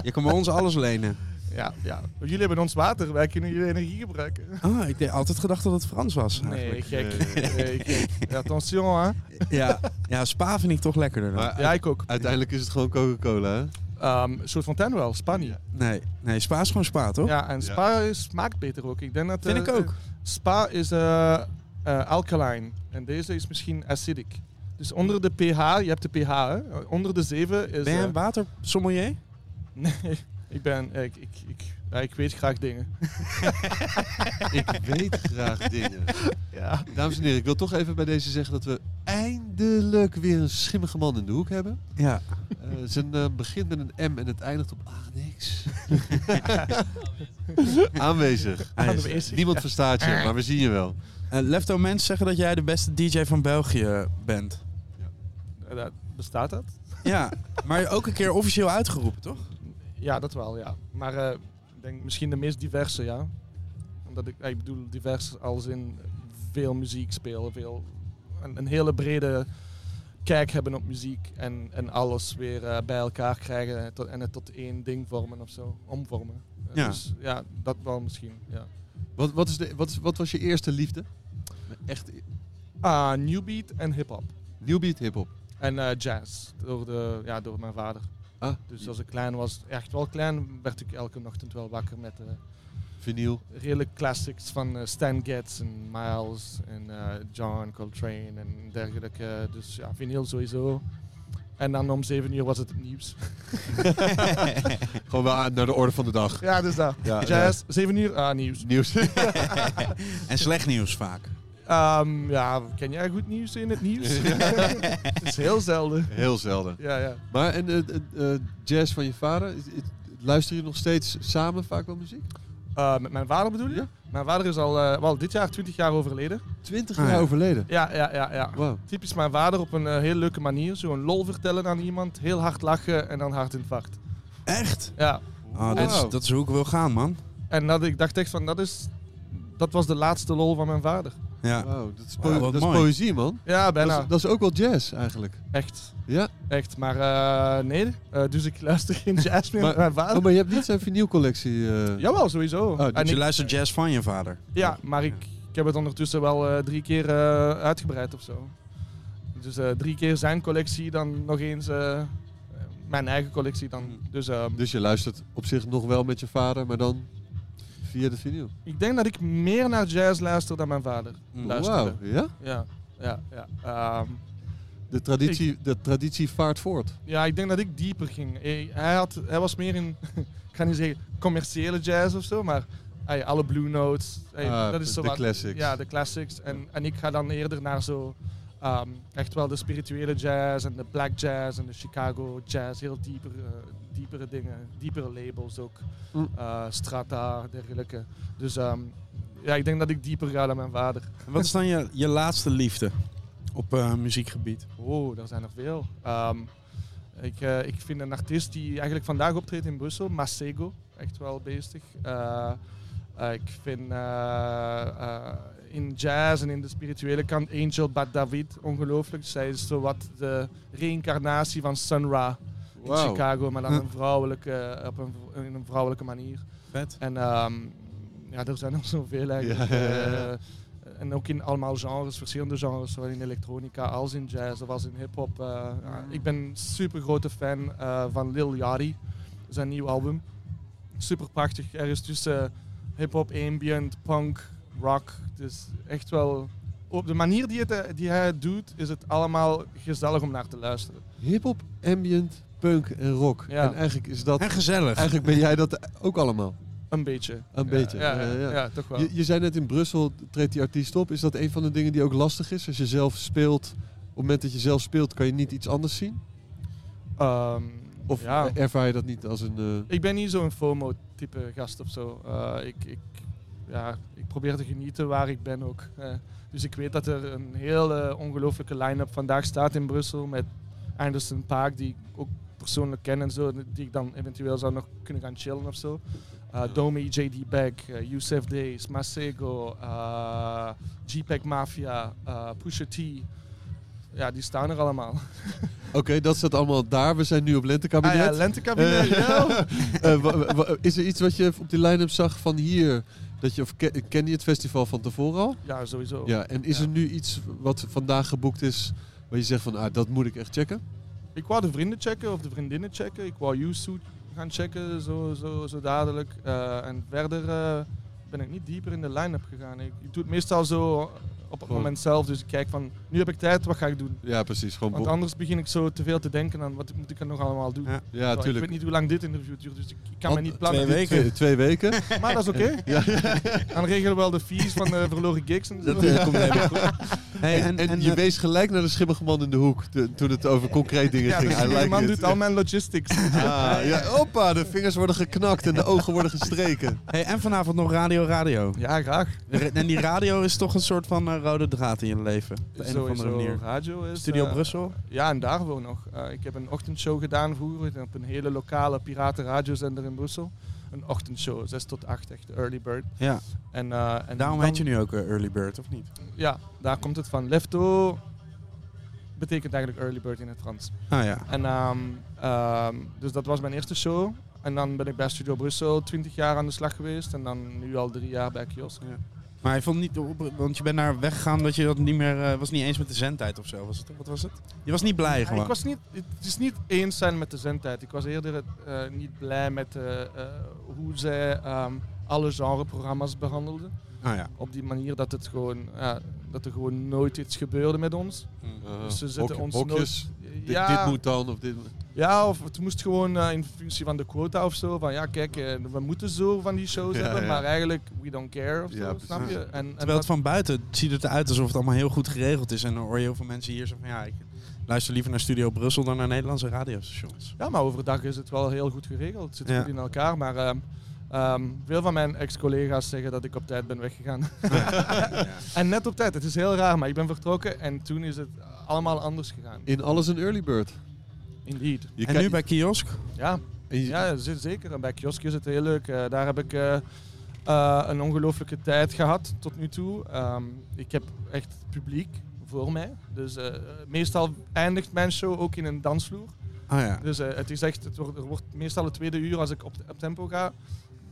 Speaker 3: je kan bij ons alles lenen.
Speaker 15: Ja, *laughs* ja. Jullie hebben ons water, wij kunnen jullie energie gebruiken.
Speaker 3: Ah, ik had altijd gedacht dat het Frans was.
Speaker 15: Nee,
Speaker 3: eigenlijk.
Speaker 15: gek. Nee, gek. Attention, hè.
Speaker 3: Ja, ja, Spa vind ik toch lekkerder dan.
Speaker 2: maar
Speaker 15: Ja, ik ook.
Speaker 2: uiteindelijk is het gewoon Coca-Cola, hè?
Speaker 15: Ehm, een soort fontaine wel, Spanje.
Speaker 3: Nee, nee, Spa is gewoon Spa, toch?
Speaker 15: Ja, en Spa is- smaakt beter ook. Ik denk dat...
Speaker 3: Vind
Speaker 15: eh,
Speaker 3: ik ook.
Speaker 15: Spa is eh, eh, alkaline en deze is misschien acidic. Dus onder de pH, je hebt de pH, hè? onder de 7
Speaker 3: Ben
Speaker 15: is...
Speaker 3: jij
Speaker 15: eh,
Speaker 3: een watersommelier?
Speaker 15: nee, ik ben... eh, Ik, ik, ik, ja, ik weet graag dingen.
Speaker 2: *laughs* Ik weet graag dingen.
Speaker 15: Ja.
Speaker 2: Dames en heren, ik wil toch even bij deze zeggen dat we eindelijk weer een schimmige man in de hoek hebben.
Speaker 3: Ja.
Speaker 2: Eh, zijn eh, begint met een M en het eindigt op ah, niks. *laughs*
Speaker 15: *laughs*
Speaker 2: Aanwezig.
Speaker 3: Hij is-
Speaker 15: Is-
Speaker 2: Niemand verstaat je,
Speaker 15: Ah.
Speaker 2: maar we zien je wel.
Speaker 3: Eh, Lefto mensen zeggen dat jij de beste DJ van België bent.
Speaker 15: eh, dat- Bestaat dat?
Speaker 3: Ja, maar ook een keer officieel uitgeroepen, toch?
Speaker 15: Ja, dat wel, ja. Maar eh, ik denk misschien de meest diverse, ja. Omdat ik, ik bedoel divers als in veel muziek spelen, veel, een, een hele brede kijk hebben op muziek en, en alles weer eh, bij elkaar krijgen en, tot, en het tot één ding vormen of zo, omvormen. Eh,
Speaker 3: Ja.
Speaker 15: Dus ja, dat wel misschien, ja.
Speaker 2: Wat, wat, is de, wat, is- wat was je eerste liefde? Echt
Speaker 15: Ah, new beat en hip-hop.
Speaker 2: newbeat hip-hop.
Speaker 15: En eh, jazz, door, de, ja, door mijn vader.
Speaker 2: Ah,
Speaker 15: Dus als ik klein was, echt wel klein, werd ik elke ochtend wel wakker met... eh,
Speaker 2: vinyl.
Speaker 15: redelijk classics van eh, Stan Getz en Miles en eh, John Coltrane en dergelijke. Dus ja,
Speaker 2: *laughs*
Speaker 15: vinyl sowieso. En dan om 7 uur was het het nieuws.
Speaker 2: Gewoon wel aan- naar de orde van de
Speaker 3: *laughs*
Speaker 2: dag.
Speaker 15: Ja, dus daar.
Speaker 2: Ja,
Speaker 15: Jazz, 7 uur, ah, nieuws.
Speaker 2: Nieuws.
Speaker 15: en
Speaker 1: slecht nieuws vaak.
Speaker 15: Ehm, ja, ken jij goed nieuws in het
Speaker 2: *laughs*
Speaker 15: nieuws? *laughs* het is heel zelden.
Speaker 2: Heel zelden.
Speaker 15: Ja, ja.
Speaker 2: Maar en eh, eh, eh, jazz van je vader, is- is- luister je nog steeds samen vaak wel muziek?
Speaker 15: Eh, met mijn vader bedoel je? Mijn vader is al eh, wel dit jaar 20 jaar overleden.
Speaker 2: 20
Speaker 1: Ah,
Speaker 2: jaar overleden?
Speaker 15: Ja, ja, ja. ja. Typisch mijn vader op een eh, heel leuke manier. Zo'n lol vertellen aan iemand, heel hard lachen en dan hartinfarct.
Speaker 1: Echt?
Speaker 15: Ja.
Speaker 3: Oh,
Speaker 1: Ah, dat,
Speaker 2: Oh.
Speaker 1: is, dat is hoe ik wil gaan, man.
Speaker 15: En dat, ik dacht echt van, dat, is, dat was de laatste lol van mijn vader.
Speaker 1: Ja.
Speaker 2: Wauw, dat is,
Speaker 15: Wauw,
Speaker 2: poë-
Speaker 15: wat
Speaker 2: dat is
Speaker 15: mooi.
Speaker 2: poëzie, man.
Speaker 15: Ja, bijna.
Speaker 2: Dat is, dat is ook wel jazz, eigenlijk.
Speaker 15: Echt.
Speaker 2: Ja.
Speaker 15: Echt, maar eh, nee. eh, dus ik luister
Speaker 2: *laughs*
Speaker 15: geen jazz meer met
Speaker 2: Maar,
Speaker 15: mijn vader.
Speaker 2: oh, maar je hebt niet zijn vinylcollectie. eh.
Speaker 15: Jawel, sowieso.
Speaker 2: dus
Speaker 15: En
Speaker 2: je
Speaker 15: ik-
Speaker 1: Luister jazz van je vader.
Speaker 15: Ja, maar ik, ik heb het ondertussen wel eh, drie keer eh, uitgebreid of zo. Dus eh, drie keer zijn collectie, dan nog eens eh, mijn eigen collectie. Dan. Dus eh,
Speaker 2: Dus je luistert op zich nog wel met je vader, maar dan via de vinyl.
Speaker 15: ik denk dat ik meer naar jazz luister dan mijn vader
Speaker 2: Mm.
Speaker 15: luisterde.
Speaker 2: Wauw, ja?
Speaker 15: Ja, ja, ja. Ehm,
Speaker 2: De traditie, de traditie vaart voort.
Speaker 15: ja, ik denk dat ik dieper ging. Hij, hij had, hij was meer in, *laughs* ik ga niet zeggen commerciële jazz of zo, maar hey, alle Blue Notes. hey,
Speaker 2: Ah,
Speaker 15: dat is zo
Speaker 2: de
Speaker 15: wat-
Speaker 2: classics.
Speaker 15: Ja, de classics. En, en ik ga dan eerder naar zo ehm, echt wel de spirituele jazz en de black jazz en de Chicago jazz. Heel diepere, diepere dingen, diepere labels ook.
Speaker 2: Mm.
Speaker 15: eh, strata, dergelijke. Dus ehm, ja, ik denk dat ik dieper ga dan mijn vader.
Speaker 1: Wat is dan je, je laatste liefde op eh, muziekgebied?
Speaker 15: Oh, daar zijn er veel. Ehm, ik, eh, ik vind een artiest die eigenlijk vandaag optreedt in Brussel, Masego, echt wel bezig. Eh, eh, ik vind eh, eh, in jazz en in de spirituele kant Angel Bad David ongelooflijk. Zij is zowat de reïncarnatie van Sun Ra in
Speaker 2: Wauw.
Speaker 15: Chicago, maar dan
Speaker 2: Huh.
Speaker 15: een vrouwelijke, eh, op een, in een vrouwelijke manier.
Speaker 1: Vet.
Speaker 15: En ehm, ja, er zijn er *laughs* zoveel eigenlijk.
Speaker 2: Ja, ja, ja.
Speaker 15: Eh, en ook in allemaal genres, verschillende genres, zowel in elektronica als in jazz, zoals in hip-hop. eh,
Speaker 2: Ah.
Speaker 15: ja, ik ben super grote fan eh, van Lil Yachty, zijn nieuw album. Super prachtig, er is tussen hip-hop, ambient, punk, rock. Dus echt wel, op de manier die, het, eh, die hij het doet, is het allemaal gezellig om naar te luisteren.
Speaker 2: Hip-hop, ambient, punk en rock.
Speaker 15: Ja.
Speaker 2: En eigenlijk is dat.
Speaker 15: En gezellig.
Speaker 2: Eigenlijk ben jij dat ook allemaal.
Speaker 15: Een beetje. Ja,
Speaker 2: Een beetje.
Speaker 15: ja, ja, ja, toch wel.
Speaker 2: Je, je zei net in Brussel treedt die artiest op. Is dat een van de dingen die ook lastig is? Als je zelf speelt, op het moment dat je zelf speelt, kan je niet iets anders zien? of
Speaker 15: Ehm, ja.
Speaker 2: ervaar je dat niet als een. eh,
Speaker 15: Ik ben niet zo'n FOMO-type gast of zo. Eh, ik, ik, ja, ik probeer te genieten waar ik ben ook. eh. dus ik weet dat er een hele ongelofelijke line-up vandaag staat in Brussel met Anderson Paak, die ik ook persoonlijk ken en zo, die ik dan eventueel zou nog kunnen gaan chillen of zo. Eh Domi, J.D. Beck, eh, Youssef Days, Masego, eh G-Pack Mafia, eh Pusha T. Ja, die staan er allemaal.
Speaker 2: Oké, dat staat allemaal daar. We zijn nu op lentekabinet.
Speaker 15: Ah ja, lentekabinet,
Speaker 2: Eh,
Speaker 15: ja.
Speaker 2: *laughs* eh, wa- wa- is er iets wat je op die line-up zag van hier? Dat je, of ke- ken je het festival van tevoren al?
Speaker 15: Ja, sowieso.
Speaker 2: Ja, en is er nu iets wat vandaag geboekt is, waar je zegt van, ah, dat moet ik echt *laughs* checken?
Speaker 15: Ik wou de vrienden checken of de vriendinnen checken. Ik wou Yusu gaan checken, zo, zo, zo dadelijk. Eh, en verder eh, ben ik niet dieper in de line-up gegaan. Ik, ik doe het meestal zo op het
Speaker 2: Gewoon-
Speaker 15: moment zelf. Dus ik kijk van, nu heb ik tijd, wat ga ik doen?
Speaker 2: Ja, precies. Gewoon
Speaker 15: Want
Speaker 2: bo-
Speaker 15: anders begin ik zo te veel te denken aan wat moet ik er nog allemaal doen.
Speaker 2: Ja,
Speaker 15: Terwijl Ik
Speaker 2: tuurlijk.
Speaker 15: weet niet hoe lang dit interview duurt, dus ik, ik kan me
Speaker 2: Want-
Speaker 15: niet plannen.
Speaker 2: Twee weken. Twee- twee weken.
Speaker 15: *laughs* maar dat is oké.
Speaker 2: Ja.
Speaker 15: Dan regelen we wel de fees van de verloren gigs en zo.
Speaker 2: Dat, eh, komt helemaal goed. en, en je wees gelijk naar de schimmige man in de hoek te- toen het over concreet dingen
Speaker 15: Ja,
Speaker 2: ging.
Speaker 15: dus
Speaker 2: I
Speaker 15: die
Speaker 2: like
Speaker 15: man
Speaker 2: it.
Speaker 15: doet al mijn logistics. Oh.
Speaker 2: Ah, ja, hoppa, de vingers worden geknakt en de ogen worden
Speaker 1: *laughs*
Speaker 2: gestreken.
Speaker 1: Hey, en vanavond nog Radio Radio.
Speaker 15: Ja, graag.
Speaker 1: En die radio is toch een soort van eh, rode draad in je leven. Op de een of andere
Speaker 15: Sowieso,
Speaker 1: manier.
Speaker 15: Radio is,
Speaker 1: Studio
Speaker 15: eh,
Speaker 1: Brussel.
Speaker 15: Ja, en daarvoor nog. Eh, ik heb een ochtendshow gedaan vroeger op een hele lokale piratenradiozender in Brussel. Een ochtendshow, 6 tot 8, echt de early bird.
Speaker 1: Ja.
Speaker 15: En, eh, en
Speaker 1: Daarom
Speaker 15: dan-
Speaker 1: heet je nu ook eh, Early Bird, of niet?
Speaker 15: Ja, daar komt het van. Lefto betekent eigenlijk early bird in het Frans.
Speaker 1: Ah, ja.
Speaker 15: En, ehm, ehm, dus dat was mijn eerste show. En dan ben ik bij Studio Brussel 20 jaar aan de slag geweest. En dan nu al drie jaar bij Kiosk.
Speaker 1: Maar hij vond niet op, want je bent daar weggegaan dat je dat niet meer eh, was niet eens met de zendtijd of zo. Was het, wat was het? Je was niet blij
Speaker 15: Ja,
Speaker 1: gewoon.
Speaker 15: Ik was niet, het is niet eens zijn met de zendtijd. Ik was eerder eh, niet blij met eh, eh, hoe zij ehm, alle genreprogramma's behandelde.
Speaker 12: Ah, ja.
Speaker 15: Op die manier dat, het gewoon, ja, dat er gewoon nooit iets gebeurde met ons.
Speaker 2: Eh,
Speaker 15: dus ze zetten
Speaker 2: hok-
Speaker 15: ons
Speaker 2: hokjes.
Speaker 15: nooit...
Speaker 2: Dit- dit moet dan, of dit moet-
Speaker 15: Ja, of het moest gewoon eh, in functie van de quota of zo. Van ja, kijk, eh, we moeten zo van die shows
Speaker 1: Ja,
Speaker 15: hebben,
Speaker 1: ja.
Speaker 15: maar eigenlijk we don't care of zo, snap je?
Speaker 1: Terwijl het van buiten ziet het eruit alsof het allemaal heel goed geregeld is. En dan hoor je heel veel mensen hier zo van ja, ik luister liever naar Studio Brussel dan naar Nederlandse radiostations.
Speaker 15: Ja, maar overdag is het wel heel goed geregeld. Het zit
Speaker 1: Ja.
Speaker 15: goed in elkaar. Maar ehm, ehm, veel van mijn ex-collega's zeggen dat ik op tijd ben weggegaan. *laughs* en net op tijd. Het is heel raar, maar ik ben vertrokken en toen is het allemaal anders gegaan.
Speaker 2: In alles een early bird.
Speaker 15: Indeed.
Speaker 2: Je kijkt-
Speaker 1: kiosk?
Speaker 15: Ja, ja ze- zeker. En Bij kiosk is het heel leuk. Eh, daar heb ik eh, eh, een ongelooflijke tijd gehad tot nu toe. Ehm, ik heb echt publiek voor mij. Dus eh, meestal eindigt mijn show ook in een dansvloer.
Speaker 1: Ah ja.
Speaker 15: Dus eh, het is echt, het wordt, er wordt meestal het tweede uur als ik op, op tempo ga,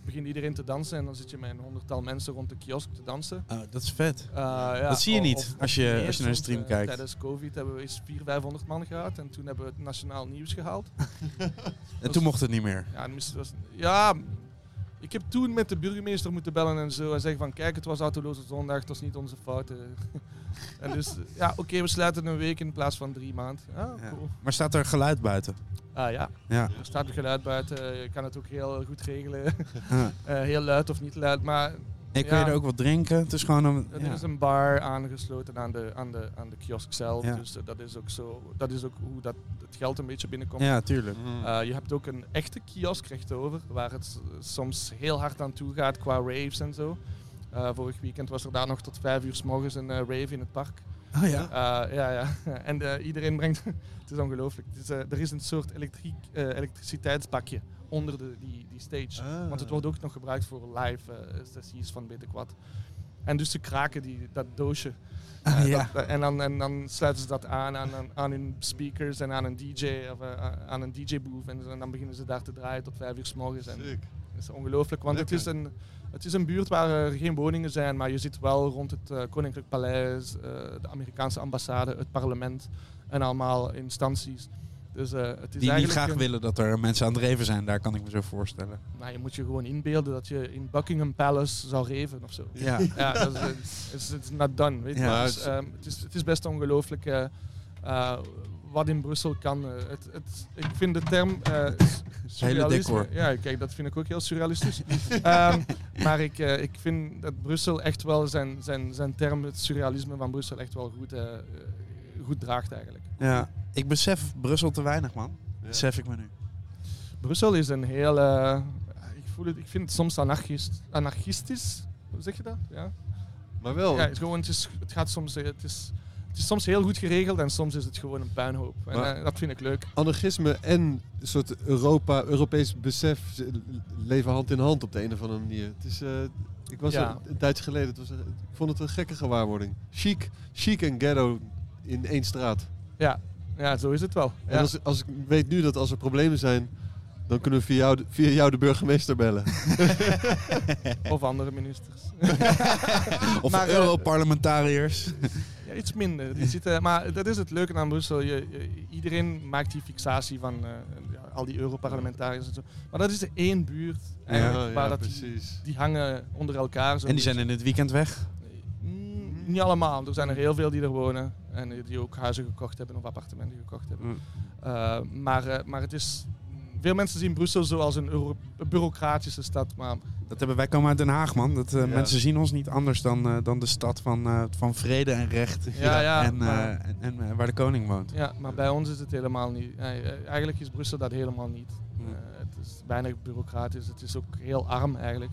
Speaker 15: begint iedereen te dansen en dan zit je met een honderdtal mensen rond de kiosk te dansen.
Speaker 1: Oh, dat is vet.
Speaker 15: Eh, ja,
Speaker 1: dat zie je
Speaker 15: of-
Speaker 1: niet
Speaker 15: of-
Speaker 1: als, je,
Speaker 15: nee,
Speaker 1: als je naar de
Speaker 15: soms,
Speaker 1: stream
Speaker 15: eh,
Speaker 1: kijkt.
Speaker 15: Tijdens COVID hebben we eens 400, 500 man gehad en toen hebben we het nationaal nieuws gehaald.
Speaker 1: *laughs* En toen mocht het niet meer.
Speaker 15: Ja, dan moest- het was, ja, ik heb toen met de burgemeester moeten bellen en zo en zeggen van kijk, het was autoloze zondag, het was niet onze fout. eh. *laughs* en dus ja, oké, we sluiten een week in plaats van drie maanden. Ja, cool.
Speaker 1: Maar staat er geluid buiten?
Speaker 15: Ah ja.
Speaker 1: Ja.
Speaker 15: Er staat een geluid buiten. eh, Je kan het ook heel goed regelen.
Speaker 1: *laughs* Ja.
Speaker 15: Eh, heel luid of niet luid. Maar
Speaker 1: Nee, kun je er ook wat drinken? Het is gewoon een...
Speaker 15: Er
Speaker 1: ja.
Speaker 15: is een bar aangesloten aan de, aan de, aan de kiosk zelf.
Speaker 1: Ja.
Speaker 15: Dus eh, dat is ook zo. Dat is ook hoe dat het geld een beetje binnenkomt.
Speaker 1: Ja, tuurlijk.
Speaker 15: Eh, je hebt ook een echte kiosk rechtover, waar het s- soms heel hard aan toe gaat qua raves en zo. Eh, vorig weekend was er daar nog tot vijf uur s morgens een eh, rave in het park.
Speaker 1: Oh ja?
Speaker 15: Eh, ja, *laughs* ja. En eh, iedereen brengt... *laughs* het is ongelooflijk. Het is, eh, er is een soort elektriek, eh, elektriciteitsbakje onder de, die, die stage. Want het wordt ook nog gebruikt voor live eh, sessies van Beter Kwad. En dus ze kraken die, dat
Speaker 1: *laughs*
Speaker 15: doosje. Eh,
Speaker 1: Ah, ja.
Speaker 15: dat- en, dan, en dan sluiten ze dat aan aan, aan aan hun speakers en aan een DJ of eh, aan een DJ booth en, zo. En dan beginnen ze daar te draaien tot vijf uur s morgens. En
Speaker 2: Sick.
Speaker 15: Dat is ongelooflijk, want het is,
Speaker 2: Lekker.
Speaker 15: een, het is een buurt waar er geen woningen zijn, maar je zit wel rond het eh, Koninklijk Paleis, eh, de Amerikaanse ambassade, het parlement en allemaal instanties. Dus, eh, het is
Speaker 1: Die niet
Speaker 15: eigenlijk
Speaker 1: graag
Speaker 15: een-
Speaker 1: willen dat er mensen aan het reven zijn. Daar kan ik me zo voorstellen.
Speaker 15: nou, je moet je gewoon inbeelden dat je in Buckingham Palace zou reven of zo. *laughs*
Speaker 1: Ja.
Speaker 15: dat is- is is- it's not done. Weet je.
Speaker 1: Ja.
Speaker 15: Dus, ehm, het, is, het is best ongelooflijk eh, eh, wat in Brussel kan. eh, het, het, ik vind de term eh surrealisme-
Speaker 1: decor.
Speaker 15: Ja, kijk, dat vind ik ook heel surrealistisch. *laughs* Ehm, maar ik, eh, ik vind dat Brussel echt wel zijn, zijn, zijn term, het surrealisme van Brussel, echt wel goed, eh, eh, goed draagt eigenlijk.
Speaker 1: Ja. Ik besef Brussel te weinig, man. Besef ik me nu.
Speaker 15: Brussel is een heel. eh, ik, voel het, ik vind het soms anarchist, anarchistisch. Hoe zeg je dat? Ja.
Speaker 2: Maar wel.
Speaker 15: Ja, het, is gewoon, het, is, het, gaat soms, eh, het, is, het is soms heel goed geregeld en soms is het gewoon een puinhoop. En,
Speaker 2: Maar-
Speaker 15: eh, dat vind ik leuk.
Speaker 2: Anarchisme en een soort Europa, Europees besef ze leven hand in hand op de een of andere manier. Het is, eh, ik was
Speaker 15: Ja.
Speaker 2: er een tijdje geleden, het was, een- ik vond het een gekke gewaarwording. Chic, chic en ghetto in één straat.
Speaker 15: Ja, ja zo is het wel.
Speaker 2: En als, als ik weet nu dat als er problemen zijn, dan kunnen we via jou, de- via jou de burgemeester bellen.
Speaker 15: *laughs* Of andere ministers.
Speaker 2: *laughs*
Speaker 15: *laughs*
Speaker 1: Of
Speaker 15: eh, *laughs*
Speaker 1: Europarlementariërs.
Speaker 15: Ja, iets minder. Die zitten, maar dat is het leuke aan Brussel. Je, je- iedereen maakt die fixatie van eh, ja, al die Europarlementariërs en zo. Maar dat is één buurt eigenlijk,
Speaker 2: Ja, ja,
Speaker 15: waar dat die,
Speaker 2: precies.
Speaker 15: die hangen onder elkaar. Zo
Speaker 1: en die zijn in het weekend weg.
Speaker 15: Niet allemaal. Er zijn er heel veel die er wonen. En die ook huizen gekocht hebben of appartementen gekocht hebben.
Speaker 1: Mm.
Speaker 15: Eh, maar, eh, maar het is... Veel mensen zien Brussel zoals een Euro- bureaucratische stad. Maar
Speaker 1: Dat hebben wij komen uit Den Haag, man. Dat, eh,
Speaker 15: Ja.
Speaker 1: Mensen zien ons niet anders dan, eh, dan de stad van, eh, van vrede en recht.
Speaker 15: Ja, ja,
Speaker 1: en, eh,
Speaker 15: maar-
Speaker 1: en, en, eh, waar de koning woont.
Speaker 15: Ja, maar bij ons is het helemaal niet. eh, eh, Eigenlijk is Brussel dat helemaal niet. Eh, het is weinig bureaucratisch. Het is ook heel arm eigenlijk.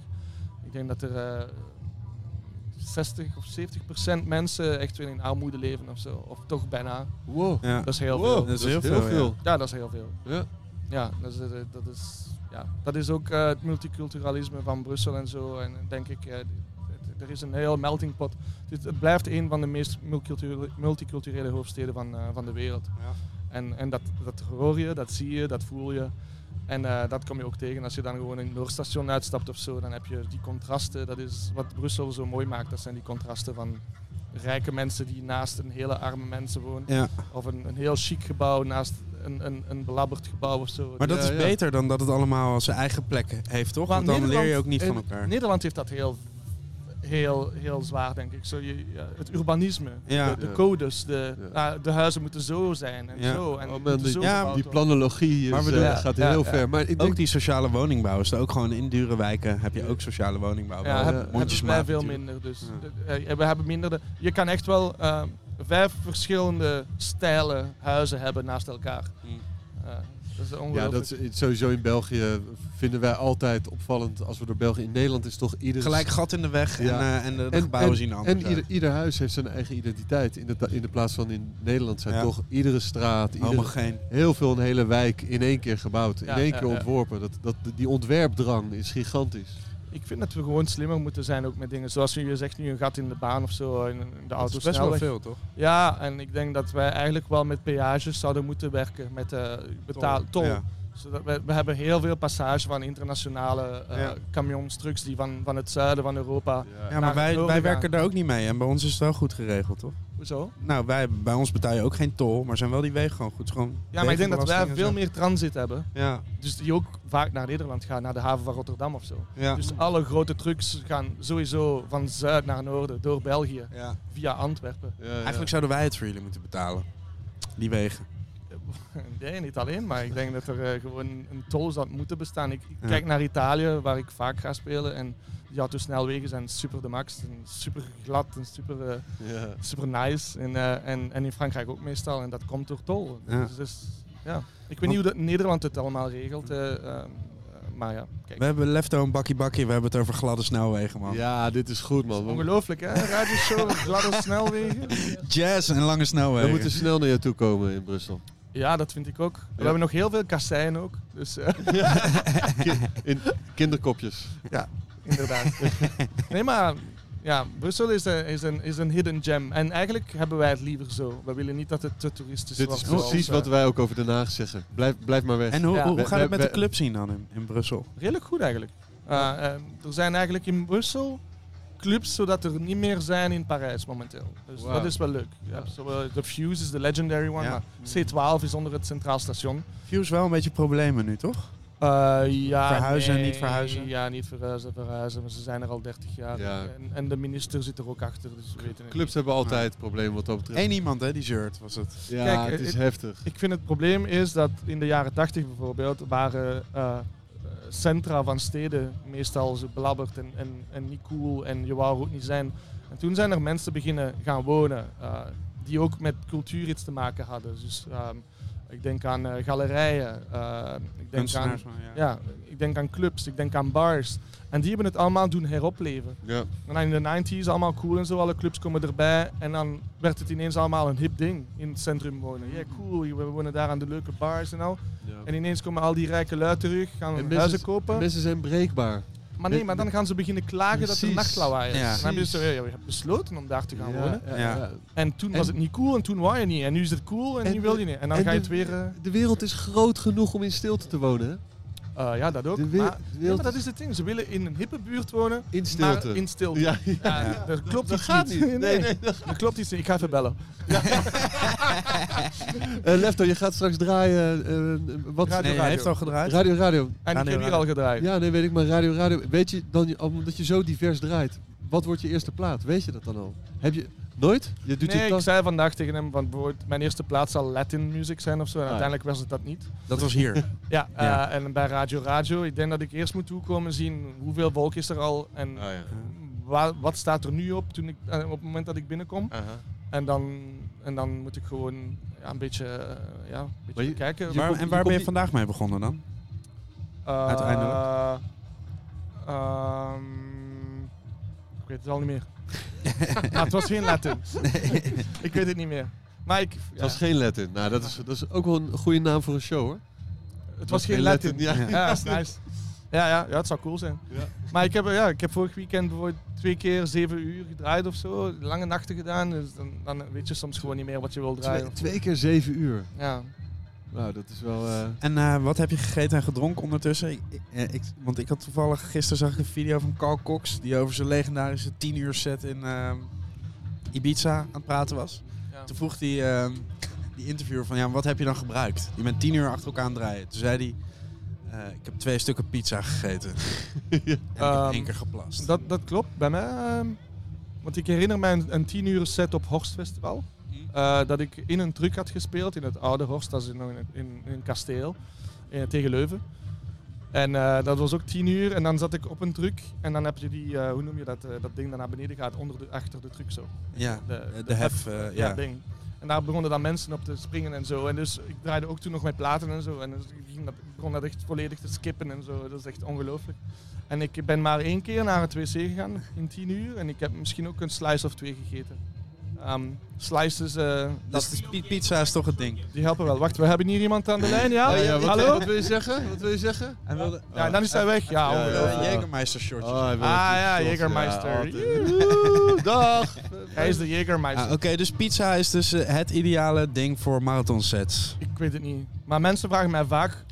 Speaker 15: Ik denk dat er eh, 60 of 70 procent mensen echt weer in armoede leven of zo. Of toch bijna.
Speaker 2: Wow.
Speaker 1: Ja.
Speaker 15: Dat is heel
Speaker 1: Wow,
Speaker 15: veel.
Speaker 1: dat is heel veel, ja.
Speaker 15: Ja. dat is heel veel.
Speaker 2: Ja.
Speaker 15: Ja, dat is, eh, dat is, ja, dat is ook eh, het multiculturalisme van Brussel en zo. En eh, denk ik, eh, het- er is een heel melting pot. Dit, het blijft een van de meest multiculturele, multiculturele hoofdsteden van, eh, van de wereld. En, en dat, dat hoor je, dat zie je, dat voel je. En eh, dat kom je ook tegen als je dan gewoon in het Noordstation uitstapt of zo. Dan heb je die contrasten. Dat is wat Brussel zo mooi maakt. Dat zijn die contrasten van rijke mensen die naast een hele arme mensen wonen.
Speaker 1: Ja.
Speaker 15: Of een, een heel chic gebouw naast een, een, een belabberd gebouw of zo.
Speaker 3: Maar dat
Speaker 15: Ja,
Speaker 3: is
Speaker 15: ja.
Speaker 3: beter dan dat het allemaal zijn eigen plek heeft, toch?
Speaker 15: Maar
Speaker 3: Want dan leer je
Speaker 15: Nederland-
Speaker 3: ook niet van
Speaker 15: eh,
Speaker 3: elkaar.
Speaker 15: Nederland heeft dat heel, heel, heel zwaar, denk ik. Zo, je, ja, het urbanisme,
Speaker 3: Ja.
Speaker 15: de, de
Speaker 3: Ja.
Speaker 15: codes, de, ah, de huizen moeten zo zijn en
Speaker 3: Ja.
Speaker 15: zo. En
Speaker 3: Oh,
Speaker 15: die
Speaker 3: maar
Speaker 15: moeten
Speaker 3: die-
Speaker 15: zo
Speaker 3: ja,
Speaker 15: gebouwd
Speaker 3: die eh,
Speaker 15: worden.
Speaker 2: planologie eh,
Speaker 3: Maar we doen- ook die sociale woningbouw is er ook gewoon in dure wijken heb je ook sociale woningbouw.
Speaker 15: Ja, heb- hebben wij
Speaker 3: Mondjesmaat
Speaker 15: veel
Speaker 3: natuurlijk.
Speaker 15: minder. Dus eh, eh, we hebben minder. De, je kan echt wel eh, vijf verschillende stijlen huizen hebben naast elkaar.
Speaker 3: Mm.
Speaker 15: Eh, dat is
Speaker 2: Ja,
Speaker 15: ongelooflijk.
Speaker 2: dat is sowieso in België vinden wij altijd opvallend als we door België. In Nederland is toch ieder...
Speaker 3: Gelijk gat in de weg en, eh, en de- de gebouwen zien er anders
Speaker 2: En
Speaker 3: uit.
Speaker 2: ieder, ieder huis heeft zijn eigen identiteit. In de, ta- in de plaats van in Nederland zijn
Speaker 3: Ja.
Speaker 2: toch iedere straat, iedere,
Speaker 3: Homogeen.
Speaker 2: heel veel een hele wijk in één keer gebouwd.
Speaker 15: Ja,
Speaker 2: in één
Speaker 15: ja,
Speaker 2: keer
Speaker 15: ja.
Speaker 2: ontworpen. Dat, dat, die ontwerpdrang is gigantisch.
Speaker 15: Ik vind dat we gewoon slimmer moeten zijn ook met dingen. Zoals je zegt, nu een gat in de baan of zo, in in de auto
Speaker 3: best wel veel, toch?
Speaker 15: Ja, en ik denk dat wij eigenlijk wel met peages zouden moeten werken, met eh betaal,
Speaker 3: Tol,
Speaker 15: tol.
Speaker 3: ja.
Speaker 15: Zodat we, we hebben heel veel passage van internationale eh
Speaker 3: Ja.
Speaker 15: camionstrucks die van, van het zuiden van Europa
Speaker 3: Ja,
Speaker 15: naar
Speaker 3: maar wij, wij
Speaker 15: het noorden
Speaker 3: werken
Speaker 15: gaan.
Speaker 3: daar ook niet mee. En bij ons is het wel goed geregeld, toch?
Speaker 15: Hoezo?
Speaker 3: Nou, wij, bij ons betaal je ook geen tol, maar zijn wel die wegen gewoon goed. Gewoon
Speaker 15: Ja, maar ik denk dat wij
Speaker 3: wegenbelasting en
Speaker 15: veel
Speaker 3: zo.
Speaker 15: meer transit hebben.
Speaker 3: Ja.
Speaker 15: Dus die ook vaak naar Nederland gaan, naar de haven van Rotterdam of zo.
Speaker 3: Ja.
Speaker 15: Dus alle grote trucks gaan sowieso van zuid naar noorden, door België, via Antwerpen.
Speaker 3: Eigenlijk zouden wij het voor jullie moeten betalen. Die wegen.
Speaker 15: *laughs* Nee, niet alleen, maar ik denk dat er eh, gewoon een tol zou moeten bestaan. Ik, ik
Speaker 3: Ja.
Speaker 15: kijk naar Italië, waar ik vaak ga spelen. En die autosnelwegen zijn super de max. En super glad en super, eh,
Speaker 2: Ja.
Speaker 15: super nice. En, eh, en, en in Frankrijk ook meestal. En dat komt door tol.
Speaker 3: Ja.
Speaker 15: Dus, dus, ja. Ik weet niet hoe dat Nederland het allemaal regelt. eh, ehm, eh, maar ja, kijk.
Speaker 3: We hebben lefto en bakkie bakkie, we hebben het over gladde snelwegen, man.
Speaker 2: Ja, dit is goed, man.
Speaker 15: Ongelooflijk, *laughs* hè? Radioshow, gladde snelwegen.
Speaker 3: Jazz en lange snelwegen.
Speaker 2: We moeten snel naar je toe komen in Brussel.
Speaker 15: Ja, dat vind ik ook. We hebben nog heel veel kasseien ook. Dus, eh, *laughs*
Speaker 2: In kinderkopjes.
Speaker 15: Ja,
Speaker 2: *laughs*
Speaker 15: inderdaad. nee, maar ja, Brussel is een, is, een, is een hidden gem. En eigenlijk hebben wij het liever zo. We willen niet dat het te toeristisch
Speaker 2: Dit is
Speaker 15: wordt.
Speaker 2: precies
Speaker 15: zoals,
Speaker 2: wat
Speaker 15: eh,
Speaker 2: wij ook over Den Haag zeggen. Blijf, blijf maar weg.
Speaker 3: En hoe,
Speaker 15: Ja.
Speaker 3: hoe,
Speaker 15: We-
Speaker 3: gaat het
Speaker 15: we-
Speaker 3: met de
Speaker 15: we-
Speaker 3: club zien dan in, in Brussel?
Speaker 15: Redelijk goed eigenlijk. Eh, eh, er zijn eigenlijk in Brussel clubs zodat er niet meer zijn in Parijs momenteel. Dus
Speaker 11: Wauw.
Speaker 15: dat is wel leuk. Ja. zo, eh, de Fuse is de legendary one,
Speaker 3: Ja.
Speaker 15: maar C12 is onder het Centraal Station.
Speaker 3: Views wel een beetje problemen nu, toch?
Speaker 15: Eh, ja,
Speaker 3: verhuizen en
Speaker 15: nee,
Speaker 3: niet verhuizen.
Speaker 15: Ja, niet verhuizen, verhuizen. Maar ze zijn er al 30 jaar.
Speaker 2: Ja.
Speaker 15: En, en de minister zit er ook achter, dus we weten het
Speaker 2: Clubs hebben altijd problemen wat dat betreft.
Speaker 3: Eén iemand, hè, die zeurt, was het.
Speaker 2: Ja,
Speaker 15: Kijk,
Speaker 2: het is
Speaker 15: eh,
Speaker 2: heftig.
Speaker 15: Ik vind het probleem is dat in de jaren 80 bijvoorbeeld waren eh, centra van steden meestal zo belabberd en, en, en niet cool en je wou er ook niet zijn. En toen zijn er mensen beginnen gaan wonen eh, die ook met cultuur iets te maken hadden. Dus ehm, ik denk aan eh, galerijen, eh, ik, denk aan,
Speaker 3: Kunstenaars, maar ja.
Speaker 15: ja, ik denk aan clubs, ik denk aan bars. En die hebben het allemaal doen heropleven.
Speaker 2: Ja.
Speaker 15: En dan in de 90s allemaal cool en zo, alle clubs komen erbij. En dan werd het ineens allemaal een hip ding in het centrum wonen. Ja, cool, we wonen daar aan de leuke bars en al. En ineens komen al die rijke lui terug, gaan
Speaker 2: En
Speaker 15: huizen
Speaker 2: mensen-
Speaker 15: kopen.
Speaker 2: Mensen zijn breekbaar.
Speaker 15: Maar nee, maar dan gaan ze beginnen klagen dat er
Speaker 2: Precies.
Speaker 15: nachtlawaai is.
Speaker 2: Ja.
Speaker 15: Dan hebben ze zo, ja, ja, je hebt besloten om daar te gaan
Speaker 2: Ja,
Speaker 15: wonen.
Speaker 2: ja, ja.
Speaker 15: En toen
Speaker 2: En-
Speaker 15: was het niet cool en toen wou je niet. En nu is het cool en, nu wil je niet. En dan
Speaker 2: en
Speaker 15: ga je
Speaker 2: de-
Speaker 15: het weer... eh,
Speaker 2: De wereld is groot genoeg om in stilte te wonen. hè?
Speaker 15: Eh, ja, dat ook.
Speaker 2: De wer-
Speaker 15: maar,
Speaker 2: de
Speaker 15: ja,
Speaker 2: wereld
Speaker 15: maar dat is het ding. Ze willen in een hippe buurt wonen.
Speaker 2: In stilte.
Speaker 15: Maar in stilte.
Speaker 2: Ja,
Speaker 15: Ja,
Speaker 2: ja.
Speaker 15: Dat klopt
Speaker 2: dat
Speaker 15: iets
Speaker 2: gaat
Speaker 15: niet. *laughs*
Speaker 2: niet. Nee, nee,
Speaker 15: dat klopt iets niet. Ik ga even bellen.
Speaker 2: Eh, Lefto, je gaat straks draaien. eh, eh, wat
Speaker 15: Radio, Nee, hij radio. heeft al gedraaid.
Speaker 2: Radio Radio.
Speaker 15: En ik heb hier al gedraaid.
Speaker 2: Ja, nee, weet ik, maar Radio Radio. Weet je dan, omdat je zo divers draait, wat wordt je eerste plaat? Weet je dat dan al? Heb je nooit? Je doet je
Speaker 15: nee, ik
Speaker 2: tas-
Speaker 15: zei vandaag tegen hem, want bijvoorbeeld mijn eerste plaats zal Latin music zijn of zo. En uiteindelijk was het dat niet.
Speaker 3: Ah, Dat was hier.
Speaker 15: *laughs* ja, eh,
Speaker 3: Ja.
Speaker 15: en bij Radio Radio, ik denk dat ik eerst moet toekomen zien hoeveel volk is er al en wa- wat staat er nu op, toen ik, eh, op het moment dat ik binnenkom. En, dan, en dan moet ik gewoon ja, een beetje, eh, ja, een beetje kijken.
Speaker 3: Waar- en waar ben je vandaag mee begonnen dan?
Speaker 15: Eh,
Speaker 3: Uiteindelijk.
Speaker 15: ehm, ik weet het al niet
Speaker 3: *laughs*
Speaker 15: meer. maar het was geen Latin. ik weet het niet meer. Maar ik,
Speaker 2: Het was geen Latin. Nou, dat is, dat is ook wel een goede naam voor een show, hoor.
Speaker 15: Het was geen Latin.
Speaker 2: Ja.
Speaker 15: Ja, dat is nice. Ja, ja, ja, het zou cool zijn.
Speaker 2: Ja.
Speaker 15: Maar ik heb, ja, ik heb vorig weekend bijvoorbeeld twee keer zeven uur gedraaid of zo. Lange nachten gedaan. Dus dan, dan weet je soms gewoon niet meer wat je wil draaien.
Speaker 2: Twee, twee keer zeven uur.
Speaker 15: Ja.
Speaker 2: Nou, dat is wel... eh,
Speaker 3: En eh, wat heb je gegeten en gedronken ondertussen? Ik, ik- eh, ik- want ik had toevallig gisteren zag ik een video van Carl Cox die over zijn legendarische 10 uur set in ehm, Ibiza aan het praten was. Toen vroeg hij ehm, die interviewer van, ja, wat heb je dan gebruikt? Die bent tien uur achter elkaar aan het draaien. Toen zei hij, eh, ik heb twee stukken pizza
Speaker 2: *laughs*
Speaker 3: gegeten. *laughs* En ik heb
Speaker 15: Ehm,
Speaker 3: één keer geplast.
Speaker 15: Dat, dat klopt bij mij. ehm, want ik herinner mij een, een tien uur set op Horst Festival.
Speaker 3: Mhm.
Speaker 15: Eh, dat ik in een truc had gespeeld in het oude Horst, dat is nog in, een- in, in een kasteel eh, tegen Leuven. En eh, dat was ook tien uur en dan zat ik op een truc en dan heb je die, eh, hoe noem je dat, eh, dat ding dat naar beneden gaat, onder de, achter de truc zo.
Speaker 3: Ja, eh, de hef, eh,
Speaker 15: ja,
Speaker 3: ja.
Speaker 15: ding. En daar begonnen dan mensen op te springen en zo. En dus ik draaide ook toen nog met platen en zo. En dus ik ging dat, ik begon dat echt volledig te skippen en zo. Dat is echt ongelooflijk. En ik ben maar één keer naar het wc gegaan in tien uur. En ik heb misschien ook een slice of twee gegeten. Ehm, slices, eh,
Speaker 3: dat pizza is toch het ding.
Speaker 15: die helpen wel. Wacht, we hebben hier iemand aan de lijn, ja?
Speaker 2: Ja, ja, wat-
Speaker 15: Hallo?
Speaker 2: Wat wil je zeggen? Wat wil je zeggen?
Speaker 3: Hij wilde,
Speaker 15: Ja, en dan is hij Ah. weg. Ja, ongelooflijk.
Speaker 3: Jägermeister shortjes.
Speaker 2: Oh, hij wil
Speaker 15: Ah
Speaker 2: het
Speaker 15: ja,
Speaker 2: niet tot- ja,
Speaker 15: Jägermeister.
Speaker 2: altijd.
Speaker 15: Joehoe, Dag! Hij is de Jägermeister.
Speaker 3: Ah, Oké, dus pizza is dus eh, het ideale ding voor marathonsets.
Speaker 15: Ik weet het niet. Maar mensen vragen mij vaak,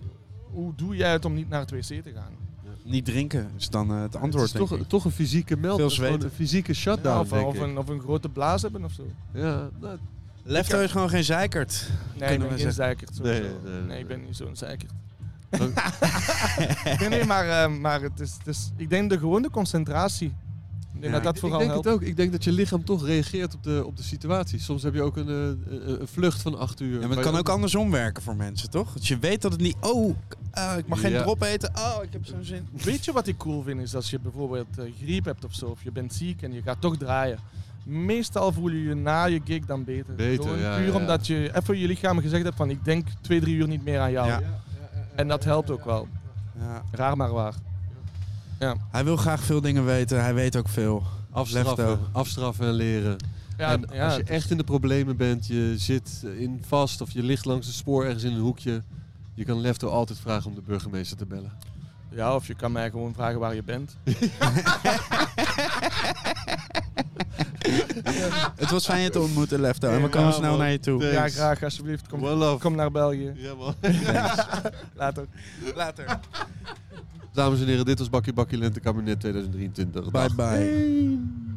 Speaker 15: hoe doe jij het om niet naar het wc te gaan?
Speaker 3: Niet drinken is dan eh, het antwoord,
Speaker 2: Het is
Speaker 3: denk
Speaker 2: toch,
Speaker 3: ik.
Speaker 2: toch een fysieke meld.
Speaker 3: Veel
Speaker 2: het is gewoon
Speaker 3: zweten.
Speaker 2: Een fysieke shutdown,
Speaker 15: Ja, of,
Speaker 2: denk
Speaker 15: of
Speaker 2: ik.
Speaker 15: een, of een grote blaas hebben of zo.
Speaker 2: Ja, nou,
Speaker 3: Lefto is gewoon geen zeikert.
Speaker 15: Nee, ik
Speaker 3: kunnen
Speaker 15: ben
Speaker 3: we zeggen.
Speaker 15: geen zeikert.
Speaker 2: Nee,
Speaker 15: sowieso. Nee,
Speaker 2: nee, nee, nee.
Speaker 15: ik ben niet zo'n zeikert. *laughs* nee, nee, maar, eh, maar het is, het is, ik denk de gewone concentratie. Ik denk
Speaker 3: Ja,
Speaker 15: dat dat
Speaker 2: ik
Speaker 15: vooral
Speaker 2: denk
Speaker 15: helpt.
Speaker 2: het ook. Ik denk dat je lichaam toch reageert op de, op de situatie. Soms heb je ook een, eh, eh, een vlucht van acht uur.
Speaker 3: Ja, maar het kan ook andersom werken voor mensen, toch? Dat je weet dat het niet... Oh, k- ah, ik mag geen
Speaker 2: Ja.
Speaker 3: drop eten. Oh, ik heb zo'n zin.
Speaker 15: Weet je wat ik cool vind? Is als je bijvoorbeeld eh, griep hebt of zo, of je bent ziek en je gaat toch draaien. Meestal voel je je na je gig dan beter.
Speaker 2: Beter, ja,
Speaker 15: puur
Speaker 2: ja.
Speaker 15: omdat je even je lichaam gezegd hebt van ik denk twee, drie uur niet meer aan jou.
Speaker 3: Ja.
Speaker 15: En dat helpt ook wel.
Speaker 3: Ja.
Speaker 15: Raar maar waar.
Speaker 3: Hij wil graag veel dingen weten. Hij weet ook veel.
Speaker 2: Afstraffen,
Speaker 3: Lefto.
Speaker 2: afstraffen en leren.
Speaker 15: Ja,
Speaker 2: en
Speaker 15: ja,
Speaker 2: als je
Speaker 15: het is-
Speaker 2: echt in de problemen bent, je zit in vast of je ligt langs een spoor ergens in een hoekje. Je kan Lefto altijd vragen om de burgemeester te bellen.
Speaker 15: Ja, of je kan mij gewoon vragen waar je bent.
Speaker 3: Het was fijn je te ontmoeten, Lefto. En we
Speaker 2: Ja,
Speaker 3: komen snel
Speaker 2: man.
Speaker 3: naar je toe.
Speaker 15: Ja,
Speaker 2: Thanks.
Speaker 15: graag, alsjeblieft. Kom,
Speaker 2: One love.
Speaker 15: kom naar België.
Speaker 2: Ja,
Speaker 15: *laughs*
Speaker 2: man. *laughs*
Speaker 15: Later.
Speaker 3: Later.
Speaker 2: Dames en heren, dit was Bakkie Bakkie Lentekabinet 2023.
Speaker 3: Bye
Speaker 2: Dag.
Speaker 3: bye.